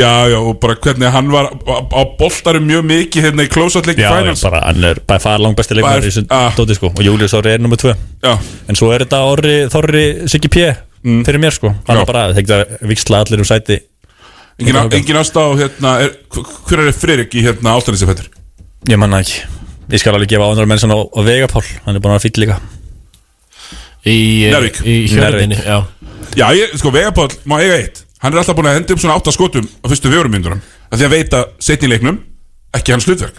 Speaker 1: Já, já, og bara hvernig hann var á, á boltarum mjög mikið hérna í close-out-leik
Speaker 12: Já,
Speaker 1: finals
Speaker 12: bara, hann er bara fara langbæsti leikmar
Speaker 1: Bara-
Speaker 12: í þessum
Speaker 1: ah.
Speaker 12: dóti, sko Og Július Orri er nummer 2
Speaker 1: Já,
Speaker 12: En svo er þetta Orri, Þorri, Siggi P Fyrir mér, sko
Speaker 1: Mm.
Speaker 12: Hann
Speaker 1: Já.
Speaker 12: er bara, þegar það viksla allir um sæti
Speaker 1: engin, á- engin ást á hérna, er, hver er Fririk í hérna áltanissi fættur?
Speaker 12: Ég manna ekki Ég skal alveg gefa ánæra menn sem á, á Vegapál Hann er búin að fýtt líka
Speaker 2: Í, eh,
Speaker 1: Njarðvík.
Speaker 2: í hjörðinni
Speaker 12: Njarðvík.
Speaker 2: Já,
Speaker 1: Já, ég, sko, Vegapál má eiga eitt Hann er alltaf búin að henda upp svona átta skotum á fyrstu fjórum myndunum af því að veita setni leiknum ekki hans hlutverk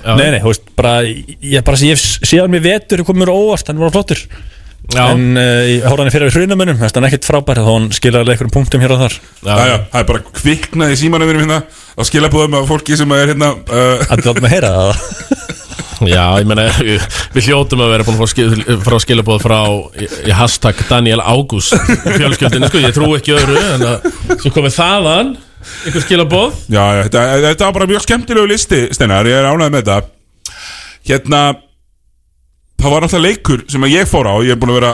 Speaker 2: Já.
Speaker 12: Nei, nei, þú veist, bara Ég bara sé, síðan mér vetur komur óvart Hann var flottur
Speaker 2: já,
Speaker 12: En uh,
Speaker 2: eh,
Speaker 12: ég hóra hann fyrir hrunamönnum Þannig að hann er ekkert frábær Þá hann skilja alveg einhverjum punktum hér og þar
Speaker 2: já.
Speaker 1: Það er bara kviknaði símanum hérna að skilabóðum af fólki sem er hérna uh,
Speaker 12: Allir áttum að heyra það
Speaker 2: já ég meina Við við hljótum að vera búin að fá skil- frá skilabóð frá í, í hashtag Daniel Ágúst Fjölskyldinu, sko, ég trú ekki öðru En að svo komið þaðan Einhver skilabóð
Speaker 1: Já, já, þetta, þetta var bara mjög skemmtilegu listi Steinar, ég er ánægð með þetta Hérna Það var alltaf leikur sem að ég fór á Ég er búin að vera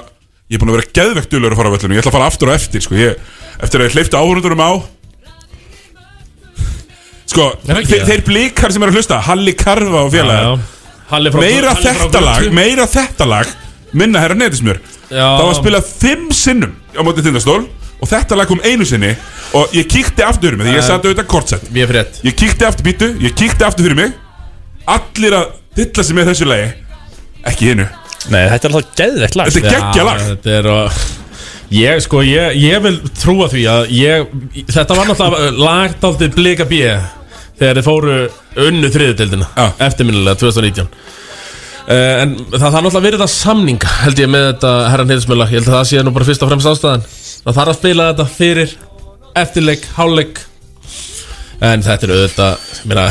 Speaker 1: Ég er búin að vera geðvegt dulur að fara á völlunum Ég ætla að fara aftur og eftir sko. ég, Eftir að ég hleyfti áhörundurum á Sko,
Speaker 2: Er ekki
Speaker 1: þe
Speaker 2: það?
Speaker 1: þeir blíkar sem eru að hlusta Halli Karfa og
Speaker 2: Já,
Speaker 1: félagar
Speaker 2: Halli frá
Speaker 1: Meira
Speaker 2: Halli frá
Speaker 1: þetta lag
Speaker 2: Götu.
Speaker 1: Meira þetta lag Minna herra netismjör
Speaker 2: Já.
Speaker 1: Það var að spila fimm sinnum Á móti tindastól Og þetta lag kom einu sinni Og ég kíkti aftur um Því ég satt auðvitað kortsett
Speaker 2: Við erum frétt
Speaker 1: Ég kíkti aftur býtu, ég kíkti aftur fyrir mig Allir að dilla sig með þessu lagi Ekki hinnu
Speaker 12: Nei, þetta er alltaf geðveikt lag
Speaker 1: Þetta er
Speaker 12: sko.
Speaker 1: geggja lag
Speaker 2: Já, eh, Þetta er að Ég sko, ég, ég vil trúa því að ég, Þetta var náttúrulega lagt aldrei blika bíja Þegar þið fóru unnu þriðutildina
Speaker 1: Já.
Speaker 2: Eftirminnilega 2019 Uh, en það það er náttúrulega verið að samninga held ég með þetta herran heiðismöla ég held að það sé nú bara fyrst og fremst ástæðan það þarf að spila þetta fyrir eftirleik, hálfleik en þetta er auðvitað ég meina,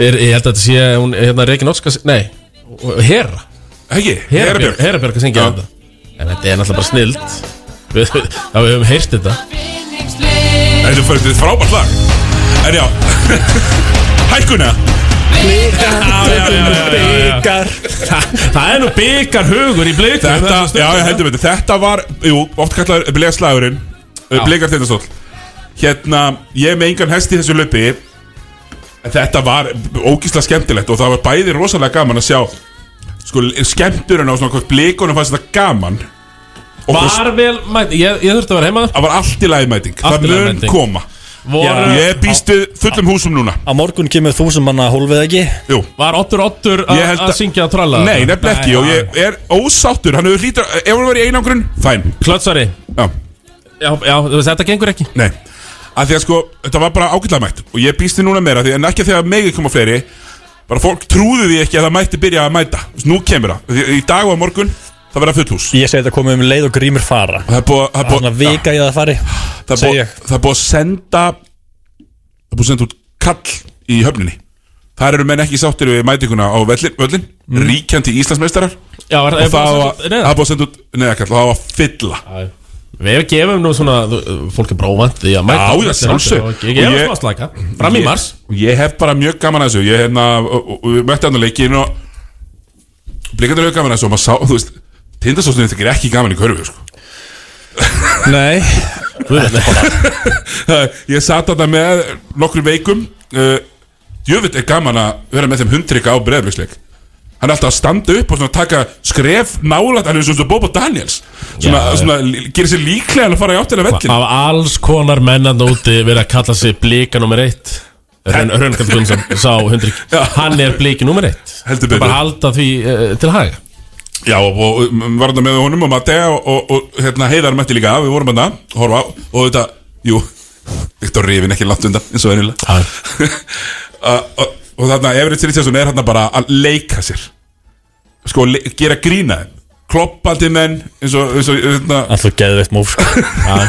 Speaker 2: er, ég held að þetta sé hún, hérna Rekin Óskars, nei, herra
Speaker 1: Ekki,
Speaker 2: Herabjörg
Speaker 1: Herabjörg
Speaker 2: Herabjörg að syngja
Speaker 1: Já.
Speaker 2: þetta En þetta er náttúrulega bara snild Við, já, við höfum heyrt þetta
Speaker 1: Þetta er fyrir frábært lag En já Hækkuna
Speaker 12: Byggar
Speaker 2: Þa, Það er nú byggar hugur í blikum
Speaker 1: Þetta, já, ég heldur með þetta Þetta var, jú, oft kallar blegaslagurinn Blegar tindastól Hérna, ég er með engan hest í þessu löpi En þetta var ógísla skemmtilegt Og það var bæði rosalega gaman að sjá Sko, skemmturinn á svona hvort blegunum fannst þetta gaman
Speaker 2: Var vel mæting Ég, ég þurfti að vera heima
Speaker 1: Það var allt í lagi mæting
Speaker 2: Allt
Speaker 1: Það
Speaker 2: í lagi
Speaker 1: mun
Speaker 2: mæting.
Speaker 1: koma
Speaker 2: Voru-
Speaker 1: Ég býst við fullum húsum núna
Speaker 12: Á morgun kemur þúsum manna hólfið ekki
Speaker 1: Jú
Speaker 2: Var Oddur Oddur
Speaker 1: Ég
Speaker 2: að
Speaker 1: held
Speaker 2: að
Speaker 1: að-
Speaker 2: syngja og tralla
Speaker 1: Nei, nefnilega ekki Og ég er ósáttur Hann hefur hlýtur Ef hann var í einangrun Fæn
Speaker 2: Klötsari
Speaker 1: Já
Speaker 2: Já, já þú veist, þetta gengur ekki
Speaker 1: Nei að Því að sko Þetta var bara ágætlega mætt Og ég býst þið núna meira því, En ekki þegar megi koma fleiri Bara fólk trúðu því ekki Að það mætti byrja að mæta Þú veist, Nú kemur það Því- Í dag og á morgun Það verða full hús
Speaker 12: Ég segi þetta komið um leið og grímur fara
Speaker 1: Það er búið
Speaker 12: Það er svona vika í að það fari
Speaker 1: Það er
Speaker 12: segi
Speaker 1: búið-
Speaker 12: ég.
Speaker 1: það er búið að senda Það er búið að senda út kall í höfninni Þar eru menn ekki sáttir við mætinguna á völlin, völlin Ríkjandi Íslandsmeistarar
Speaker 2: Já, var-
Speaker 1: Og
Speaker 2: Mm. er búið að
Speaker 1: það
Speaker 2: senda
Speaker 1: var- það var
Speaker 2: út neyðarkall?
Speaker 1: búið að senda út neðakall Og það var fylla
Speaker 2: Við gefum nú svona þú- Fólk er brófant því að mæta
Speaker 1: Já, já, sjálfsög
Speaker 2: Ég gefum smá slaka Fram í mars
Speaker 1: Ég hef bara mjög gaman að þessu Ég hérna, og- og- og við mætti hann að leikin og Blikandur hefur gaman að þessu og maður sá, þú veist Tindastóðstunni þykir ekki gaman í körfu, sko
Speaker 12: Nei
Speaker 1: Ég sat þarna með nokkur veikum uh, Jöfitt er gaman að vera með þeim hundrykka á breyðbyggsleik Hann er alltaf að standa upp og svona taka skref nálat Hann er svona Bobo Daniels Svona,
Speaker 2: Já, já.
Speaker 1: svona l- gerir sér líklega að fara í áttina vellin
Speaker 2: Af alls konar mennan úti verið að kalla sig blika nummer eitt Rönnkarl Gunnsson sá hundrik Hann er bliki nummer eitt
Speaker 1: Heldur
Speaker 2: Það
Speaker 1: betur.
Speaker 2: bara halda því uh, til haga
Speaker 1: Já og, og um, var þetta með honum og Matea og, og, og hérna, heiðar mætti líka Við vorum hérna, horfa á og þetta, jú Viktor Rífin ekki langt undan eins og enilega og, og þarna Everett Richardson er hérna bara að leika sér Sko, le gera grína þeim Kloppandi menn eins og, eins og hérna,
Speaker 12: Alltaf geðveitt múf sko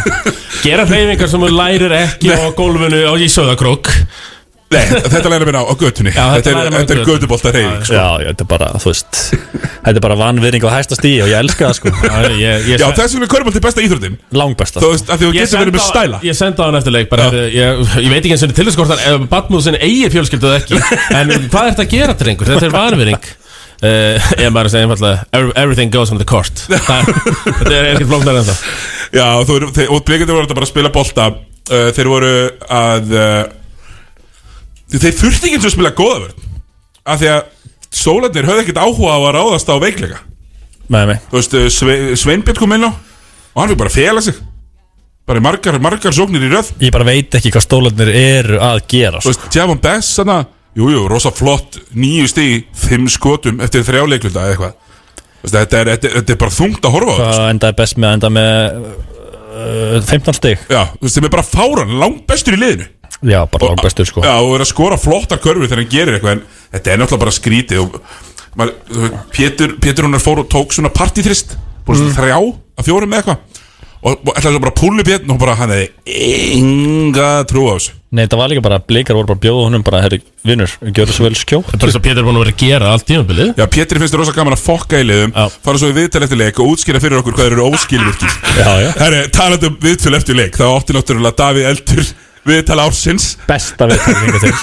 Speaker 2: Gera hreyfingar sem þú lærir ekki á gólfinu og í söðakrók
Speaker 1: Nei, þetta læra mér á, á götunni
Speaker 2: Já, þetta
Speaker 1: Þetta
Speaker 2: læra
Speaker 1: er,
Speaker 2: maður á
Speaker 1: þetta er
Speaker 2: götunni.
Speaker 1: götubolta reyðing sko.
Speaker 12: Já, já, þetta er bara, þú veist Þetta er bara vanvirðing á hæsta stíi og ég elska það sko
Speaker 2: Já, ég, ég
Speaker 1: Já, þess vegna er körbolt besta íþróttin
Speaker 12: Langbesta sko.
Speaker 1: Þú veist, að því þú getur verið með stæla
Speaker 2: Ég senda á hann eftir leik bara, ég, ég veit ekki eins og til þess hvort hann Batmúð sinni eigi fjölskyldu eða ekki En hvað ertu að gera til einhver? Þetta er vanvering uh, Ég maður að segja einfallega "Every- Everything goes on the court Það- Þetta er ekkert flóknar en það
Speaker 1: Já, þú, eru- þeir, og blikandi voru þetta bara að spila bolta uh, Þeir voru að uh, Þeir þurfti ekki eins og að spila góða verð Af því að sólarnir höfðu ekkert áhuga á að ráðast á veikleika
Speaker 12: Nei, nei
Speaker 1: Þú veist, uh, Sve, Sveinbjörn kom inn á Og hann fyrir bara að fela sig Bara í margar, margar sóknir í röð
Speaker 12: Ég bara veit ekki hvað stólarnir eru að gera sko.
Speaker 1: Þú veist, Javon Bess hana, Jú, jú, rosa flott, nýju stig Fimm skotum eftir þrjáleiklunda eða eitthvað Þú veist, Þetta er, þetta, er- þetta er bara þungt að horfa á
Speaker 12: Hvað endaði best með að enda með uh, 15 stig
Speaker 1: Já, þú veist, sem er bara fáran, langbestur í liðinu
Speaker 12: Já, bara langbestur sko
Speaker 1: Já, og er að skora flottar körfur þegar hann gerir eitthvað En þetta er náttúrulega bara skrítið og, maður, þú veit, Pétur, Pétur hún er fór og tók svona partíþrist Búin
Speaker 12: Mm.
Speaker 1: svona þrjá að fjórum með eitthvað Og, og ætlaði svo bara að púlu Pétur Og bara hann hefði enga trú á þessu
Speaker 12: Nei, þetta var líka bara, blikar voru bara að bjóða honum bara, herri, vinnur, gjör þessu vel skjó
Speaker 2: Það er bara svo Pétur er búin að vera að gera allt tímabilið
Speaker 1: Já, Pétur finnst þér rosa gaman að fokka í liðum Fara svo í viðtal eftir leik og útskýra fyrir okkur hvað þeir eru óskilvirkir
Speaker 12: Já, já.
Speaker 1: Herri, talandi um viðtal eftir leik Þá átti náttúrulega Davíð Eldur viðtal ársins
Speaker 12: Besta viðtal hingað til.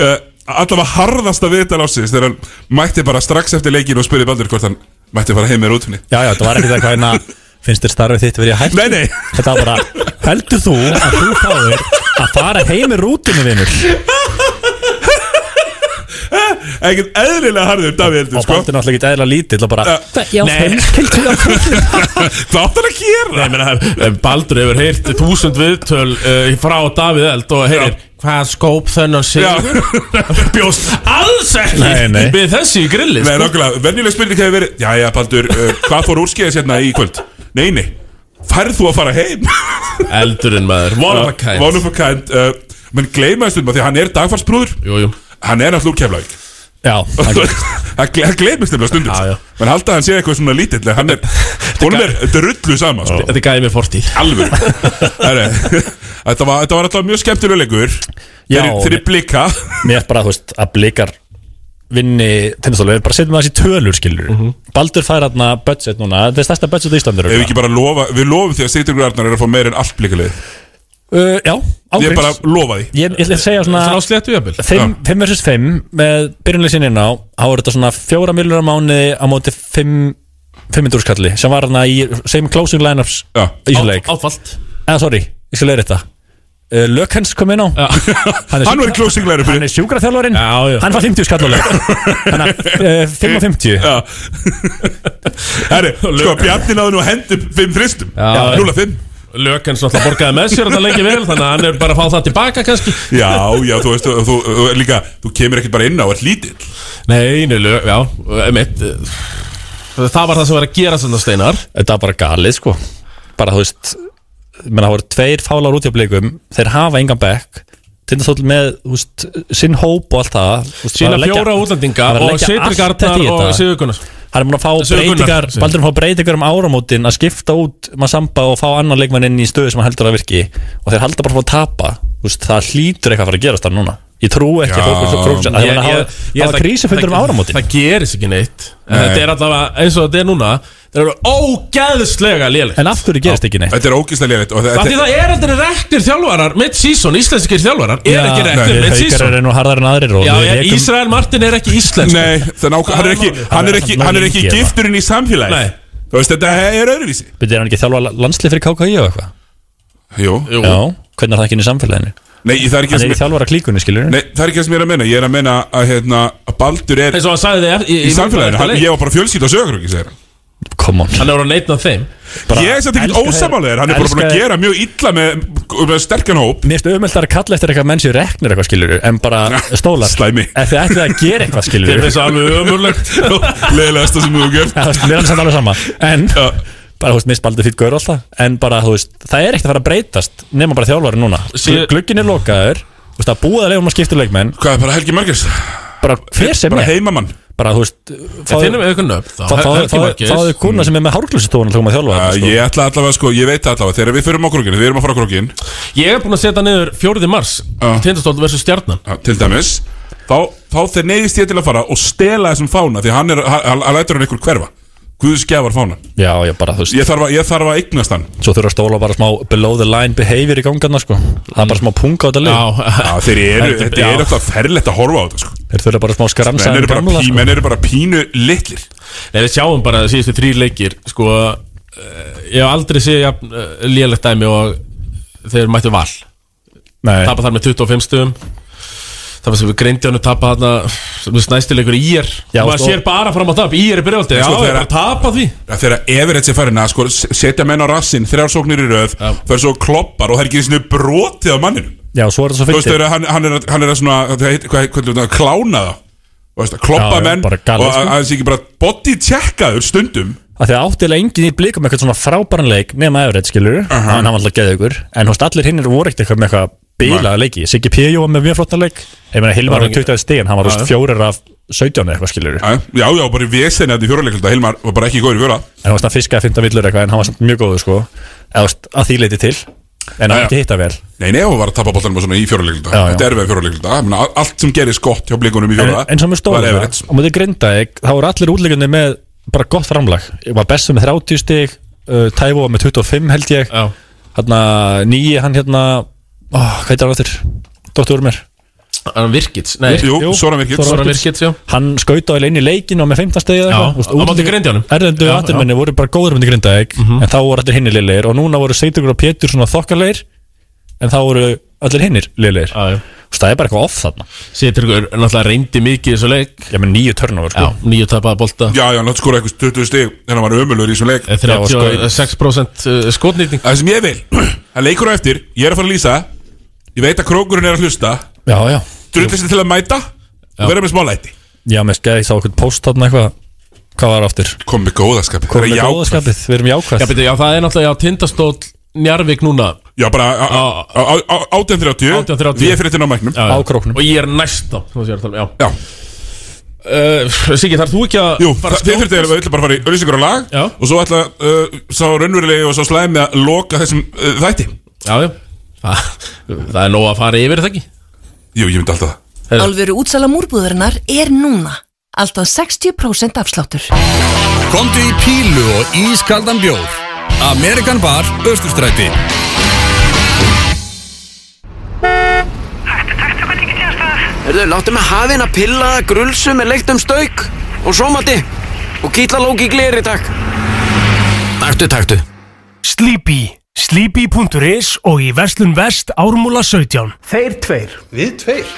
Speaker 1: uh, allavega harðasta viðtal ásins þegar hann mætti bara strax eftir leikin og spurði Baldur hvort hann mætti fara heim með rútunni
Speaker 12: Já, já, þetta var ekki það hvað hérna Finnst þér starfið þitt verið að hægt?
Speaker 1: Nei, nei.
Speaker 12: Þetta var bara, heldur þú að þú fáir að fara heim í rútinu, vinnur?
Speaker 1: ekkert eðlilega harður Davíð Eldur sko.
Speaker 12: Og Baldur náttúrulega ekki eðla lítill og bara
Speaker 2: Já,
Speaker 1: Hvað átt hann að gera?
Speaker 2: Nei,
Speaker 12: eh,
Speaker 2: menna, Baldur hefur heyrt þúsund viðtöl uh, frá Davíð Eld og heyrir Hvað skóp þennan sigur? Bjóst alls ekki
Speaker 1: Nei, nei.
Speaker 2: við þessu í grilli
Speaker 1: Nei, nákvæmlega, venjuleg spurning hefur verið Já, já, Baldur, uh, hvað fór úrskeiðis hérna í kvöld? Nei, nei, færð þú að fara heim?
Speaker 2: Eldurinn maður,
Speaker 1: Ah.
Speaker 2: one of a kind
Speaker 1: One of a kind uh, Menn gleymaðist um að því að hann er dagfarsbrúður
Speaker 2: Jú, jú
Speaker 1: Hann er alltaf keflavík
Speaker 12: Já,
Speaker 1: Þú veist, Það gle- það gleymist nefnilega stundum já, já. Menn halda að hann sé eitthvað svona lítill en Hann er, honum er drullu sama sko.
Speaker 2: Þetta gæði mig fortíð
Speaker 1: Alveg Herre, Þetta var, þetta var alltaf mjög skemmtileg leikur
Speaker 12: Já.
Speaker 1: Þeir þeir blika
Speaker 12: Mér er bara, þú veist, að blikar vinni tennistólfið, bara setjum það þessi tölur, skilur
Speaker 2: Mhm.
Speaker 12: Baldur fær hérna budget núna, þetta er stærsta budget í Íslandur
Speaker 1: Ef við ekki bara lofa Við lofum því að Sýtur Arnar er að fá meira en allt blikalið
Speaker 12: uh, Já,
Speaker 1: Ég
Speaker 12: ángríns
Speaker 1: bara lofa því
Speaker 12: Ég, ég ætla að segja
Speaker 2: Svona á
Speaker 12: svona
Speaker 2: sléttu jafnvel
Speaker 12: 5 vs 5 með byrjunleysinn inn á þá er þetta svona 4 miljónar á mánuði á móti 5 500 skalli sem var þarna í same closing lineups
Speaker 1: Já.
Speaker 12: í svona leik
Speaker 2: Áfallt
Speaker 12: eða sorry, ég skal leiða þetta uh, Lökens kom inn á Hann
Speaker 1: Hann var í closing line-upinu.
Speaker 12: Hann er sjúkraþjálfarinn Hann var 50 skall á leik Þannig að uh, 55
Speaker 1: Já Herri, sko, Bjarni náði nú að henda upp 5 þristum
Speaker 2: Já.
Speaker 1: 0-5
Speaker 2: Lökens náttúrulega borgaði með sér þetta lengi vel Þannig að hann er bara að fá það tilbaka kannski
Speaker 1: Já, já, þú veist, þú, þú, þú, líka, þú kemur ekkert bara inn á, ert lítill
Speaker 2: Nei, nei, lög, já, emitt Það var það sem var að gera svona steinar
Speaker 12: Þetta var bara galið sko Bara þú veist menn það voru tveir fálar út hjá blikum Þeir hafa engan bekk Tindastóll með þú veist, sinn hóp og allt það þú veist,
Speaker 2: Sína
Speaker 12: bara að leggja-
Speaker 2: fjóra útlendinga
Speaker 12: bara að
Speaker 2: og
Speaker 12: leggja
Speaker 2: Sindri
Speaker 12: allt
Speaker 2: Garnar
Speaker 12: þetta í
Speaker 2: og
Speaker 12: þetta.
Speaker 2: Sigurð Gunnar.
Speaker 12: Hann er búin að fá
Speaker 2: Sigurður Gunnar,
Speaker 12: breytingar
Speaker 2: Sigurður.
Speaker 12: Baldur er búin að fá breytingar um áramótin að skipta út Massamba og fá annan leikmann inn í stöðu sem hann heldur að virki og þeir halda bara að fá að tapa Þú veist, það hlýtur eitthvað að fara að gerast það núna Ég trú ekki að fólk fólk Það
Speaker 2: Ég-
Speaker 12: er að
Speaker 2: ég-
Speaker 12: hafa-
Speaker 2: ég held
Speaker 12: hafa
Speaker 2: að-
Speaker 12: krísufundur um
Speaker 2: það-
Speaker 12: áramótin
Speaker 2: Það gerist ekki neitt En
Speaker 12: Nei.
Speaker 2: Þetta er allavega eins og þetta er núna Þetta eru ógæðslega lélega
Speaker 12: En aftur gerist ekki neitt
Speaker 1: Þetta er ógislega lélitt
Speaker 2: Það því það er aldrei rektir þjálfarar mid-season, íslenskir þjálfarar er ekki rektir
Speaker 12: Haukar
Speaker 2: mid-season
Speaker 12: eru nú harðar en aðrir og
Speaker 2: Já,
Speaker 12: við
Speaker 2: ég-
Speaker 12: rekum-
Speaker 2: Ísrael Martin er ekki íslensk
Speaker 1: Nei, þannig að hann sko? er ekki, hann er ekki, hann er ekki gifturinn í samfélagi
Speaker 2: Nei.
Speaker 1: Þú veist, þetta er öðruvísi
Speaker 12: Byrði hann ekki þjálfa landslið fyrir KKI og eitthvað?
Speaker 1: Jú
Speaker 12: Já, hvernig er það ekki inn í samfélaginu?
Speaker 1: Nei, það er ekki
Speaker 12: Hann
Speaker 1: sem
Speaker 12: er í
Speaker 1: ég-
Speaker 12: þjálfara klíkunni, skilur
Speaker 1: Nei, það er ekki það sem ég er að menna Ég er að menna að, hérna, að Baldur er
Speaker 2: Eins og hann sagði þig
Speaker 1: í, samfélaginu hann, Ég var bara fjölsýt á söguröki, segir hann
Speaker 12: Come on
Speaker 2: Hann er að neitna þeim
Speaker 1: Ég er satt ekkert ósamálega Hann er bara búin að gera mjög illa með, með sterkan hóp
Speaker 12: Mér finnst auðvelt að kalla eftir eitthvað menn sér reknir eitthvað skilur En bara stólar
Speaker 1: Slæmi
Speaker 12: Ef þið ætlið að gera eitthvað skilur
Speaker 2: Þeim finnst það alveg ömurlegt
Speaker 1: Leðilegasta sem þú hefur gert
Speaker 12: Það er alveg samt alveg sama En bara, þú veist, misbaldi fyrir gaur alltaf En bara, þú veist, það er ekkert að fara að breytast Nefna bara þjálfari núna
Speaker 1: Sér-
Speaker 12: Glukkin er lokaður Þú veist, það er búið að leiðum að skipta leikmenn
Speaker 1: Hvað, bara Helgi Margers?
Speaker 12: Bara hver sem
Speaker 1: Bara
Speaker 12: er.
Speaker 1: heimamann
Speaker 12: Bara, þú veist,
Speaker 2: Ég
Speaker 1: um-
Speaker 2: finnum við eitthvað nöfn þá.
Speaker 12: Fá- fá-
Speaker 2: Helgi
Speaker 12: fá-
Speaker 2: Margeir.
Speaker 12: Fáðu kuna sem er með hárglúsitón Það er að þjálfa
Speaker 1: Uh, Ég ætla allavega, sko, ég veit það allavega Þegar við förum á krókinu, við erum að fara á krókin
Speaker 2: Ég er búin að setja niður 4. mars Tindastóll versus stjarnan
Speaker 1: Til dæmis Þá, þá þeir neyðist ég til að fara og stela þessum fána Því hann er, hann, hann- hann lætur hann ykkur hverfa Guðsgjafar fána
Speaker 12: Já, já, bara, þú veist
Speaker 1: Ég þarf að, ég þarf að eignast hann
Speaker 12: Svo þurfa að stóla bara smá below the line behavior í gangarna sko Það er bara smá punga á þetta lið
Speaker 1: Mm. Já, þeir eru, þetta er alltaf ferlegt að horfa á þetta sko.
Speaker 12: Þeir þurfa bara smá skramsa
Speaker 1: Menn
Speaker 12: en
Speaker 1: eru bara,
Speaker 12: gamla
Speaker 1: pí,
Speaker 12: sko
Speaker 1: menn eru bara pínu litlir
Speaker 2: Nei, við sjáum bara að síðustu þrý leikir Sko, eh, ég hef aldrei séð jafn, eh, lélegt dæmi og þeir mættu val
Speaker 12: Nei.
Speaker 2: Tapa þar með 25 stöðum Það var sem við greindi hann að tapa þarna sem við snæstilegur í ír
Speaker 1: Já,
Speaker 2: og maður
Speaker 1: sko-
Speaker 2: sér bara fram á tap, ír er byrjaldið Já,
Speaker 1: Sko,
Speaker 2: það er
Speaker 1: þegar-
Speaker 2: bara að tapa því
Speaker 1: að þegar Everett sér farin að sko, setja menn á rassin þrjár sóknir í röð fer svo og kloppar og það er ekki einu sinni brotið á manninu
Speaker 12: Já, svo er þetta svo
Speaker 1: þú veist
Speaker 12: fyndið
Speaker 1: þegar hann, hann, er, að- hann er að svona hvað heit- hvað- hvernig er það, klána það Þú veist, að kloppa
Speaker 12: Já, já,
Speaker 1: menn
Speaker 12: bara galið,
Speaker 1: og að
Speaker 12: sko.
Speaker 1: að það sé ekki bara body checkaður stundum
Speaker 12: Af því að áttilega enginn í blikum eitthvað svona frábæran leik nema Everett skilur uh -huh. hann var alltaf geðið ykkur en hóst allir hinnir voru ekkert eitthvað með eitthvað bilaða leiki Siggi P.J. var með mjög flottan leik ég meina Hilmar var 20 stíðan hann var
Speaker 1: Já,
Speaker 12: húst fjórir af 17 eða eitthvað skilur
Speaker 1: já, já, já, bara í vesinni að því fjóraleikulta Hilmar var bara ekki góður í fjóra
Speaker 12: en hóst hann fiskaði 15 villur eitthvað en hann var samt mjög góður sko eða hóst að því leiti til en hann
Speaker 1: Já, já.
Speaker 12: ekki hitta vel
Speaker 1: Nei, nei, hún var að tappa boltanum og svona í fjóraleikulta
Speaker 12: Já, já.
Speaker 1: Þetta er við fjóraleikulta Allt sem gerist gott hjá blikunum í
Speaker 12: En,
Speaker 1: fjóra
Speaker 12: en svo með
Speaker 1: var
Speaker 12: stóla
Speaker 1: Everett
Speaker 12: og mútið grinda þá voru allir útlíkunni með bara gott framlag ég var bestur með 30 stig uh, Tævo var með 25 held ég
Speaker 2: Já.
Speaker 12: hérna nýji hann hérna oh, hvað heitir hann aftur? Dóttur Úrmer
Speaker 2: Hann Virkits, nei
Speaker 12: Virk- jú,
Speaker 2: Soran Virkits, já
Speaker 12: hann skautaði inn í leikin og með 15 stegi eða
Speaker 2: Já,
Speaker 12: eitthvað.
Speaker 2: á
Speaker 12: Þú
Speaker 2: móti
Speaker 12: útlendingar-
Speaker 2: Grindjaunum.
Speaker 12: erlendu
Speaker 2: Já, Mhm.
Speaker 12: aturmenni voru bara góður myndi grindaðeg en þá voru allir hinni liðleir og núna voru Seitugur og Pétur svona þokkalegir en þá voru allir hinnir liðleir það er bara eitthvað off þarna
Speaker 2: Sýttirgur náttúrulega reyndi mikið í þessu leik
Speaker 12: já, menn nýju törnum sko.
Speaker 2: já, nýju tapaða bolta
Speaker 1: Já, já, hann látt skora eitthvað 20 stig en hann var ömulur í þessum leik
Speaker 2: sko, 36% uh, skotnýtning
Speaker 1: Það sem ég vil, það leikur á eftir Ég er að fara að lýsa Ég veit að krókurinn er að hlusta
Speaker 12: já, já
Speaker 1: Drullist til að mæta og vera með smá læti
Speaker 12: Já, með skæði, ég sá okkur post þarna eitthvað Hvað var aftur?
Speaker 1: Kom með góðaskapið
Speaker 12: Kom
Speaker 1: Vera
Speaker 12: með
Speaker 1: jákvæð.
Speaker 12: góðaskapið, við erum jákvæð
Speaker 2: Já, beti, já, það er náttúrulega já, tindastóll Njarvík núna
Speaker 1: Já, bara á- á- á- á- 18.30 Við erum fyrir þetta á mæknum
Speaker 2: Já, já. Og ég er næst á þú sér að tala um,
Speaker 1: Já,
Speaker 2: uh, Siggi, þarf þú ekki að
Speaker 1: Jú, það- þið þurftu eiginlega- við ætlum bara að fara í öllisingur á lag
Speaker 2: Já.
Speaker 1: og svo ætla uh, sá raunverulegi og sá slæmi að loka þessum uh, þætti
Speaker 2: Já, já Þa, Það er nóg að fara yfir þetta ekki
Speaker 1: Jú, ég myndi alltaf það
Speaker 2: Heyrðu.
Speaker 13: Alvöru útsala múrbúðarinnar er núna. Alltaf 60% afsláttur.
Speaker 7: Komdu í pílu og ískaldan bjór Amerikan Bar, Östurstræti
Speaker 14: Herðu, láttu mig hafa hérna pilla, grulsu með leiktum stauk og sómati og gítalók í gleri, takk. Taktu, taktu. Sleepy.
Speaker 2: Sleepy.is og í Vestlun Vest Ármúla 17
Speaker 15: Þeir tveir Við tveir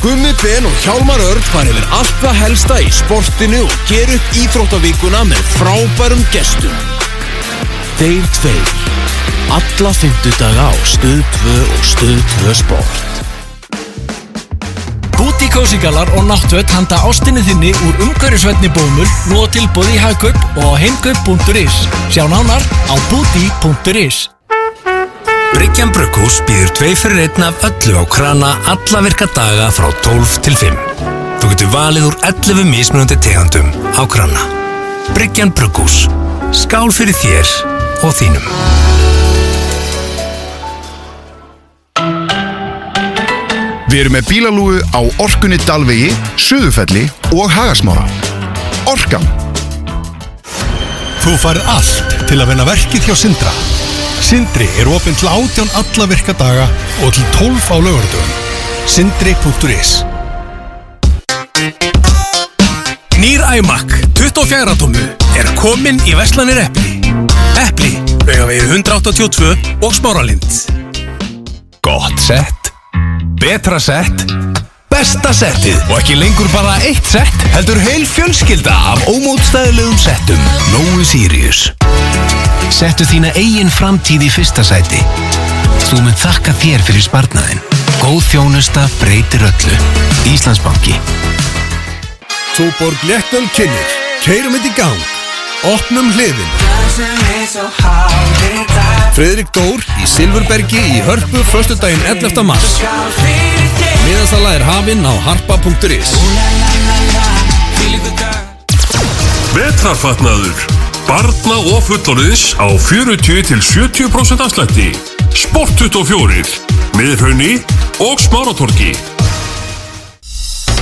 Speaker 5: Gummi Ben og Hjálmar Örn fara yfir allt það helsta í sportinu og ger upp íþróttavíkuna með frábærum gestum. Þeir tveir. Alla fymtudaga á Stöð 2 og Stöð 2 Sport. Búti Kósingalar og Náttvöld handa ástinni þinni úr umhverjusvætni bómul nú á tilbúði í Hagkaup og á heimkaup.is. Sjá nánar á búti.is.
Speaker 10: Bryggjan Brukkús býður tvei fyrir einn af öllu á krana alla virka daga frá 12 til 5. Þú getur valið úr 11 mismunandi tegandum á krana. Bryggjan Brukkús. Skál fyrir þér og þínum.
Speaker 16: Við erum með bílalúgu á Orkunni Dalvegi, Suðufelli og Hagasmára. Orkan
Speaker 17: Þú færð allt til að vinna verkið hjá Sindra. Sindri er opinn til 18 alla virka daga og til 12 á lögardöfum. Sindri.is
Speaker 10: Nýr æmak 24 tómu er komin í Vestlanir Eppli. Eppli, vegavegi 182 og smáralind.
Speaker 18: Gott sett Betra sett Besta settið Og ekki lengur bara eitt sett Heldur heil fjölskylda af ómótstæðilegum settum Nói Sirius
Speaker 10: Settu þína eigin framtíð í fyrsta sæti. Þú mun þakka þér fyrir sparnaðin. Góð þjónusta breytir öllu. Íslandsbanki.
Speaker 17: Túborg léttöl kynir. Keirum þetta í gang. Opnum hliðin. Fredrik Dór í Silfurbergi í Hörpu förstudaginn 11. mars.
Speaker 5: Miðasala er hafinn á harpa.is
Speaker 1: Vetrarfatnaður Barna og fullorðis á 40-70% afslætti Sport 24 Miðraunni og Smáratorgi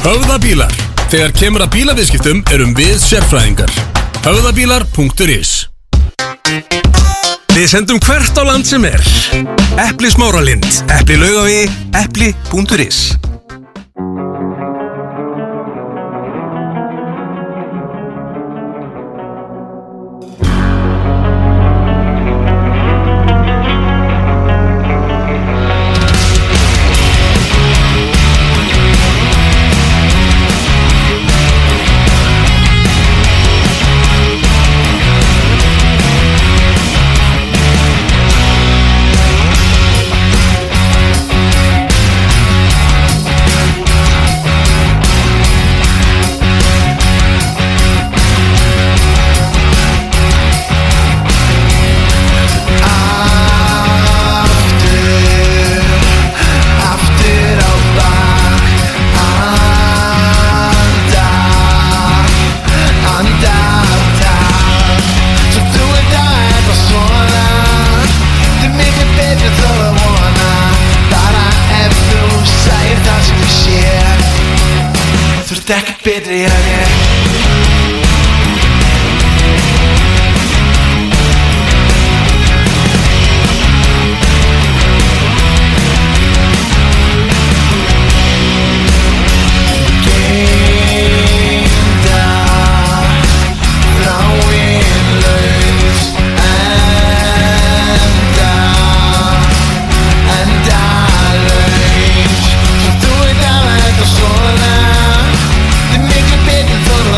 Speaker 5: Höfðabílar. Þegar kemur að bílaviðskiptum erum við sérfræðingar. Höfðabílar.is
Speaker 10: Við sendum hvert á land sem er. Eppli smáralind. Eppli laugavi. Eppli.is
Speaker 19: Betri en ég Þið miklu betri þóru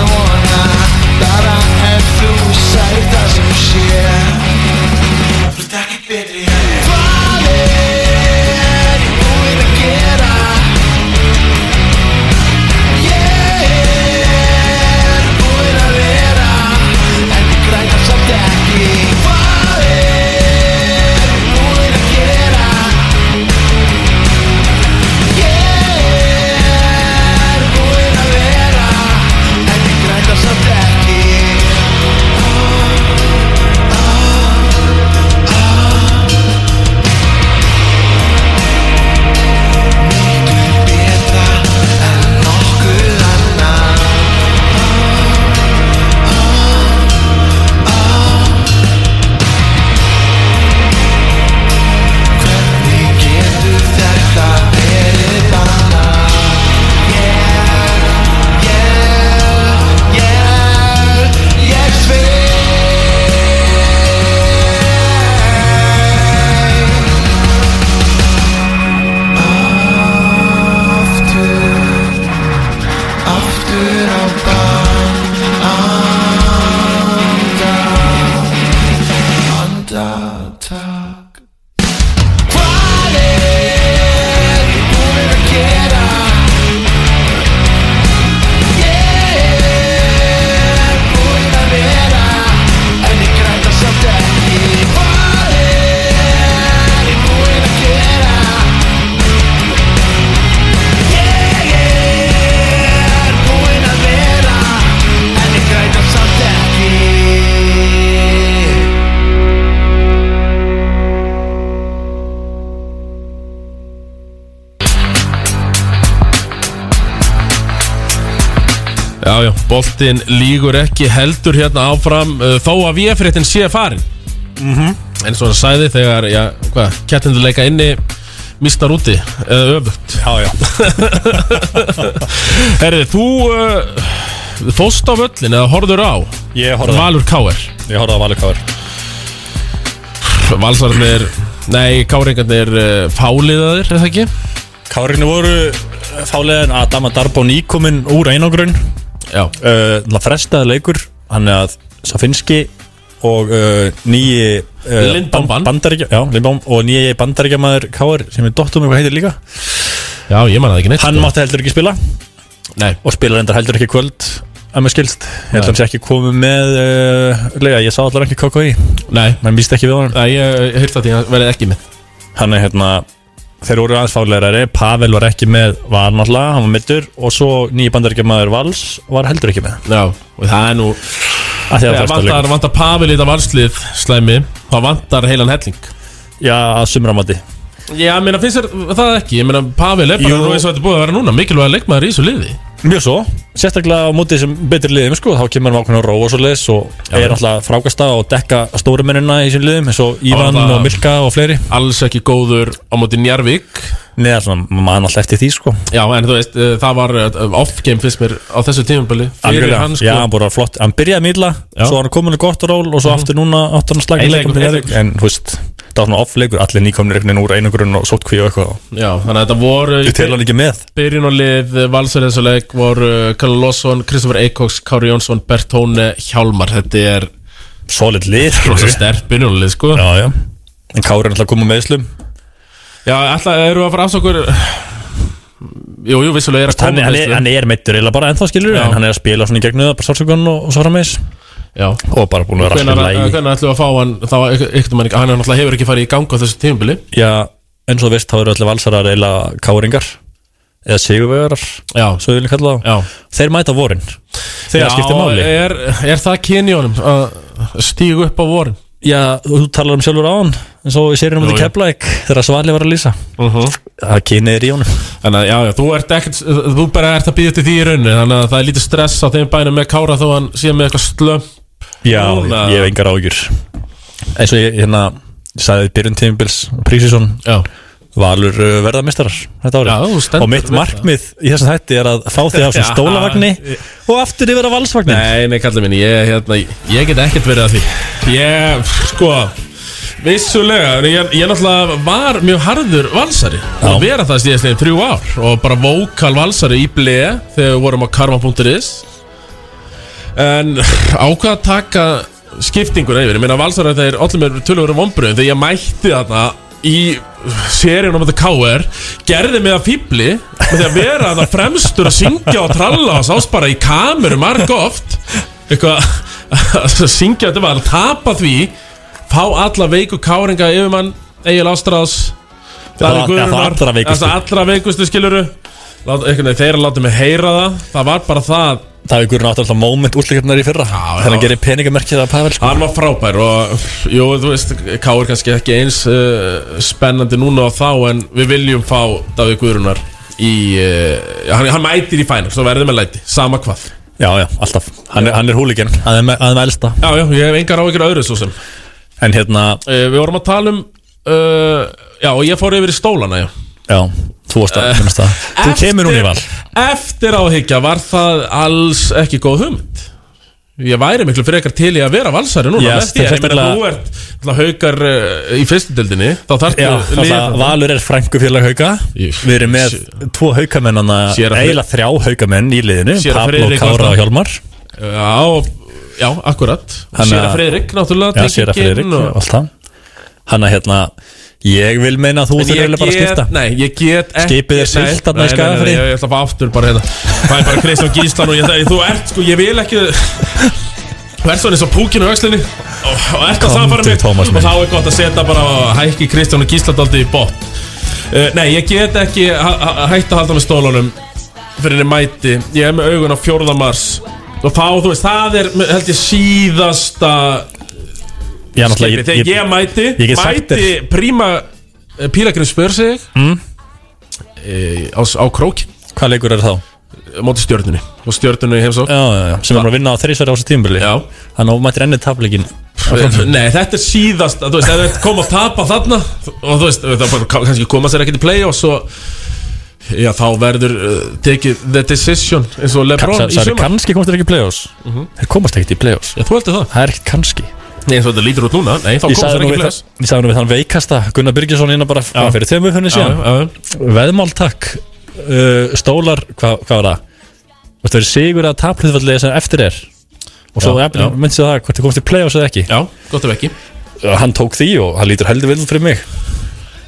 Speaker 2: Já, já, boltinn lígur ekki heldur hérna áfram uh, Þó að VF-réttin sé farin
Speaker 5: Mhm.
Speaker 2: En svo hann sagði þegar, já, hvað, kettindu leika inni Mistar úti, eða öfugt Já, já Herri, þú uh, fóst á völlin eða horfður á
Speaker 12: Ég horfði á.
Speaker 2: Valur Káir
Speaker 12: Ég horfði á Valur Káir
Speaker 2: Valsarnir, nei, Káringarnir uh, fáliðaðir, er það ekki?
Speaker 12: Káringarnir voru eh, fáliðin að Dama Darbo nýkominn úr einangrun
Speaker 2: Já
Speaker 12: Það frestaði leikur Hann er að Safinski og uh, nýji uh,
Speaker 2: Lindbom
Speaker 12: ban- bandaríkja, já, Lindbom og nýji bandaríkjamaður Káir sem er dottum eitthvað heitir líka
Speaker 2: Já, ég manna það ekki neitt
Speaker 12: Hann
Speaker 2: sko.
Speaker 12: mátti heldur ekki spila
Speaker 2: Nei.
Speaker 12: og spilar endar heldur ekki í kvöld að mér skilst, ég held að
Speaker 2: Nei.
Speaker 12: hann sé ekki komið með uh, lega, ég sá allar ekki KKI
Speaker 2: Nei,
Speaker 12: menn víst ekki við honum
Speaker 2: Nei, ég, ég hýrta því að verið ekki með
Speaker 12: Hann er hérna, þeir voru aðeins fálegari Pavel var ekki með, var náttúrulega hann var middur og svo nýja bandaríkjamaður Vals var heldur ekki með
Speaker 2: Já, og það er nú
Speaker 12: að því að
Speaker 2: Þegar
Speaker 12: fresta
Speaker 2: vantar,
Speaker 12: leikur
Speaker 2: vantar Pavel í þetta valslið slæmi þá vantar heilan helling
Speaker 12: Já, að sumramandi
Speaker 2: Já, ég meina finnst þér það ekki Ég meina Pavel er bara
Speaker 12: Jú.
Speaker 2: nú eins og þetta er búið að vera núna mikilvæg leikmaður í þessu liði
Speaker 12: Mjög svo, sérstaklega á móti sem betri liðum sko, þá kemur hann ákveðin að róa svo leis og er alltaf frákasta og dekka stóru mennina í sín liðum eins og
Speaker 2: Hann var
Speaker 12: Ívan
Speaker 2: náttúrulega
Speaker 12: og Milka og fleiri
Speaker 2: Alls ekki góður á móti Njarvík
Speaker 12: Nei, alltaf, mann alltaf eftir því sko
Speaker 2: Já, en þú veist, eh, það var eh, off-game fyrst mér á þessu tímabili sko.
Speaker 12: Algjörlega, já, hann sko. bara flott Hann byrjaði mýla, svo var hann komin í gott ról og svo aftur núna aftur hann slagið
Speaker 2: Einleikur, einleikur.
Speaker 12: En þú veist, það var svona off-leikur Allir nýkomnir einhvern veginn úr einugurinn og sótkví og eitthvað
Speaker 2: Já, þannig að þetta voru
Speaker 12: Ég tel hann ekki með.
Speaker 2: Byrjun og lið Valsar þessu leik voru Kalle Lósson, Kristoffer Eikóks, Kári Jónsson, Bertóne, Hjálmar Þetta er
Speaker 12: Solid lið
Speaker 2: Rosa sterk byrjun og lið sko
Speaker 12: Já, já En Kári er alltaf komið meðslum
Speaker 2: Já, alltaf eru að fara afsakur Jú, jú, vissulega er að
Speaker 12: Hann,
Speaker 2: koma
Speaker 12: hann, er- hann er meittur eða bara ennþá skilur En hann er að spila svona í gegnum það, bara sársökan og, og svo frammeis
Speaker 2: Já
Speaker 12: Og bara búin að vera
Speaker 2: Hvernig
Speaker 12: alltaf lægi
Speaker 2: ætlum við að fá hann þá, ykkur, mann, Hann er náttúrulega hefur ekki farið í gang á þessu tímabili
Speaker 12: Já, eins og þú veist, þá eru allir valsarar eila káringar eða sigurvegarar, svo við viljum kalla þá þeir mæta á vorin þegar
Speaker 2: Já,
Speaker 12: skiptir máli
Speaker 2: er, er það kyn í honum að stígu upp á vorin?
Speaker 12: Já, þú talar um sjálfur á hann eins og í sérinu
Speaker 2: Jú,
Speaker 12: um þetta
Speaker 2: jú.
Speaker 12: keflaðik þegar Svali var að lýsa það kynið er í honum
Speaker 2: Þannig að já, já, þú ert ekkert þú bara ert að býða til því í rauninni þannig að það er lítið stress á þeim bænum með Kára þó hann sé með eitthvað slömp
Speaker 12: Já, ég, ég hef engar ágjur eins og ég hérna sagði í byrjun tímubils Prísísson Valur uh, verða mistarar þetta árið
Speaker 2: stendur
Speaker 12: og mitt
Speaker 2: við
Speaker 12: markmið í þessum hætti er að fá þig af sem
Speaker 2: Já.
Speaker 12: stólavagni og aftur yfir að valsvagnin
Speaker 2: Nei, nei, kallið minn, ég, hérna, ég get ekkert verið að því Ég, sko Vissulega, en ég, ég náttúrulega var mjög harður valsari að vera það síðast neginn þrjú ár og bara vókal valsari í bleið þegar við vorum á karma.is en ákvað að taka skiptinguna yfir, ég meina valsari þeir allir mér tölvöru vombriðum þegar ég mætti þarna í seríunum þetta K.R. gerði mig að fýbli og þegar vera þarna fremstur að syngja og tralla og sást bara í kameru marg oft eitthvað að syngja þetta var að tapa því fá alla veiku káringa yfir mann Egil Ástráðs Daði
Speaker 12: Það-
Speaker 2: Guðrunar
Speaker 12: það allra veikustu.
Speaker 2: það allra veikustu skiluru Lát, einhvern veginn, þeir látið mig heyra það það var bara það
Speaker 12: Það hefur Guðrun átt alltaf moment útlíkjarnar í fyrra Þannig að gerir peningamerkið að Pavel sko.
Speaker 2: Hann var frábær og jú, þú veist, Káur kannski ekki eins uh, spennandi núna á þá en við viljum fá Davíð Guðrunar í, uh, hann, hann mætir í fænum, svo verðum við læti, sama hvað
Speaker 12: Já, já, alltaf Hann er, hann er húlíkinn, að þeim að þeim elsta
Speaker 2: Já, já, ég hef engar á ykkur öðru svo sem
Speaker 12: En hérna,
Speaker 2: uh, Við vorum að tala um, uh, já, og ég fór yfir í stólana, já
Speaker 12: já, þú varst að, minnast það Þú kemur núna í val
Speaker 2: Eftir áhyggja var það alls ekki góð hugmynd Ég væri miklu frekar til í að vera valsari núna
Speaker 12: Já,
Speaker 2: yes, Ég ég meina
Speaker 12: sérstaklega-
Speaker 2: þú ert náttúrulega haukar uh, í fyrstudildinni Þá þarf
Speaker 12: Já, þannig að Valur er frængu félag hauka Við erum með tvo haukamennana
Speaker 2: Séra Freyr-
Speaker 12: Eila þrjá haukamenn í liðinu
Speaker 2: Séra
Speaker 12: Pablo,
Speaker 2: Friðrik
Speaker 12: Kára og
Speaker 2: Ásta.
Speaker 12: Hjálmar
Speaker 2: Já, og- já, akkurat Og
Speaker 12: Hann að-
Speaker 2: Séra Freyrik, náttúrulega
Speaker 12: Já, séra
Speaker 2: tengingin
Speaker 12: Friðrik
Speaker 2: og-
Speaker 12: og allt það Hanna hérna, ég vil meina að þú
Speaker 2: En
Speaker 12: þurfir
Speaker 2: ég
Speaker 12: eiginlega bara að
Speaker 2: get-
Speaker 12: skipta
Speaker 2: Nei, ég get ekki
Speaker 12: Skipið er siglt þarna í Skagafirði.
Speaker 2: Nei, nei, nei, ég ætla að fá aftur bara hérna Það er bara Kristján Gíslan og ég það Þú ert sko, ég vil ekki Þú ert svona eins og púkinu á öxlinni Og og ert að
Speaker 12: Komdu,
Speaker 2: samfara mig
Speaker 12: Tómas minn.
Speaker 2: Og þá er gott að setja bara Hækki Kristján og Gíslan daldi í bot uh, Nei, ég get ekki ha- ha- Hætt að halda með stólunum Fyrir henni mæti Ég er með augun á 4. mars Og þá, þú veist, það er Held ég síðasta
Speaker 12: Já, náttúrulega,
Speaker 2: skipið. Þegar ég mæti
Speaker 12: ég get sagt
Speaker 2: Mæti
Speaker 12: þér-
Speaker 2: príma Pílagrim spör sig
Speaker 12: Mm.
Speaker 2: e, á, á krókin
Speaker 12: Hvað leikur er þá?
Speaker 2: móti stjörnunni og stjörnunni í heimsók já, já, já,
Speaker 12: sem er búin að vinna á þrísværi á þessu tímabili hann ofmættir enni tapleikin
Speaker 2: Eh, Nei, þetta er síðast að, Þú veist, ef þetta kom að tapa þarna Og þú veist, það bara ka- kannski koma sér ekkert í play Og svo, já, þá verður uh, Tekið the decision eins og Lebron í
Speaker 12: sagði,
Speaker 2: sumar
Speaker 12: kannski komast þeir ekki í play-offs
Speaker 2: Mhm.
Speaker 12: þeir komast ekkert í play-offs
Speaker 2: já, þú heldur það
Speaker 12: það er ekkert kannski
Speaker 2: Nei, eins og þetta lítur út núna Nei, þá
Speaker 12: Ég
Speaker 2: komast
Speaker 12: sagði
Speaker 2: þeir
Speaker 12: nú
Speaker 2: ekki í
Speaker 12: við
Speaker 2: play-offs
Speaker 12: það- ég sagði nú við þann veikasta Gunnar Byrgisson hérna bara já. fyrir þeim uppfunni
Speaker 2: Já,
Speaker 12: síðan veðmál takk uh, stólar, hvað hva var það Þú veist, það er sigur að tapluðvalli sem eftir er og svo
Speaker 2: Já, já.
Speaker 12: myndið það hvort þið komst í play-offs eða ekki
Speaker 2: já, gott ef ekki
Speaker 12: hann tók því og hann lítur heldur viljum fyrir mig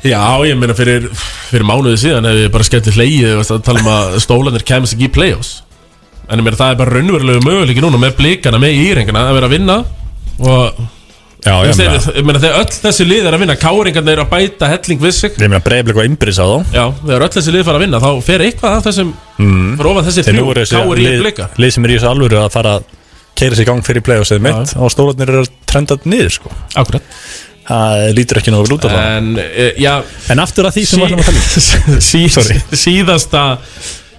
Speaker 2: Já, ég meina fyrir, fyrir mánuði síðan Hef ég bara skemmt í hleyið þú veist, að Tala um að stólanir kemist ekki í play-offs En ég meina, það er bara raunverulegu möguleiki núna Með blikana, með írengana Að vera að vinna Og
Speaker 12: já,
Speaker 2: Þú
Speaker 12: ég
Speaker 2: veist,
Speaker 12: meina
Speaker 2: þeir- Ég meina, þegar öll þessi lið er að vinna Káringarnir er að bæta helling við sig
Speaker 12: ég meina breyflik og einbyrðis á þá
Speaker 2: Já, þegar öll þessi lið fara að vinna Þá fer eitthvað af þessum
Speaker 12: Mm.
Speaker 2: Fyrir ofan þessi
Speaker 12: Þeir
Speaker 2: þrjú,
Speaker 12: nú eru þessi
Speaker 2: káur í
Speaker 12: lið-
Speaker 2: blika
Speaker 12: lið sem er í þessu alvöru að fara að keira sig í gang fyrir play-offs eða mitt og stólarnir eru að trenda niður sko.
Speaker 2: Akkurat
Speaker 12: Það lítur ekki nógu lúta það
Speaker 2: En, e, já,
Speaker 12: en aftur að því sem við ætlum að tala
Speaker 2: um sí, Síðasta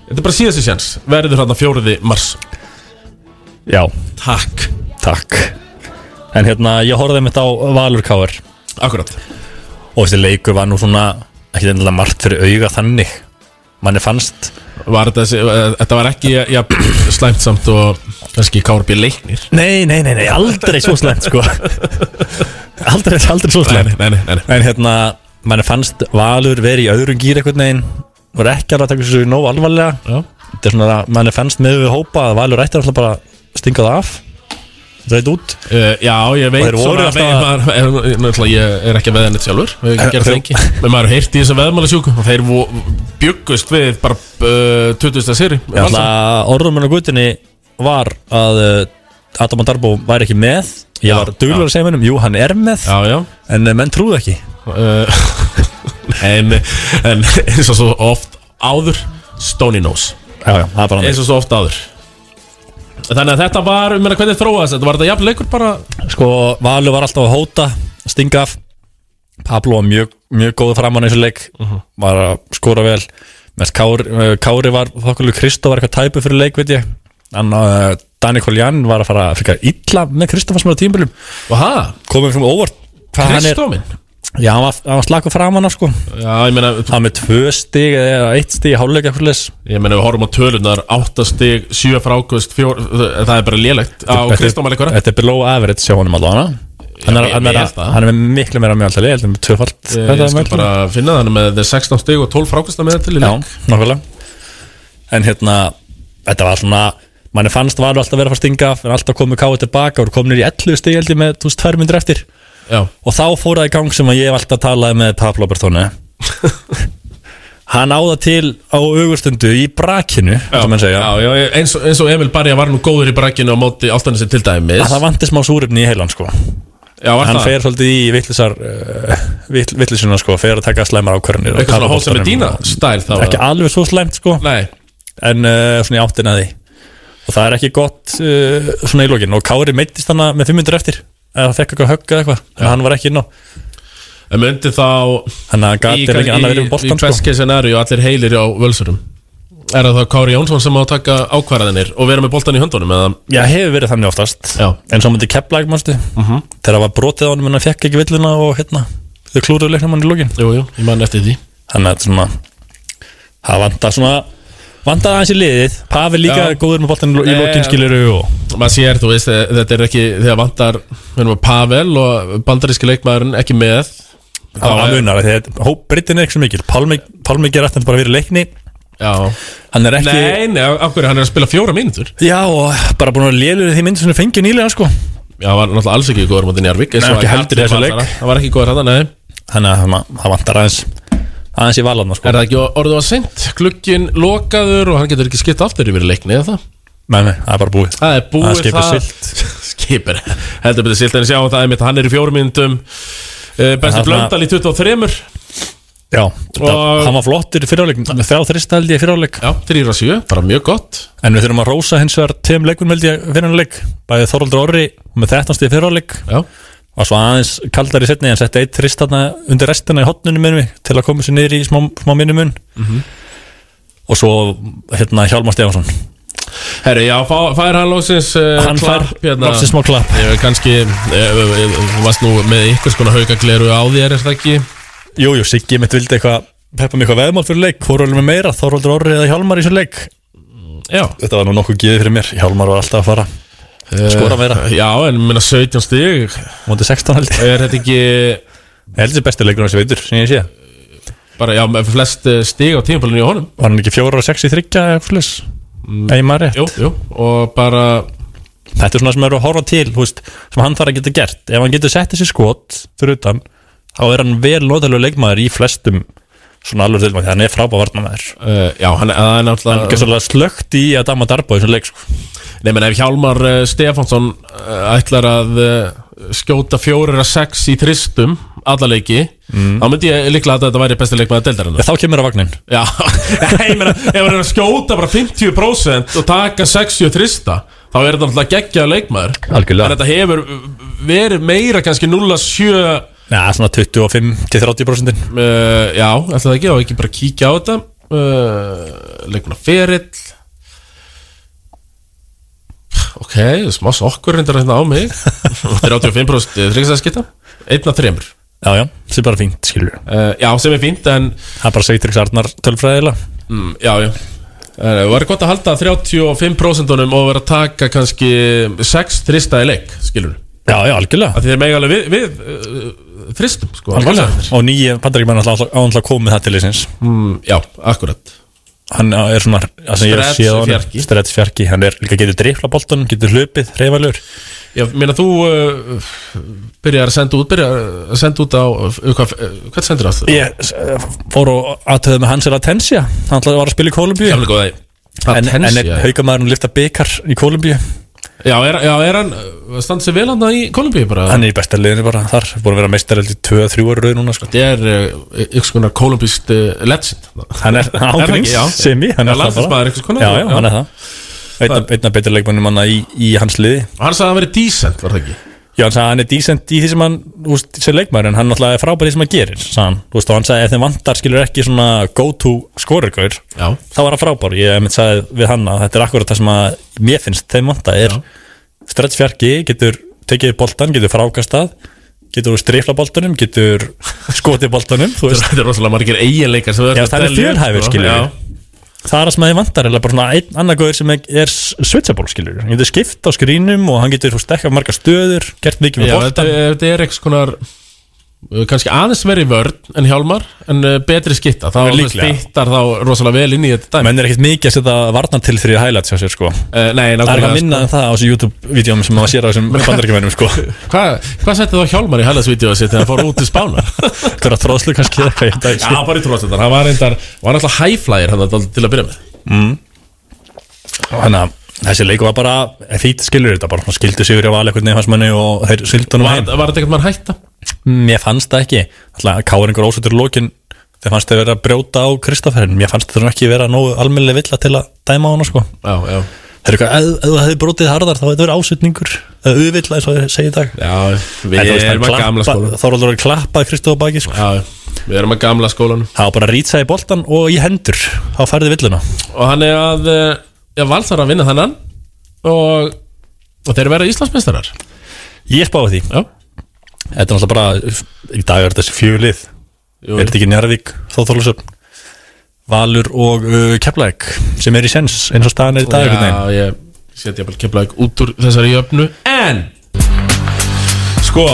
Speaker 2: Þetta er bara síðasti sjans Verður hann að fjóriði mars
Speaker 12: Já
Speaker 2: Takk
Speaker 12: Takk En hérna, ég horfði mitt á Valur Káar
Speaker 2: Akkurat
Speaker 12: Og þessi leikur var nú svona ekki endilega margt fyrir auga þannig Manni fannst
Speaker 2: var þessi, Þetta var ekki ja, slæmt samt og kannski Kárbi leiknir
Speaker 12: Nei, nei, nei, nei, aldrei svo slæmt sko Aldrei, aldrei svo slæmt
Speaker 2: nei, nei, nei, nei.
Speaker 12: En hérna, manni fannst Valur verið í öðrum gýr einhvern veginn Voru ekki alveg að taka þessu nóg alvarlega
Speaker 2: Já.
Speaker 12: Þetta er svona að manni fannst með við hópa að Valur ætti alltaf bara að stinga það af Reit út
Speaker 2: uh, Já, ég veit
Speaker 12: Og þeir voru
Speaker 2: svona,
Speaker 12: alltaf-
Speaker 2: maður, er, náttúrulega, Ég er ekki að veða neitt sjálfur Við
Speaker 12: En
Speaker 2: hefum gert
Speaker 12: þeir-
Speaker 2: það ekki
Speaker 12: Eh,
Speaker 2: Men maður heyrti í þessu veðmálasjúku Og þeir vo- bjuggust við bara uh, 20. seri
Speaker 12: Ég ætla að orðuminn á guttunni var að uh, Adam Darbo væri ekki með Ég var duglur að segja minnum, jú hann er með
Speaker 2: já, já.
Speaker 12: En uh, menn trúðu ekki
Speaker 2: uh, en, en eins og svo oft áður Stony Nose
Speaker 12: já, já, bara
Speaker 2: eins og svo oft áður Þannig að þetta var, ég meina, hvernig þróaðist þetta? Var þetta jafn leikur bara?
Speaker 12: Sko, Valur var alltaf að hóta, stinga af Pablo var mjög, mjög góð framann eins og leik
Speaker 2: Mhm.
Speaker 12: Var að skora vel Mest Kári, uh, Kári var, þokkulega Kristó var eitthvað tæpu fyrir leik, veit ég En uh, Dani Koljan var að fara að fika illa með Kristofar sem er á tímbilum Komum frá óvart hvað hann er-
Speaker 2: Kristó minn?
Speaker 12: Já, hann var, hann var slakur framan af sko
Speaker 2: Já, ég meina
Speaker 12: Hann með tvö stig eða eitt stig í hálfleik eitthvað leis
Speaker 2: Ég meina, við horfum á tölunar, 8 stig, 7 frákvöst, 4, það er bara lélegt á
Speaker 12: Þetta-
Speaker 2: Kristóma leikvara
Speaker 12: Þetta er below average hjá honum allavega hann er,
Speaker 2: ég-
Speaker 12: hann, er,
Speaker 2: ég held það.
Speaker 12: hann er með miklu meira mjög alltaf ég held hann er með tvöfald
Speaker 2: Ég, ég skal bara finna það hann er með þeir 16 stig og 12 frákvösta með til í leik
Speaker 12: Nákvæmlega En hérna, þetta var svona manni fannst var alltaf verið að fara að stinga af en alltaf komið káið tilbaka og komnir í 11 stig held ég með 1200 myndir eftir
Speaker 2: Já.
Speaker 12: og þá fór það í gang sem að ég hef alltaf talaði með Pablo Bertone hann áða til á augustundu í brakinu já, já,
Speaker 2: já, eins, og- eins og Emil Barja var nú góður í brakinu á móti Altanessi til dæmis
Speaker 12: að það vandi smá súrefni í heilan sko
Speaker 2: Já, var
Speaker 12: hann
Speaker 2: það?
Speaker 12: fer svolítið í vittlisar uh, vittlisuna sko, fer að taka slæmar ákvörnir
Speaker 2: Eitthvað svona Jose Medina stæl þá,
Speaker 12: ekki alveg svo slæmt sko
Speaker 2: Nei.
Speaker 12: en uh, svona í áttina að því og það er ekki gott uh, svona í lokin og Kári meittist hana með 500 eftir eða fekk eitthvað högg eða eitthvað en hann var ekki inn á
Speaker 2: en myndi þá
Speaker 12: þannig að hann
Speaker 2: Í-
Speaker 12: gati ekki annað verið um
Speaker 2: Í
Speaker 12: boltan sko
Speaker 2: hverski scenari og allir heilir á völsurum Er það þá Kári Jónsson sem á að taka ákvarðanir og vera með boltan í höndunum eða
Speaker 12: Já, hefur verið þannig oftast
Speaker 2: Já.
Speaker 12: En svo myndi kepla ekki mannstu
Speaker 2: Mhm.
Speaker 12: Þegar það var brotið á hann en hann fekk ekki villuna og hérna Þau klúruðu leiknum hann í lokin
Speaker 2: Jú, jú, ég man eftir því
Speaker 12: Þannig að þetta er svona Það vantar svona Vantar aðeins í liðið Pafi líka
Speaker 2: Já.
Speaker 12: er góður með boltan í
Speaker 2: Nei,
Speaker 12: lokin
Speaker 2: já.
Speaker 12: skilur og
Speaker 2: Maður sér, þú veist, þe- þetta er ekki þegar vantar, við erum að Pavel og bandaríski leikmaðurinn ekki með
Speaker 12: Það
Speaker 2: er-
Speaker 12: munar Þegar hópbrittin er ekki svo mikil Pálmi, Pálmi ger eftir bara verið í leikni
Speaker 2: Já
Speaker 12: Hann er ekki
Speaker 2: Nei, nei, af hverju, hann er að spila fjóra mínútur
Speaker 12: Já og bara búin að lélur því myndir sem þau fengið nýlega sko
Speaker 2: Já, hann var náttúrulega alls ekki góður mútið Njarvík eins
Speaker 12: Nei,
Speaker 2: og
Speaker 12: ekki
Speaker 2: að
Speaker 12: heldur í
Speaker 2: allir
Speaker 12: þessum
Speaker 2: vallara.
Speaker 12: leik.
Speaker 2: Hann var ekki góður hann, nei
Speaker 12: Þannig að ma- það vantar aðeins Aðeins í valarna sko
Speaker 2: Er það ekki orðið að seint? Glukkin lokaður og hann getur ekki skipt aftur yfir í leikni eða það?
Speaker 12: Nei, nei, það er bara búið
Speaker 2: Það er búið
Speaker 12: Það er skipið
Speaker 2: Skipir, heldur betur silt En sjáum það einmitt, hann er í fjórum myndum uh, Besti
Speaker 12: Þarna-
Speaker 2: blöndal í 23
Speaker 12: Já, það- hann var flottur í fyriráleik Þrjá þrista held ég í fyriráleik
Speaker 2: Já, þrýra sjö, bara mjög gott
Speaker 12: En við þurfum að rósa hins vegar Tveim leikun held ég fyriráleik Bæði Þoraldur Orri með 13 stíð fyriráleik
Speaker 2: Já
Speaker 12: Var svo aðeins kaldar í setni En setti eitt
Speaker 2: Mhm.
Speaker 12: þrist þarna undir restina í hotnunum minni Til að koma sér niður í smá, smá minnumun mm og svo hérna Hjálmar Stefansson
Speaker 2: Herri, já, fá- fær hann loksins uh,
Speaker 12: Hann
Speaker 2: Eh,
Speaker 12: fær
Speaker 2: klapp, hérna.
Speaker 12: loksins smá klapp.
Speaker 2: Ég veit kannski, eh, eh, eh, þú varst nú með einhvers konar haugagleru á þér, er það ekki?
Speaker 12: Jú, jú, Siggi mitt vildi eitthvað peppa mig eitthvað veðmál fyrir leik, hvorur erum við meira Þorvaldur Orri eða Hjálmar í þessum leik
Speaker 2: Já
Speaker 12: Þetta var nú nokkuð geðið fyrir mér, Hjálmar var alltaf að fara
Speaker 2: Eh,
Speaker 12: skora meira
Speaker 2: Já, en minna 17 stig
Speaker 12: Móti 16 held ég
Speaker 2: Er þetta ekki
Speaker 12: Ég held þessi besti leikur hans í veitur, sem ég sé
Speaker 2: Bara, já, með flest eh, stig á tímpalinu í honum
Speaker 12: Var hann ekki fjórar og sex í þryggja eða eitthvað slis? Nei, maður
Speaker 2: Mm,
Speaker 12: rétt
Speaker 2: Jú, jú, og bara
Speaker 12: Þetta er svona sem eru að horfa til, þú veist sem hann þarf að geta gert, ef hann getur sett þessi skot fyrir utan, þá er hann vel notalegu leikmaður í flestum svona alveg tilmæði, hann er frábæð varnamæður
Speaker 2: uh, Já, hann það er náttúrulega
Speaker 12: Hann er svolítið slögt í að dama darba í svona leik sko.
Speaker 2: Nei, menn ef Hjálmar uh, Stefánsson uh, ætlar að uh, skjóta fjórir að sex í þristum alla leiki,
Speaker 12: Mm.
Speaker 2: þá myndi ég líklega að þetta væri besti leikmaður deildarinn
Speaker 12: Þá kemur að vagnin
Speaker 2: Já, ég meina, ef hann er að skjóta bara 50% og taka 60 þrista þá er þetta náttúrulega geggjaður leikmaður
Speaker 12: Algjörlega.
Speaker 2: En þetta hefur verið meira kannski 0,7
Speaker 12: Já, svona 25-30%
Speaker 2: uh, Já, ætla það ekki, þá ekki bara kíkja á þetta uh, Leikmaður ferill Ok, smá sokkur reyndar hérna á mig 35% þryggsæðskitta Einn af þremur
Speaker 12: Já, já, sem er bara fínt, skilur
Speaker 2: uh, Já, sem er fínt, en
Speaker 12: Hann bara segir Tryggs Arnar tölfræðilega
Speaker 2: mm, Já, já Það var gott að halda 35% og vera að taka kannski 6 þrista í leik, skilur
Speaker 12: Já, já, algjörlega
Speaker 2: Þeir mega alveg við, við uh, þristum, sko
Speaker 12: Algjörlega. Og nýja bandaríkjumann áhandla komið það til þessins
Speaker 2: mm, Já, akkurat
Speaker 12: Hann á- er svona það sem ég
Speaker 2: Stretch
Speaker 12: sé á honum,
Speaker 2: fjarki.
Speaker 12: Stretch fjarki Hann er líka getur drifla boltanum, getur hlupið, reyfalur
Speaker 2: Já, meina þú uh, byrjar að senda út byrjar að senda út á uh, hvað, uh, hvað sendur það?
Speaker 12: Ég s- eh, fór og aðtöðu með Hansel Atensia Hann ætlaði að var að spila í Kolumbíu
Speaker 2: Kjaflega góði
Speaker 12: En, en
Speaker 2: Atensia,
Speaker 12: er
Speaker 2: já.
Speaker 12: haukamæðurinn lifta byggar í Kolumbíu
Speaker 2: Já, er, já, er hann uh, standa sig vel hann í Kolumbíu bara?
Speaker 12: Hann er í besta liðinu bara þar Búin að vera meistareld í 2-3 ára rauð núna sko.
Speaker 2: Þetta er uh, ykkur svona kolumbíst uh, legend
Speaker 12: Hann er
Speaker 2: það ekki?
Speaker 12: ágrins
Speaker 2: Já.
Speaker 12: Semi, hann
Speaker 2: Já,
Speaker 12: er það
Speaker 2: landsliðsmaður einhvers konar.
Speaker 12: Já, já,
Speaker 2: Já.
Speaker 12: hann er það Einna, einna betur leikmannum hann í, í hans liði
Speaker 2: Hann sagði að hann verið decent, var það ekki?
Speaker 12: Já, hann sagði að hann er decent í því sem hann úst, sem leikmæður, en hann náttúrulega er frábæri sem hann gerir sagði hann, Þú veist, og hann sagði ef þeim vantar skilur ekki svona go-to skorurgaur þá var hann frábæri, ég einmitt sagði við hann að þetta er akkurat það sem að mér finnst þeim vanta er strettsfjarki, getur tekið boltan, getur frákastað getur strifla boltanum, getur skotið boltanum, þú veist
Speaker 2: Þetta er rosalega margir eiginleikar sem við ætlum
Speaker 12: Já,
Speaker 2: að
Speaker 12: það er
Speaker 2: telja upp,
Speaker 12: fjölhæfur,
Speaker 2: sko.
Speaker 12: skilur
Speaker 2: Já.
Speaker 12: Það er það sem að þið vantar, eða bara svona einn annar góður sem er- er switchable, skilur Hann getur skipt á skrínum og hann getur þú veist, dekkað margar stöður, gert mikið með
Speaker 2: Já,
Speaker 12: boltan
Speaker 2: þetta, þetta er eitthvað konar uh, kannski aðeins verið vörn en hjálmar en uh, betri skitta þá
Speaker 12: Líklega.
Speaker 2: fittar þá rosalega vel inn í þetta dæmi
Speaker 12: menn er ekkert mikið að setja varnar til fyrir highlights á sér sko
Speaker 2: uh, nei,
Speaker 12: það er
Speaker 2: nákvæmlega,
Speaker 12: eitthvað minna
Speaker 2: sko.
Speaker 12: en það á þessu YouTube-vídeóm sem maður sér á þessum bandaríkjumennum sko það
Speaker 2: Hvað hva setti þá hjálmar í hælasvídeóið sitt þegar hann fór út í spána?
Speaker 12: er að þróslu kannski eða eitthvað ég veit það
Speaker 2: Já,
Speaker 12: ekki.
Speaker 2: hann var í tróðsendar, hann var reyndar var alltaf hæflægir hann dálítið til að byrja með
Speaker 12: Mm. þannig að þessi leiku var bara fýtt skilur þetta bara, hann skildi sigur á val eitthvað nefnarsmanni og þeir sildi hann
Speaker 2: Var, var þetta eitthvað mann hætta?
Speaker 12: mér fannst það ekki alltaf káur einhver ósötur lókin þeir fannst þeir vera að brjóta á Kristofferin mér fannst þeir nú ekki vera nógu almennilega villa til að dæma á hana sko
Speaker 2: já, já.
Speaker 12: þeir eru eitthvað, ef- ef þú hefði brotið harðar þá hefði það verið ásutningur eða uðvill eins og þeir segja í dag
Speaker 2: Já, við
Speaker 12: Þetta, þú veist,
Speaker 2: erum að
Speaker 12: hann
Speaker 2: gamla
Speaker 12: klappa-
Speaker 2: skólanum
Speaker 12: Þorvaldur er klappað Kristof á baki sko.
Speaker 2: Já, við erum að gamla skólanum
Speaker 12: Það var bara að rýtsa í boltan og í hendur Þá færði villuna
Speaker 2: og hann er að uh, já, valsar að vinna þannan og, og þeir verða Íslandsmeistarar
Speaker 12: Ég spáði því
Speaker 2: Já.
Speaker 12: Þetta er náttúrulega bara Í dag er þessi fjölið
Speaker 2: Jú.
Speaker 12: Er þetta ekki Njarvík, Þóþorlusöfn Valur og uh, Keflæk Sem er í sens eins og staðan er í dag einhvern veginn.
Speaker 2: Já, ég setja bara kemlaðið út úr þessari jöfnu En Sko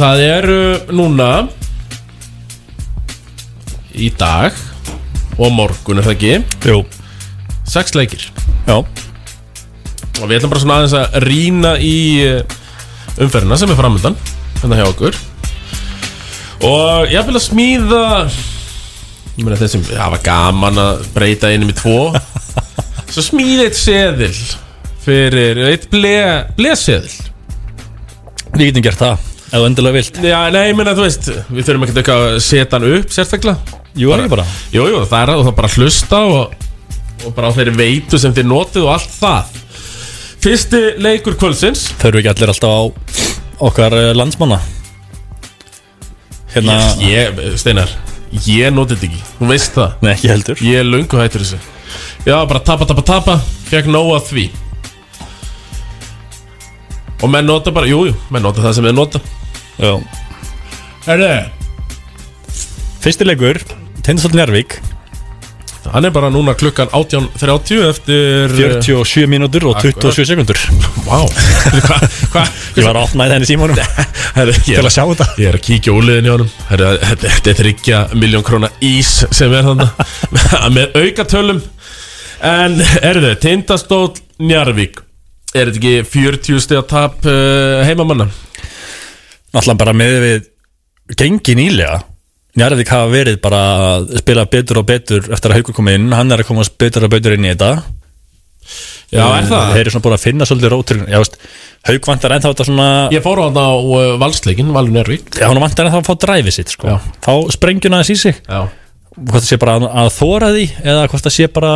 Speaker 2: Það eru núna Í dag Og á morgun er það ekki
Speaker 12: Jú
Speaker 2: Sex leikir
Speaker 12: Já
Speaker 2: Og við ætlum bara svona aðeins að rýna í eh, Umferðina sem er framöndan Þannig hjá okkur Og ég vil að smíða Ég meina þeir sem hafa gaman að breyta einum í tvo Svo smíða eitt seðil Fyrir eitt ble, bleseðil
Speaker 12: Við getum gert það Ef þú endilega vilt
Speaker 2: Já, nei, ég meina, þú veist Við þurfum ekkert eitthvað að setja hann upp sérstaklega
Speaker 12: Jú, ekki bara
Speaker 2: Jú, jú, það er að það bara að hlusta og, og bara á þeirri veitu sem þið notið og allt það Fyrsti leikur kvöldsins
Speaker 12: Þau eru ekki allir alltaf á Okkar eh, landsmanna Hérna
Speaker 2: Ég, Steinar Ég noti þetta ekki, þú veist það
Speaker 12: Nei, ekki heldur
Speaker 2: Ég er löngu hættur þessu Já, bara tapa, tapa, tapa Fekk nóa því Og menn nota bara, jújú, jú, menn nota það sem þeir nota
Speaker 12: Já
Speaker 2: Herðu
Speaker 12: Fyrsti leikur, Tindastóll Njárvík
Speaker 2: Hann er bara núna klukkan 18.30 eftir eh,
Speaker 12: 47 mínútur og 27 sekundur
Speaker 2: Vá
Speaker 12: Ég var að opna í þenni símónum
Speaker 2: Til
Speaker 12: að sjá þetta
Speaker 2: Ég er að kíkja úliðin í honum Herru, Þetta þetta er þryggja miljón króna ís sem er þannig með aukatölum En erðu, Tindastóll Njarvík Er þetta ekki 40 steg að tap uh, heimamanna?
Speaker 12: Náttúrulega bara með við gengi nýlega Njarðvík hafa verið bara að spila betur og betur eftir að Haukur kom inn hann er að komast betur og betur inn í þetta
Speaker 2: Já, er það?
Speaker 12: Þeir eru svona búin að finna svolítið rótur Já, veist, Hauk vantar ennþá þetta svona
Speaker 2: Ég fór á hann á uh, valsleikin, Valur Njarvík
Speaker 12: Já, hann vantar ennþá að fá dræfið sitt sko. Fá sprengjuna þess í sig
Speaker 2: Já
Speaker 12: Hvort það sé bara að, að þóra því eða hvort það sé bara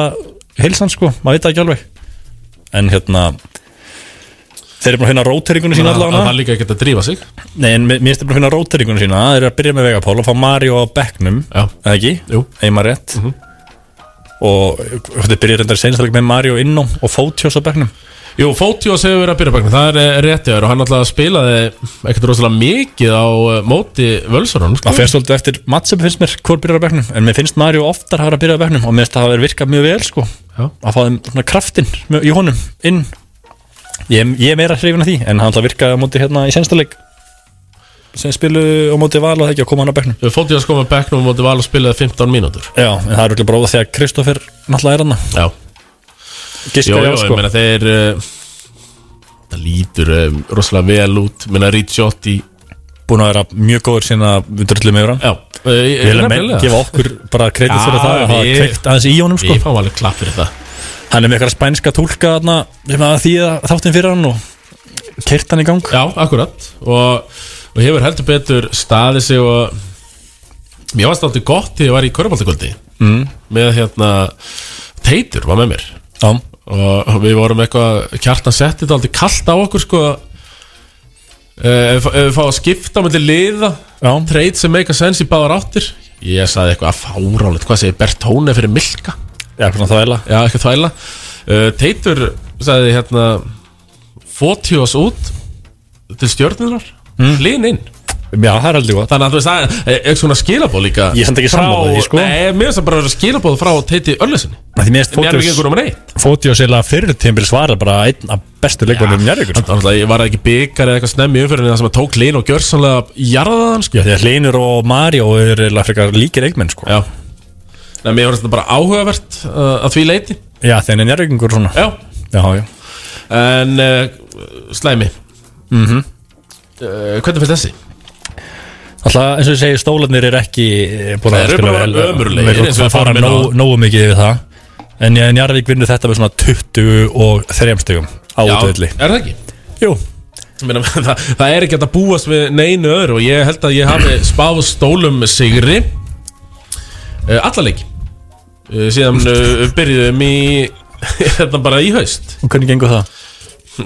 Speaker 12: heilsan sko, maður veit það ekki alveg En hérna Þeir eru búin að finna róteringunni sína
Speaker 2: Það
Speaker 12: allavega
Speaker 2: var líka ekkert að drífa sig
Speaker 12: Nei, en mér mér finnst bara að finna róteringunum sína Þeir eru að byrja með Vegapól og fá Mario á bekknum Já Eða ekki? Jú Eima rétt mm -hmm. Og þeir byrja reyndar seinstalega með Mario inn á Og Fótjós á bekknum
Speaker 2: Jú, Fótjós hefur verið að byrja bakna, það er eh, rétti og hann alltaf spilaði ekkert rosalega mikið á eh, móti sko. völsarunum
Speaker 12: Það fer svolítið eftir mattsöp finnst mér Hvor byrjar á bekknum En mér finnst Mario oftar hafa verið að byrja á bekknum Og mér finnst það hafa verið virkað mjög vel sko Já Að fá þeim svona kraftin í honum inn Ég, ég er meira hrifin af því En hann alltaf virkaði á móti hérna í senstaleg sem spilu á móti val og það ekki að koma hann á bekknum
Speaker 2: Fótjós kom að bekknum og móti val og spilaði 15 mínútur
Speaker 12: Já, en það er örugglega bara óða þegar Kristoffer náttúrulega er hann
Speaker 2: Já
Speaker 12: Giska
Speaker 2: Jú,
Speaker 12: já,
Speaker 2: jú,
Speaker 12: sko.
Speaker 2: ég meina þeir uh, það lítur um, rosalega vel út meina Ricciotti
Speaker 12: búin að vera mjög góður síðan að við dröllum yfir hann
Speaker 2: Já, eh,
Speaker 12: Ég vil að menn gefa okkur bara kredit fyrir það að hafa kveikt aðeins í honum sko
Speaker 2: Ég fá alveg klapp fyrir það
Speaker 12: Hann er með eitthvað spænska tólka þarna sem að þýða þáttinn fyrir hann og kert hann í gang
Speaker 2: Já, akkurat og, og hefur heldur betur staðið sig og mér varst alltaf gott þegar ég var í Körbáltakvöldi
Speaker 12: Mm.
Speaker 2: með hérna Teitur var með mér
Speaker 12: Já.
Speaker 2: og við vorum eitthvað kjartan settið alltaf kallt á okkur sko eh, ef, ef við fá að skipta með liða treyt sem make a sense í báðar áttir ég sagði eitthvað fáránlegt hvað segir Bertone fyrir Milka
Speaker 12: já, eitthvað þvæla,
Speaker 2: já, eitthvað þvæla. Uh, Teitur sagði hérna fóti oss út til stjórnunar mm. hlinn inn
Speaker 12: Hmm. Já, það er aldrei gott
Speaker 2: Þannig að þú veist, það er- er eitthvað svona skilabóð líka
Speaker 12: Ég er samt ekki
Speaker 2: frá-
Speaker 12: sammála því, sko.
Speaker 2: Nei, mér finnst það bara að vera skilabóð frá Teiti Örlesinni
Speaker 12: Því mér
Speaker 2: En Njarðvík gengur númer eitt.
Speaker 12: finnst Fótiós eða fyrir tímpil svara bara einn af bestu sko. leikvælum Njárvíkur
Speaker 2: Þannig að ég var það ekki byggar eða eitthvað snemmi umfyrir það sem að tók Lin og Gjörsanlega jarðaðan sko.
Speaker 12: Já, því að Hlinur og Mario eru eiginlega frekar líkir leikmenn sko
Speaker 2: Já, Nei, mér finnst þetta bara áhugavert uh, að því leiti
Speaker 12: já þegar hann er Njárvíkingur svona
Speaker 2: Já,
Speaker 12: já, já.
Speaker 2: En uh, slæmi
Speaker 12: Mm
Speaker 2: uh, Hvernig finnst þessi?
Speaker 12: Alltaf eins og ég segi stólarnir er ekki eh, búin
Speaker 2: Þeir
Speaker 12: að
Speaker 2: eru
Speaker 12: spila
Speaker 2: bara
Speaker 12: vel
Speaker 2: ömurlegir,
Speaker 12: Þeir
Speaker 2: eins og
Speaker 12: eru að
Speaker 2: við
Speaker 12: fara
Speaker 2: fórum inn á.
Speaker 12: nógu, nógu mikið yfir það En ég en Jarvík vinnur þetta með svona 23 stugum á
Speaker 2: Já,
Speaker 12: útvöldi
Speaker 2: Er það ekki?
Speaker 12: Jú
Speaker 2: Meina, það, það er ekki hægt að búast við neinu öðru og ég held að ég hafi spáð stólum sigri uh, allalegi uh, síðan uh, byrjuðum í þetta bara í haust
Speaker 12: Og hvernig gengur það?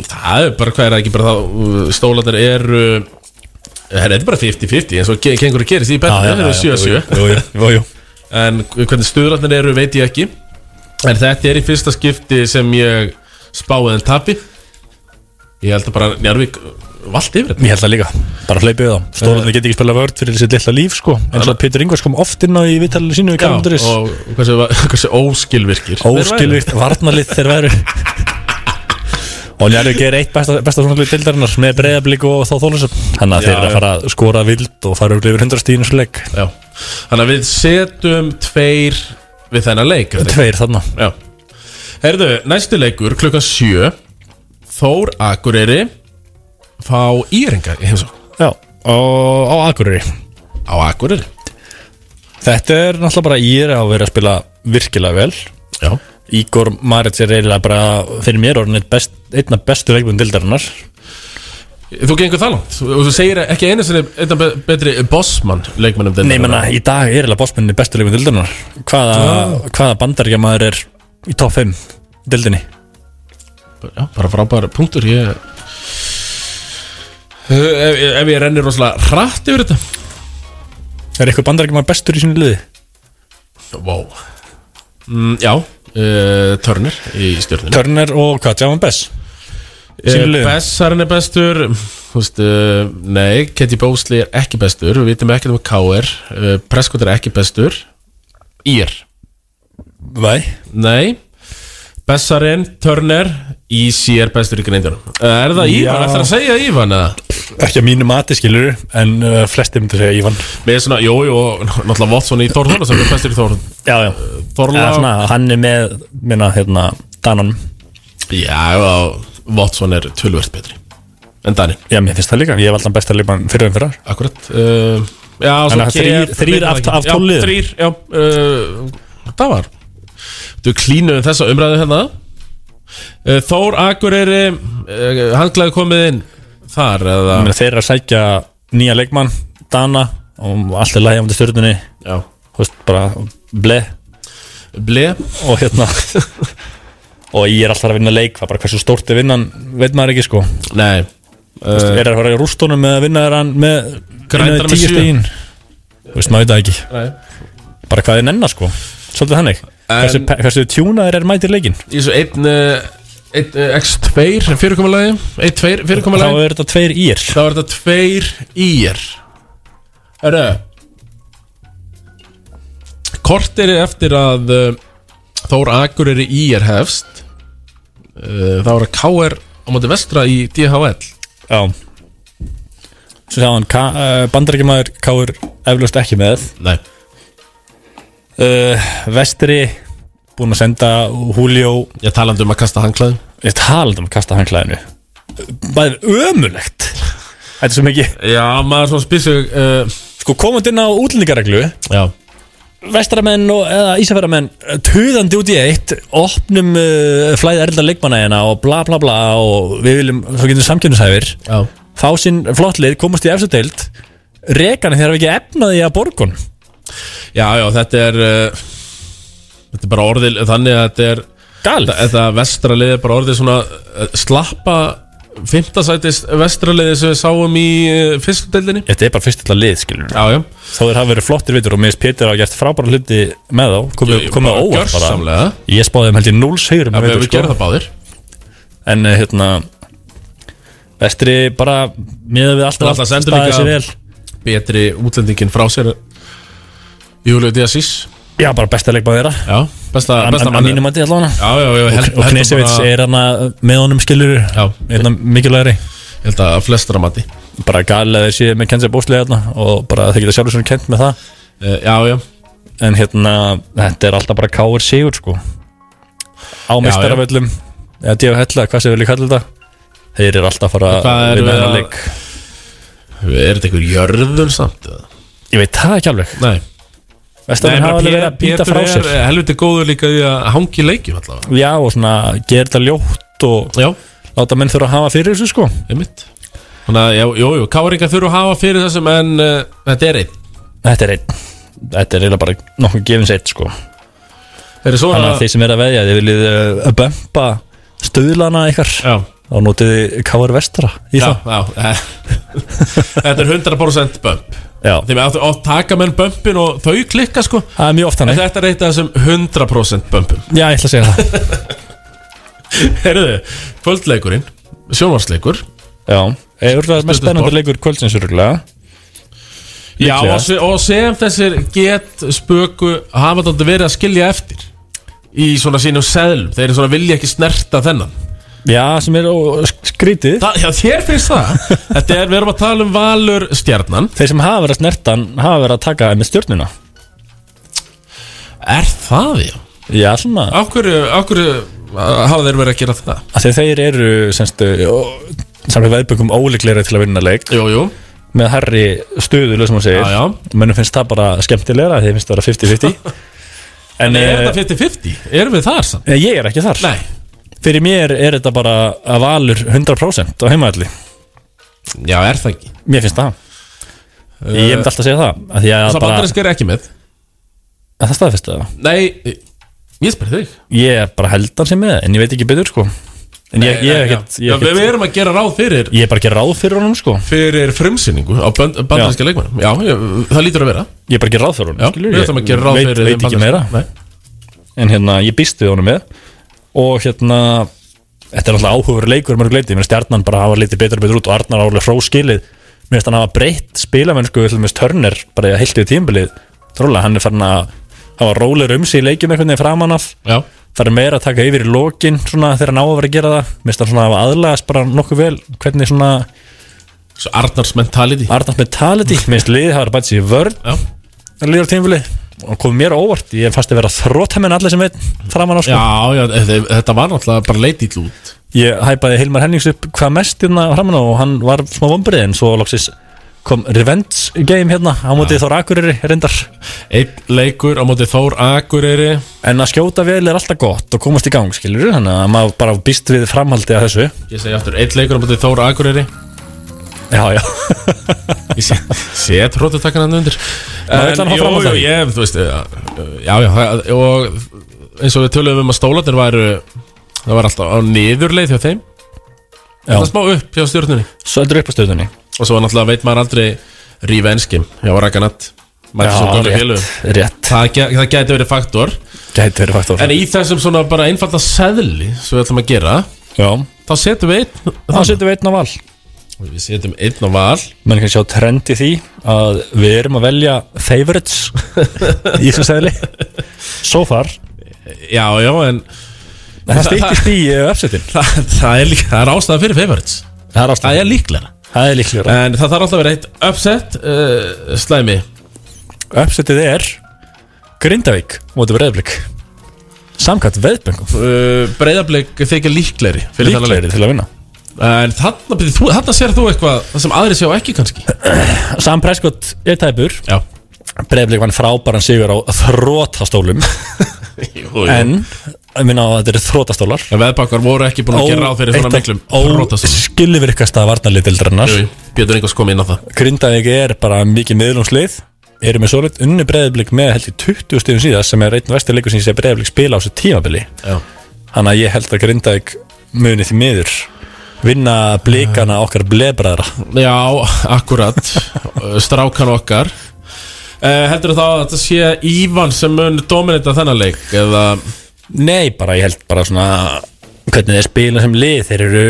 Speaker 2: það er bara hvað er það ekki bara það stólanar eru það er þetta bara 50-50 eins og ge- gengur að gerist í
Speaker 12: Já, já,
Speaker 2: bæðinu
Speaker 12: já, já, jú, jú,
Speaker 2: 7-7
Speaker 12: jú, jú.
Speaker 2: en hvernig stöðlarnir eru veit ég ekki en þetta er í fyrsta skipti sem ég spáði en tapi ég held að bara Njárvík valdi yfir þetta
Speaker 12: Ég held það líka, bara hleypið það Stólarnir geta ekki spila vörd fyrir sitt litla líf sko En svo Pétur Ingvars kom oft inn á í vitalinu sínu í Kalanduris
Speaker 2: Já, og hversu, hversu óskilvirkir
Speaker 12: Óskilvikt varnarlið þeir væru Og Njárvík er eitt besta, besta svona hlut dildarinnar með breyðablík og þá þólusum Þannig að
Speaker 2: Já,
Speaker 12: þeir eru
Speaker 2: já.
Speaker 12: að fara að skora vild og fara örugglega yfir 100 stig í þessu leik.
Speaker 2: Já. Þannig að við setjum tveir við þennan leik er það ekki?
Speaker 12: Tveir þarna.
Speaker 2: Já. Herðu, næstu leikur klukkan sjö Þór Akureyri fá Íringa í heimsók
Speaker 12: Já, og á Akureyri
Speaker 2: Á Akureyri
Speaker 12: Þetta er náttúrulega bara Ír á að vera að spila virkilega vel
Speaker 2: Já
Speaker 12: Ígor Marits er eiginlega bara fyrir mér orðin einn best, einn af bestu leikbund dildarinnar
Speaker 2: Þú gengur það langt og þú segir ekki einu sinni einn af be- betri bossmann leikmennum
Speaker 12: Nei, menna, í dag er eiginlega bossmenni bestu leikbund dildarinnar Hvaða, hvaða bandaríkja maður er í top 5 dildinni
Speaker 2: Já, bara frábæra punktur ég... Uh, ef, ef ég renni rosalega hratt yfir þetta
Speaker 12: Er eitthvað bandarækjum að bestur í sinni liði?
Speaker 2: Vá mm, Já, uh, Turner í stjórnum
Speaker 12: Turner og hvað, Javan Bess? Sínum liðum?
Speaker 2: Eh, Bessarinn er bestur Þú veist, uh, Nei, Ketty Bósli er ekki bestur Við vitum ekkert um KR uh, Prescott er ekki bestur Ír
Speaker 12: Nei
Speaker 2: Nei Bessarinn, Turner Ísi er bestur í greindunum uh, Er það Ívan? Er það að segja Ívan?
Speaker 12: Ekki að mínu mati skilur En uh, flestir myndi segja Ívan
Speaker 2: Með svona, jú, jú, náttúrulega Watson í Þór Þólasson er bestur í Þór
Speaker 12: Já, já
Speaker 2: Þorla
Speaker 12: Eða svona, Hann er með, minna, hérna, Danon
Speaker 2: Já, já, Watson er tölvöld betri En Danin
Speaker 12: Já, mér finnst það líka Ég valdi hann besta líka fyrir en fyrir
Speaker 2: Akkurat uh, Já,
Speaker 12: Þannig að þrír- þrír af- af tólf liðum?
Speaker 2: Já, þrýr, já uh, Það var Þú klínuðum þessa umræðu hérna uh, Þór Akureyri uh, Hanglaði komið inn Þar eða
Speaker 12: Meina, þeir eru að sækja nýja leikmann Dana og allt er lægi ámdi stjórnunni
Speaker 2: já
Speaker 12: þú veist bara ble
Speaker 2: ble
Speaker 12: og hérna og ég er alltaf að vinna leik það er bara hversu stórt er vinnan veit maður ekki sko
Speaker 2: nei
Speaker 12: veist, er það að fara í rústunum með að vinna er hann Eh. með
Speaker 2: Grændar með sjö.
Speaker 12: stegin þú veist maður veit það ekki
Speaker 2: Nei.
Speaker 12: bara hvað er nennar sko svolítið þannig hversu, pe- hversu tjúnaður er mætir leikin
Speaker 2: Í svo einn uh, Einn uh, X2 fyrirkomulagi Einn 2 fyrirkomulagi
Speaker 12: Þá er þetta tveir ír
Speaker 2: Þá er þetta tveir ír Hörru Kortir eftir að uh, Þór Akur er í ír hefst uh, Þá er að KR á móti vestra í DHL
Speaker 12: Já Svo sagði hann Ka- uh, Bandaríkjamaður Káur eflaust ekki með
Speaker 2: Nei
Speaker 12: uh, Vestri Búin að senda Julio
Speaker 2: Ég talandi um að kasta hangklæðin
Speaker 12: Ég talandi um að kasta hangklæðinu Bæði ömulegt Þetta er svo mikið
Speaker 2: Já, maður svona spysu uh,
Speaker 12: Sko komandi inn á útlendingareglu
Speaker 2: Já
Speaker 12: Vestramenn og eða Ísafjörðamenn Tuðandi út í eitt Opnum uh, flæði erlda leikmanna hérna Og bla bla bla Og við viljum, svo getum við samkjöfnishæfir
Speaker 2: Já
Speaker 12: Fá sín flottlið, komast í efstu deild Rekan þegar við ekki efnaði að borgun
Speaker 2: Já, já, þetta er uh, Þetta er bara orðil Þannig að þetta er
Speaker 12: Galið
Speaker 2: Þetta vestra liði er bara orðið svona uh, Slappa Fymtasætis vestra liði sem við sáum í uh, Fyrstu deildinni
Speaker 12: Þetta er bara fyrst til að lið, skilur
Speaker 2: Já, já
Speaker 12: Þá þeir hafa verið flottir vitur og minnst Pétur hafa gert frábæra hluti með þá Komið
Speaker 2: Ég-
Speaker 12: komi
Speaker 2: bara
Speaker 12: óvart bara
Speaker 2: gjörsamlega.
Speaker 12: Ég spáði þeim held ég 0 sigurum
Speaker 2: Já, við- við gerum það báðir
Speaker 12: sko. En eh, hérna Vestri bara miðað við allt
Speaker 2: Alltaf sendur
Speaker 12: staðið sig
Speaker 2: líka
Speaker 12: vel
Speaker 2: betri útlendingin frá sér Júliu Díasís
Speaker 12: Já, bara besta leikmaður þeirra
Speaker 2: Já, besta,
Speaker 12: An-
Speaker 2: besta
Speaker 12: an- Að mínum að dýja allavega
Speaker 2: Já, já, já
Speaker 12: Og-
Speaker 2: held-
Speaker 12: Og
Speaker 2: held
Speaker 12: Knesevits
Speaker 2: bara-
Speaker 12: er hann með honum skilur Hérna mikilvægri
Speaker 2: Ég held að flestra mati
Speaker 12: Bara galið að þeir séu með kennsef bóslega hérna Og bara þeir geta sjálfur svona kent með það
Speaker 2: Eh, Já, já
Speaker 12: En hérna, þetta er alltaf bara káir sigur sko Á
Speaker 2: Já,
Speaker 12: mestaravöllum Eða djöf hella, hvað sem við vilja kalla þetta Þeir eru alltaf að fara
Speaker 2: Hvað
Speaker 12: að
Speaker 2: er
Speaker 12: vinna
Speaker 2: við
Speaker 12: hennar
Speaker 2: að-
Speaker 12: leik
Speaker 2: Er þetta einhver jörður samt?
Speaker 12: Ég veit það ekki alveg
Speaker 2: Nei
Speaker 12: Vestarmenn hafa alveg verið að býta frá sér
Speaker 2: er helviti góður líka því að hangi leikjum allavega
Speaker 12: Já og svona gera þetta ljótt og
Speaker 2: Já.
Speaker 12: láta menn þurfa að hafa fyrir þessu sko
Speaker 2: Einmitt Þannig að, já, jú, jú, káringa þurfa að hafa fyrir þessum en uh, þetta er einn
Speaker 12: Þetta er einn Þetta er eiginlega bara nokkuð gefins eitt sko
Speaker 2: Þeir svo
Speaker 12: Þannig
Speaker 2: að-
Speaker 12: að þeir sem er að veðja Þeir viljið uh, bempa stöðlana ykkar
Speaker 2: Já
Speaker 12: Þá notiði káir vestara í
Speaker 2: Já,
Speaker 12: það
Speaker 2: já eh, Þetta er 100% bump
Speaker 12: Já.
Speaker 2: Þegar við áttu að taka menn bumpin og þau klikka sko
Speaker 12: Það er mjög oft
Speaker 2: En
Speaker 12: þannig
Speaker 2: þetta er eitt af þessum 100% bumpum
Speaker 12: Já, ég ætla að segja það
Speaker 2: Herðu, kvöldleikurinn Sjónvarsleikur
Speaker 12: Já, er það mest spennandi leikur kvöldsins örgulega
Speaker 2: Já,
Speaker 12: Líklega.
Speaker 2: og, se- og sem þessir get spöku hafa þáttu verið að skilja eftir í svona sínum seðlum þeir eru svona vilja ekki snerta þennan
Speaker 12: Já, sem er ó- skrítið
Speaker 2: Þa, Já, þér finnst það Þetta er, við erum að tala um Valur stjarnan
Speaker 12: Þeir sem hafa verið að snerta hann hafa verið að taka með stjórnuna
Speaker 2: Er það, já?
Speaker 12: Já, svona
Speaker 2: Á hverju, á hverju uh, hafa þeir verið að gera það?
Speaker 12: Af því að þeir eru semst, eh, samlega veðböngum óleikleira til að vinna leik
Speaker 2: jú, jú.
Speaker 12: með herri stöðulu sem hún segir
Speaker 2: Já, já.
Speaker 12: mönnum finnst það bara skemmtilegra þeir finnst það vera 50-50 en
Speaker 2: er
Speaker 12: eh,
Speaker 2: þetta 50-50? Erum við þar samt?
Speaker 12: eh, ég er ekki þar
Speaker 2: Nei.
Speaker 12: fyrir mér er þetta bara að valur 100% á heimaðalli
Speaker 2: Já, er það ekki
Speaker 12: mér finnst það
Speaker 2: Eh,
Speaker 12: ég myndi alltaf að segja það af því að
Speaker 2: Þessar
Speaker 12: bara-
Speaker 2: bandarinsk er ekki með
Speaker 12: að það staðfesta það
Speaker 2: Nei, ég spyrir þig
Speaker 12: ég bara held hann sem með en ég veit ekki betur sko En ég, ég,
Speaker 2: já.
Speaker 12: ekkert,
Speaker 2: Já, við-
Speaker 12: ég, ekkert,
Speaker 2: við erum að gera ráð fyrir
Speaker 12: ég er bara að gera ráð fyrir honum sko
Speaker 2: Fyrir frumsýningu á band, bandarinska leikmennum Já, ég, það lítur að vera
Speaker 12: Ég er bara að gera ráð fyrir honum
Speaker 2: Já,
Speaker 12: skilurðu,
Speaker 2: við
Speaker 12: ég
Speaker 2: ætlum að gera ráð
Speaker 12: veit,
Speaker 2: fyrir
Speaker 12: Veit ekki meira
Speaker 2: bandaríska- Nei.
Speaker 12: En hérna, ég býst við honum með Og hérna Þetta er alltaf áhugaveru leikur mörg leiti Mér finnst stjarnan bara hafa litið betur og betur út Og Arnar álega fróskilið Mér finnst hann hafa breytt spilamennsku Þegar mér törnir bara í heilt við tímbilið Tróðlega, hann er farin að hafa rólegur um sig í leikjum einhvern veginn framan af
Speaker 2: Já.
Speaker 12: Það er meira að taka yfir í lokin svona, þegar hann á að vera að gera það Mér finnst hann svona hafa aðlagast bara nokkuð vel Hvernig svona
Speaker 2: Svo Arnars mentality
Speaker 12: Arnars mentality, mér finnst liðið hafa bætt sér í vörn Það líður tímfili og kom mér á óvart Ég fannst að vera þróttamenn allir sem veit framan á sko
Speaker 2: Já, já, þe- þetta var náttúrulega bara leitið út
Speaker 12: Ég hæpaði Hilmar Hennings upp hvað mest hérna framan á og hann var smá vombrið en svo loksis kom revenge game hérna á mótið Þór Akureyri reyndar
Speaker 2: Einn leikur á mótið Þór Akureyri
Speaker 12: En að skjóta vel er alltaf gott og komast í gang skilur þannig að maður bara býst við framhaldi að þessu
Speaker 2: Ég segi aftur, einn leikur á mótið Þór Akureyri
Speaker 12: Já, já
Speaker 2: Ég sé, sé tróttutakkan hann undir
Speaker 12: Maður vill hann hafa
Speaker 2: jú,
Speaker 12: fram á
Speaker 2: jú,
Speaker 12: það.
Speaker 2: ég, þú veist, já, já, já það, og eins og við töluðum um að stólanir væru það var alltaf á niðurleið hjá þeim
Speaker 12: Já.
Speaker 2: það smá upp hjá stjórnunni
Speaker 12: Svo heldur upp á stjórnunni
Speaker 2: og svo náttúrulega veit maður aldrei rífa enskim hjá Rakanat mætti
Speaker 12: Já,
Speaker 2: svo góðu
Speaker 12: rétt,
Speaker 2: félugum
Speaker 12: rétt.
Speaker 2: það, gæ- það gæti verið faktor
Speaker 12: Gæti verið faktor
Speaker 2: en í þessum svona bara einfalda seðli sem við ætlum að gera
Speaker 12: já.
Speaker 2: þá setjum við einn
Speaker 12: Þá setjum við einn á val
Speaker 2: Við setjum einn á val
Speaker 12: Menn kannski sjá trend í því að við erum að velja favorites í þessum segli So far
Speaker 2: já, já, en
Speaker 12: Það stýttist í uppsettin
Speaker 2: það, það, er líka- það er ástæða fyrir favorites
Speaker 12: Það er ástæða
Speaker 2: Það er líklega
Speaker 12: Það er líklega
Speaker 2: En það þarf alltaf að vera eitt upset uh, slæmi
Speaker 12: Uppsettið er Grindavík mútið breyðblik Samkvæmt veðböngum
Speaker 2: uh, Breiðablík þykir líklegri fyrir þennan
Speaker 12: Líklegri
Speaker 2: leik.
Speaker 12: til að vinna
Speaker 2: En þarna, byrju, þú- þarna sér þú eitthvað það sem aðri sjá ekki kannski
Speaker 12: Sam Prescott er tæpur
Speaker 2: Já
Speaker 12: Breiðblik vann frábæran sigur á þrótastólum En ég minna á að þetta eru þrótastólar
Speaker 2: En veðbakkar voru ekki búin að gera ráð fyrir svona miklum þrótastólum.
Speaker 12: Óskilvirkasta varnarlítildarinnar
Speaker 2: Jú, jú, Björn Ingos kom inn á það
Speaker 12: Grindavík er bara mikið miðlumslið eru með svolít unni breyðblik með held í 20 stíðum síðan sem er einn vestir leikur sem ég sé breyðblik spila á þessu tímabili
Speaker 2: Já.
Speaker 12: þannig að ég held að Grindavík muni því miður vinna blikana okkar blebræðra
Speaker 2: Já, akkurat Uh, Strákan okkar uh, Heldur þá að þetta sé Ívan sem mun dominita þennan leik eða
Speaker 12: Nei, bara ég held bara svona hvernig þeir spila sem lið þeir eru,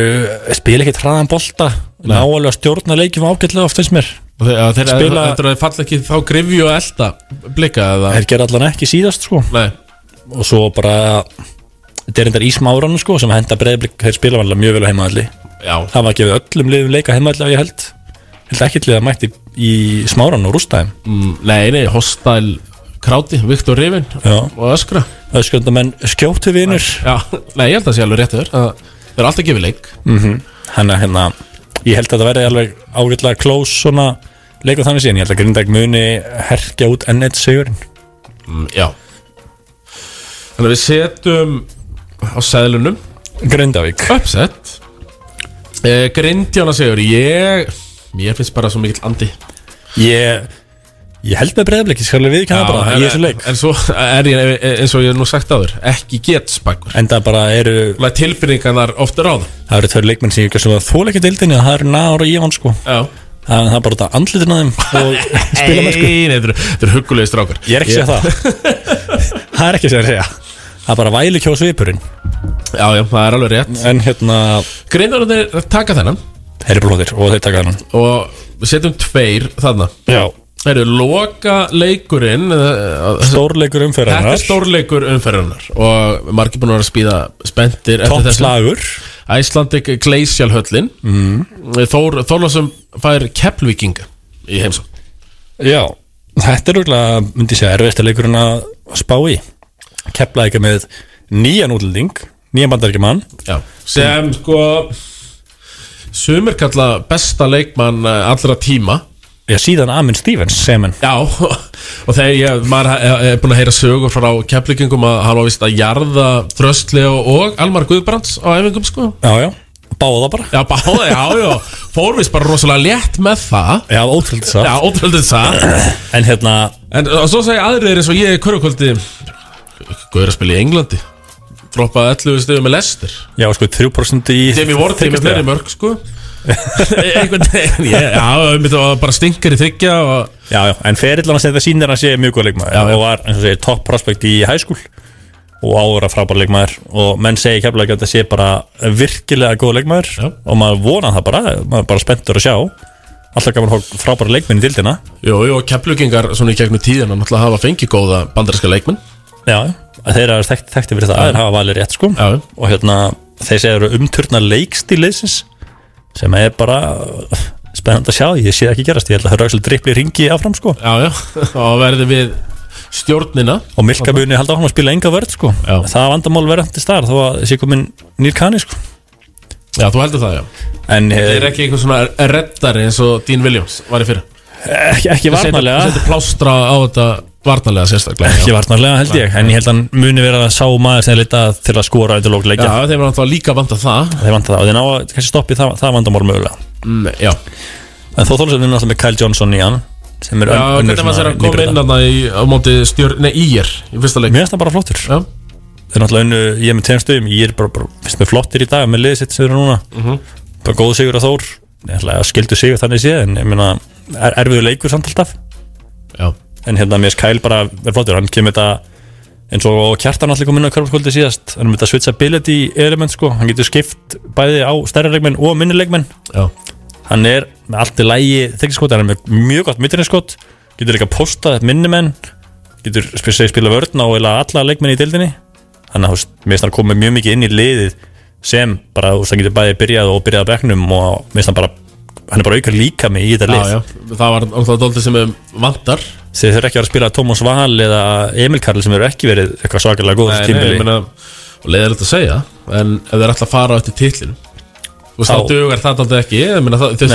Speaker 12: spila ekki hraðan bolta ná alveg að stjórna leikjum ágætlega oft finnst mér
Speaker 2: Þeir, þeir,
Speaker 12: Spila-
Speaker 2: þeir, þeir falla ekki þá grifju og elda blika eða
Speaker 12: þeir gera allan ekki síðast sko
Speaker 2: Nei.
Speaker 12: og svo bara þetta er endar í smáranum sko sem henda breyðblik þeir spila vanlega mjög vel á heimaðalli
Speaker 2: Já.
Speaker 12: það var gefið öllum liðum leika heimaðalli að ég held Ég held ekki til að mætti í smáranum og rústaðum
Speaker 2: mm, Nei, nei, hostæl Kráti, Viktor Rifin
Speaker 12: Já.
Speaker 2: og Öskra
Speaker 12: öskjöndamenn skjóttu vinur
Speaker 2: Já, nei, ég held að það sé alveg rétt réttur Það er alltaf gefið leik
Speaker 12: mm hann er hérna ég held að það verði alveg ágætlega close svona leik á þannig síðan ég held að Grindag muni herkja út enn eitt sigurinn
Speaker 2: mm, Já Þannig að við setjum á seðlunum
Speaker 12: Grindavík
Speaker 2: Upset eh, Grindjána segur ég Mér finnst bara svo mikill andi
Speaker 12: Ég Ég held með breyðblik, ég skal alveg viðkjanna
Speaker 2: Já,
Speaker 12: bara
Speaker 2: en-
Speaker 12: í þessu leik
Speaker 2: En svo er ég, eh, eins og ég hef nú sagt áður Ekki get spakur
Speaker 12: En það bara eru
Speaker 2: Tilfinningarnar ofta ráð
Speaker 12: Það eru tveir leikmenn sem ég ekki að þóla ekki deildinni það eru Naður og Ívan sko
Speaker 2: Já
Speaker 12: Það það er bara þetta andlitin að þeim og spila með
Speaker 2: Nei,
Speaker 12: sko
Speaker 2: nei, þetta eru- þetta eru huggulegi strákar
Speaker 12: Ég er ekki að segja það Það er ekki að segja að segja Það er bara væli kjó svipurinn
Speaker 2: Já, já, það er alveg rétt
Speaker 12: En hérna
Speaker 2: Greinararnir taka þennan
Speaker 12: Þeir eru blóðir og þeir taka þennan
Speaker 2: Og við setjum tveir þarna
Speaker 12: Já
Speaker 2: Það eru loka leikurinn
Speaker 12: Stórleikur
Speaker 2: eh, Þetta
Speaker 12: umferðarinnar.
Speaker 2: er stórleikur umferðarnar Og margir búin að vera að spýða spendir
Speaker 12: Topp slagur.
Speaker 2: Æslandik Glacial höllin
Speaker 12: Mhm.
Speaker 2: mm. Þór, Þórlásum fær Keflvíkinga í heimsó
Speaker 12: Já Þetta er úrlega, myndi ég segja, erfiðasta leikurinn að spá í Kepla ekki með nýjan útlending Nýjan bandaríkjumann
Speaker 2: Já Sem sko Sumir kalla besta leikmann eh, allra tíma
Speaker 12: Já, síðan Amin Stevens, semen
Speaker 2: Já, og þegar ég, maður he- er búin að heyra sögur frá keflingum að hann var vist að jarða Þröstlega og Almar Guðbrands á æfingum sko
Speaker 12: Já, já, báða bara
Speaker 2: Já, báða, já, já, fór vist bara rosalega létt með það
Speaker 12: Já, ótrúldið satt
Speaker 2: Já, ótrúldið satt
Speaker 12: En hérna
Speaker 2: En og svo segja aðrir eins og ég í körukvöldi Guður að spila í Englandi droppaði 11 stöðu með lestir
Speaker 12: Já, sko, 3% í
Speaker 2: Jamie Ward er með fleiri mörg sko einhvern veginn ég- já, um þetta var bara stinkar í þryggja og...
Speaker 12: Já, já, en ferillan að þetta sýnir að hann sé mjög góð leikmaður og var, eins og segir, topp prospekt í hæskúl og áður að frábæra leikmaður og menn segi kemlega að þetta sé bara virkilega góð leikmaður og maður vona það bara, maður er bara spenntur að sjá alltaf gaman að fá frábæra leikmenn í dildina
Speaker 2: Jú, jú, og keflugingar svona í gegnum tíðina náttúrulega hafa fengið góða bandarinska leikmenn
Speaker 12: Já, þeir eru þekkt, þekkti fyrir það,
Speaker 2: Já.
Speaker 12: þeir hafa valið rétt sko
Speaker 2: Já.
Speaker 12: og hérna, þeir segja eru umturna leikstíl liðsins sem er bara spennandi að sjá, ég sé það ekki gerast ég held að það eru auðvitað drippli ringi áfram sko
Speaker 2: Já, já, og verði við stjórnina
Speaker 12: og Milka muni halda áfram að spila enga vörð sko já. það vandamál verðan til staðar þó að sé komin nýr kanni sko
Speaker 2: Já, þú heldur það, já
Speaker 12: En eh,
Speaker 2: Þeir eru ekki einhvern svona reddari eins og Dean Williams var í fyrra
Speaker 12: Ekki, ekki varnarlega.
Speaker 2: Þetta plástra á þetta varnarlega sérstaklega já.
Speaker 12: ekki varnarlega held ég, en ég held að hann muni vera að sá maður sem er leitað til að skora undir lókleikja
Speaker 2: Já, þeim var náttúrulega líka vant að það
Speaker 12: Þeir vant það og þeir ná að kannski stoppi það, það vandamál mögulega
Speaker 2: Nei, Já
Speaker 12: En þó þólusefnir náttúrulega með Kyle Johnson í hann sem er
Speaker 2: Já, hvernig maður sér að koma inn þarna í- á móti stjórn, nei, ír í fyrsta leik
Speaker 12: Mér finnst það bara flottur
Speaker 2: Já
Speaker 12: Þeir náttúrulega unnu, ég er með tegum stöðum Ég er bara, bara finnst mér flottir í dag með liðið sitt sem eru núna
Speaker 2: Mhm.
Speaker 12: Bara góð sigur að Þór Náttúrulega skildu sigur þannig séð En ég meina, er, erfiðu leikur samt alltaf
Speaker 2: Já
Speaker 12: En hérna, mér finnst Kyle bara er flottur Hann kemur þetta eins og kjartan allir kom inn á körfarskvöldi síðast Hann er með þetta switchability element sko Hann getur skipt bæði á stærri leikmenn og minni leikmenn
Speaker 2: Já
Speaker 12: Hann er með allt í lægi þykkiskot Hann er með mjög gott mittinskot Getur líka postað minnumenn Getur sp- segir spila vörn á eiginlega alla leikmenn í dildinni Þannig að þú veist, mér finnst hann komið mjög mikið inn í liðið sem bara, þú veist, hann getur bæði byrjað og byrjað að beknum og mér finnst hann bara hann er bara auka líka með í þetta
Speaker 2: Já,
Speaker 12: lið
Speaker 2: já, það var náttúrulega dóldi sem við vantar
Speaker 12: Þeir þurfa ekki að vera að spila Tómas Val eða Emil Karl sem eru ekki verið eitthvað svakalega góð
Speaker 2: Nei,
Speaker 12: þessu
Speaker 2: nei,
Speaker 12: tímbili
Speaker 2: ég meina, og leiðilegt að segja en ef þeir ætla að fara á eftir titlinu og
Speaker 12: Þá-
Speaker 2: það dugar það aldrei ekki ég meina, það, þeir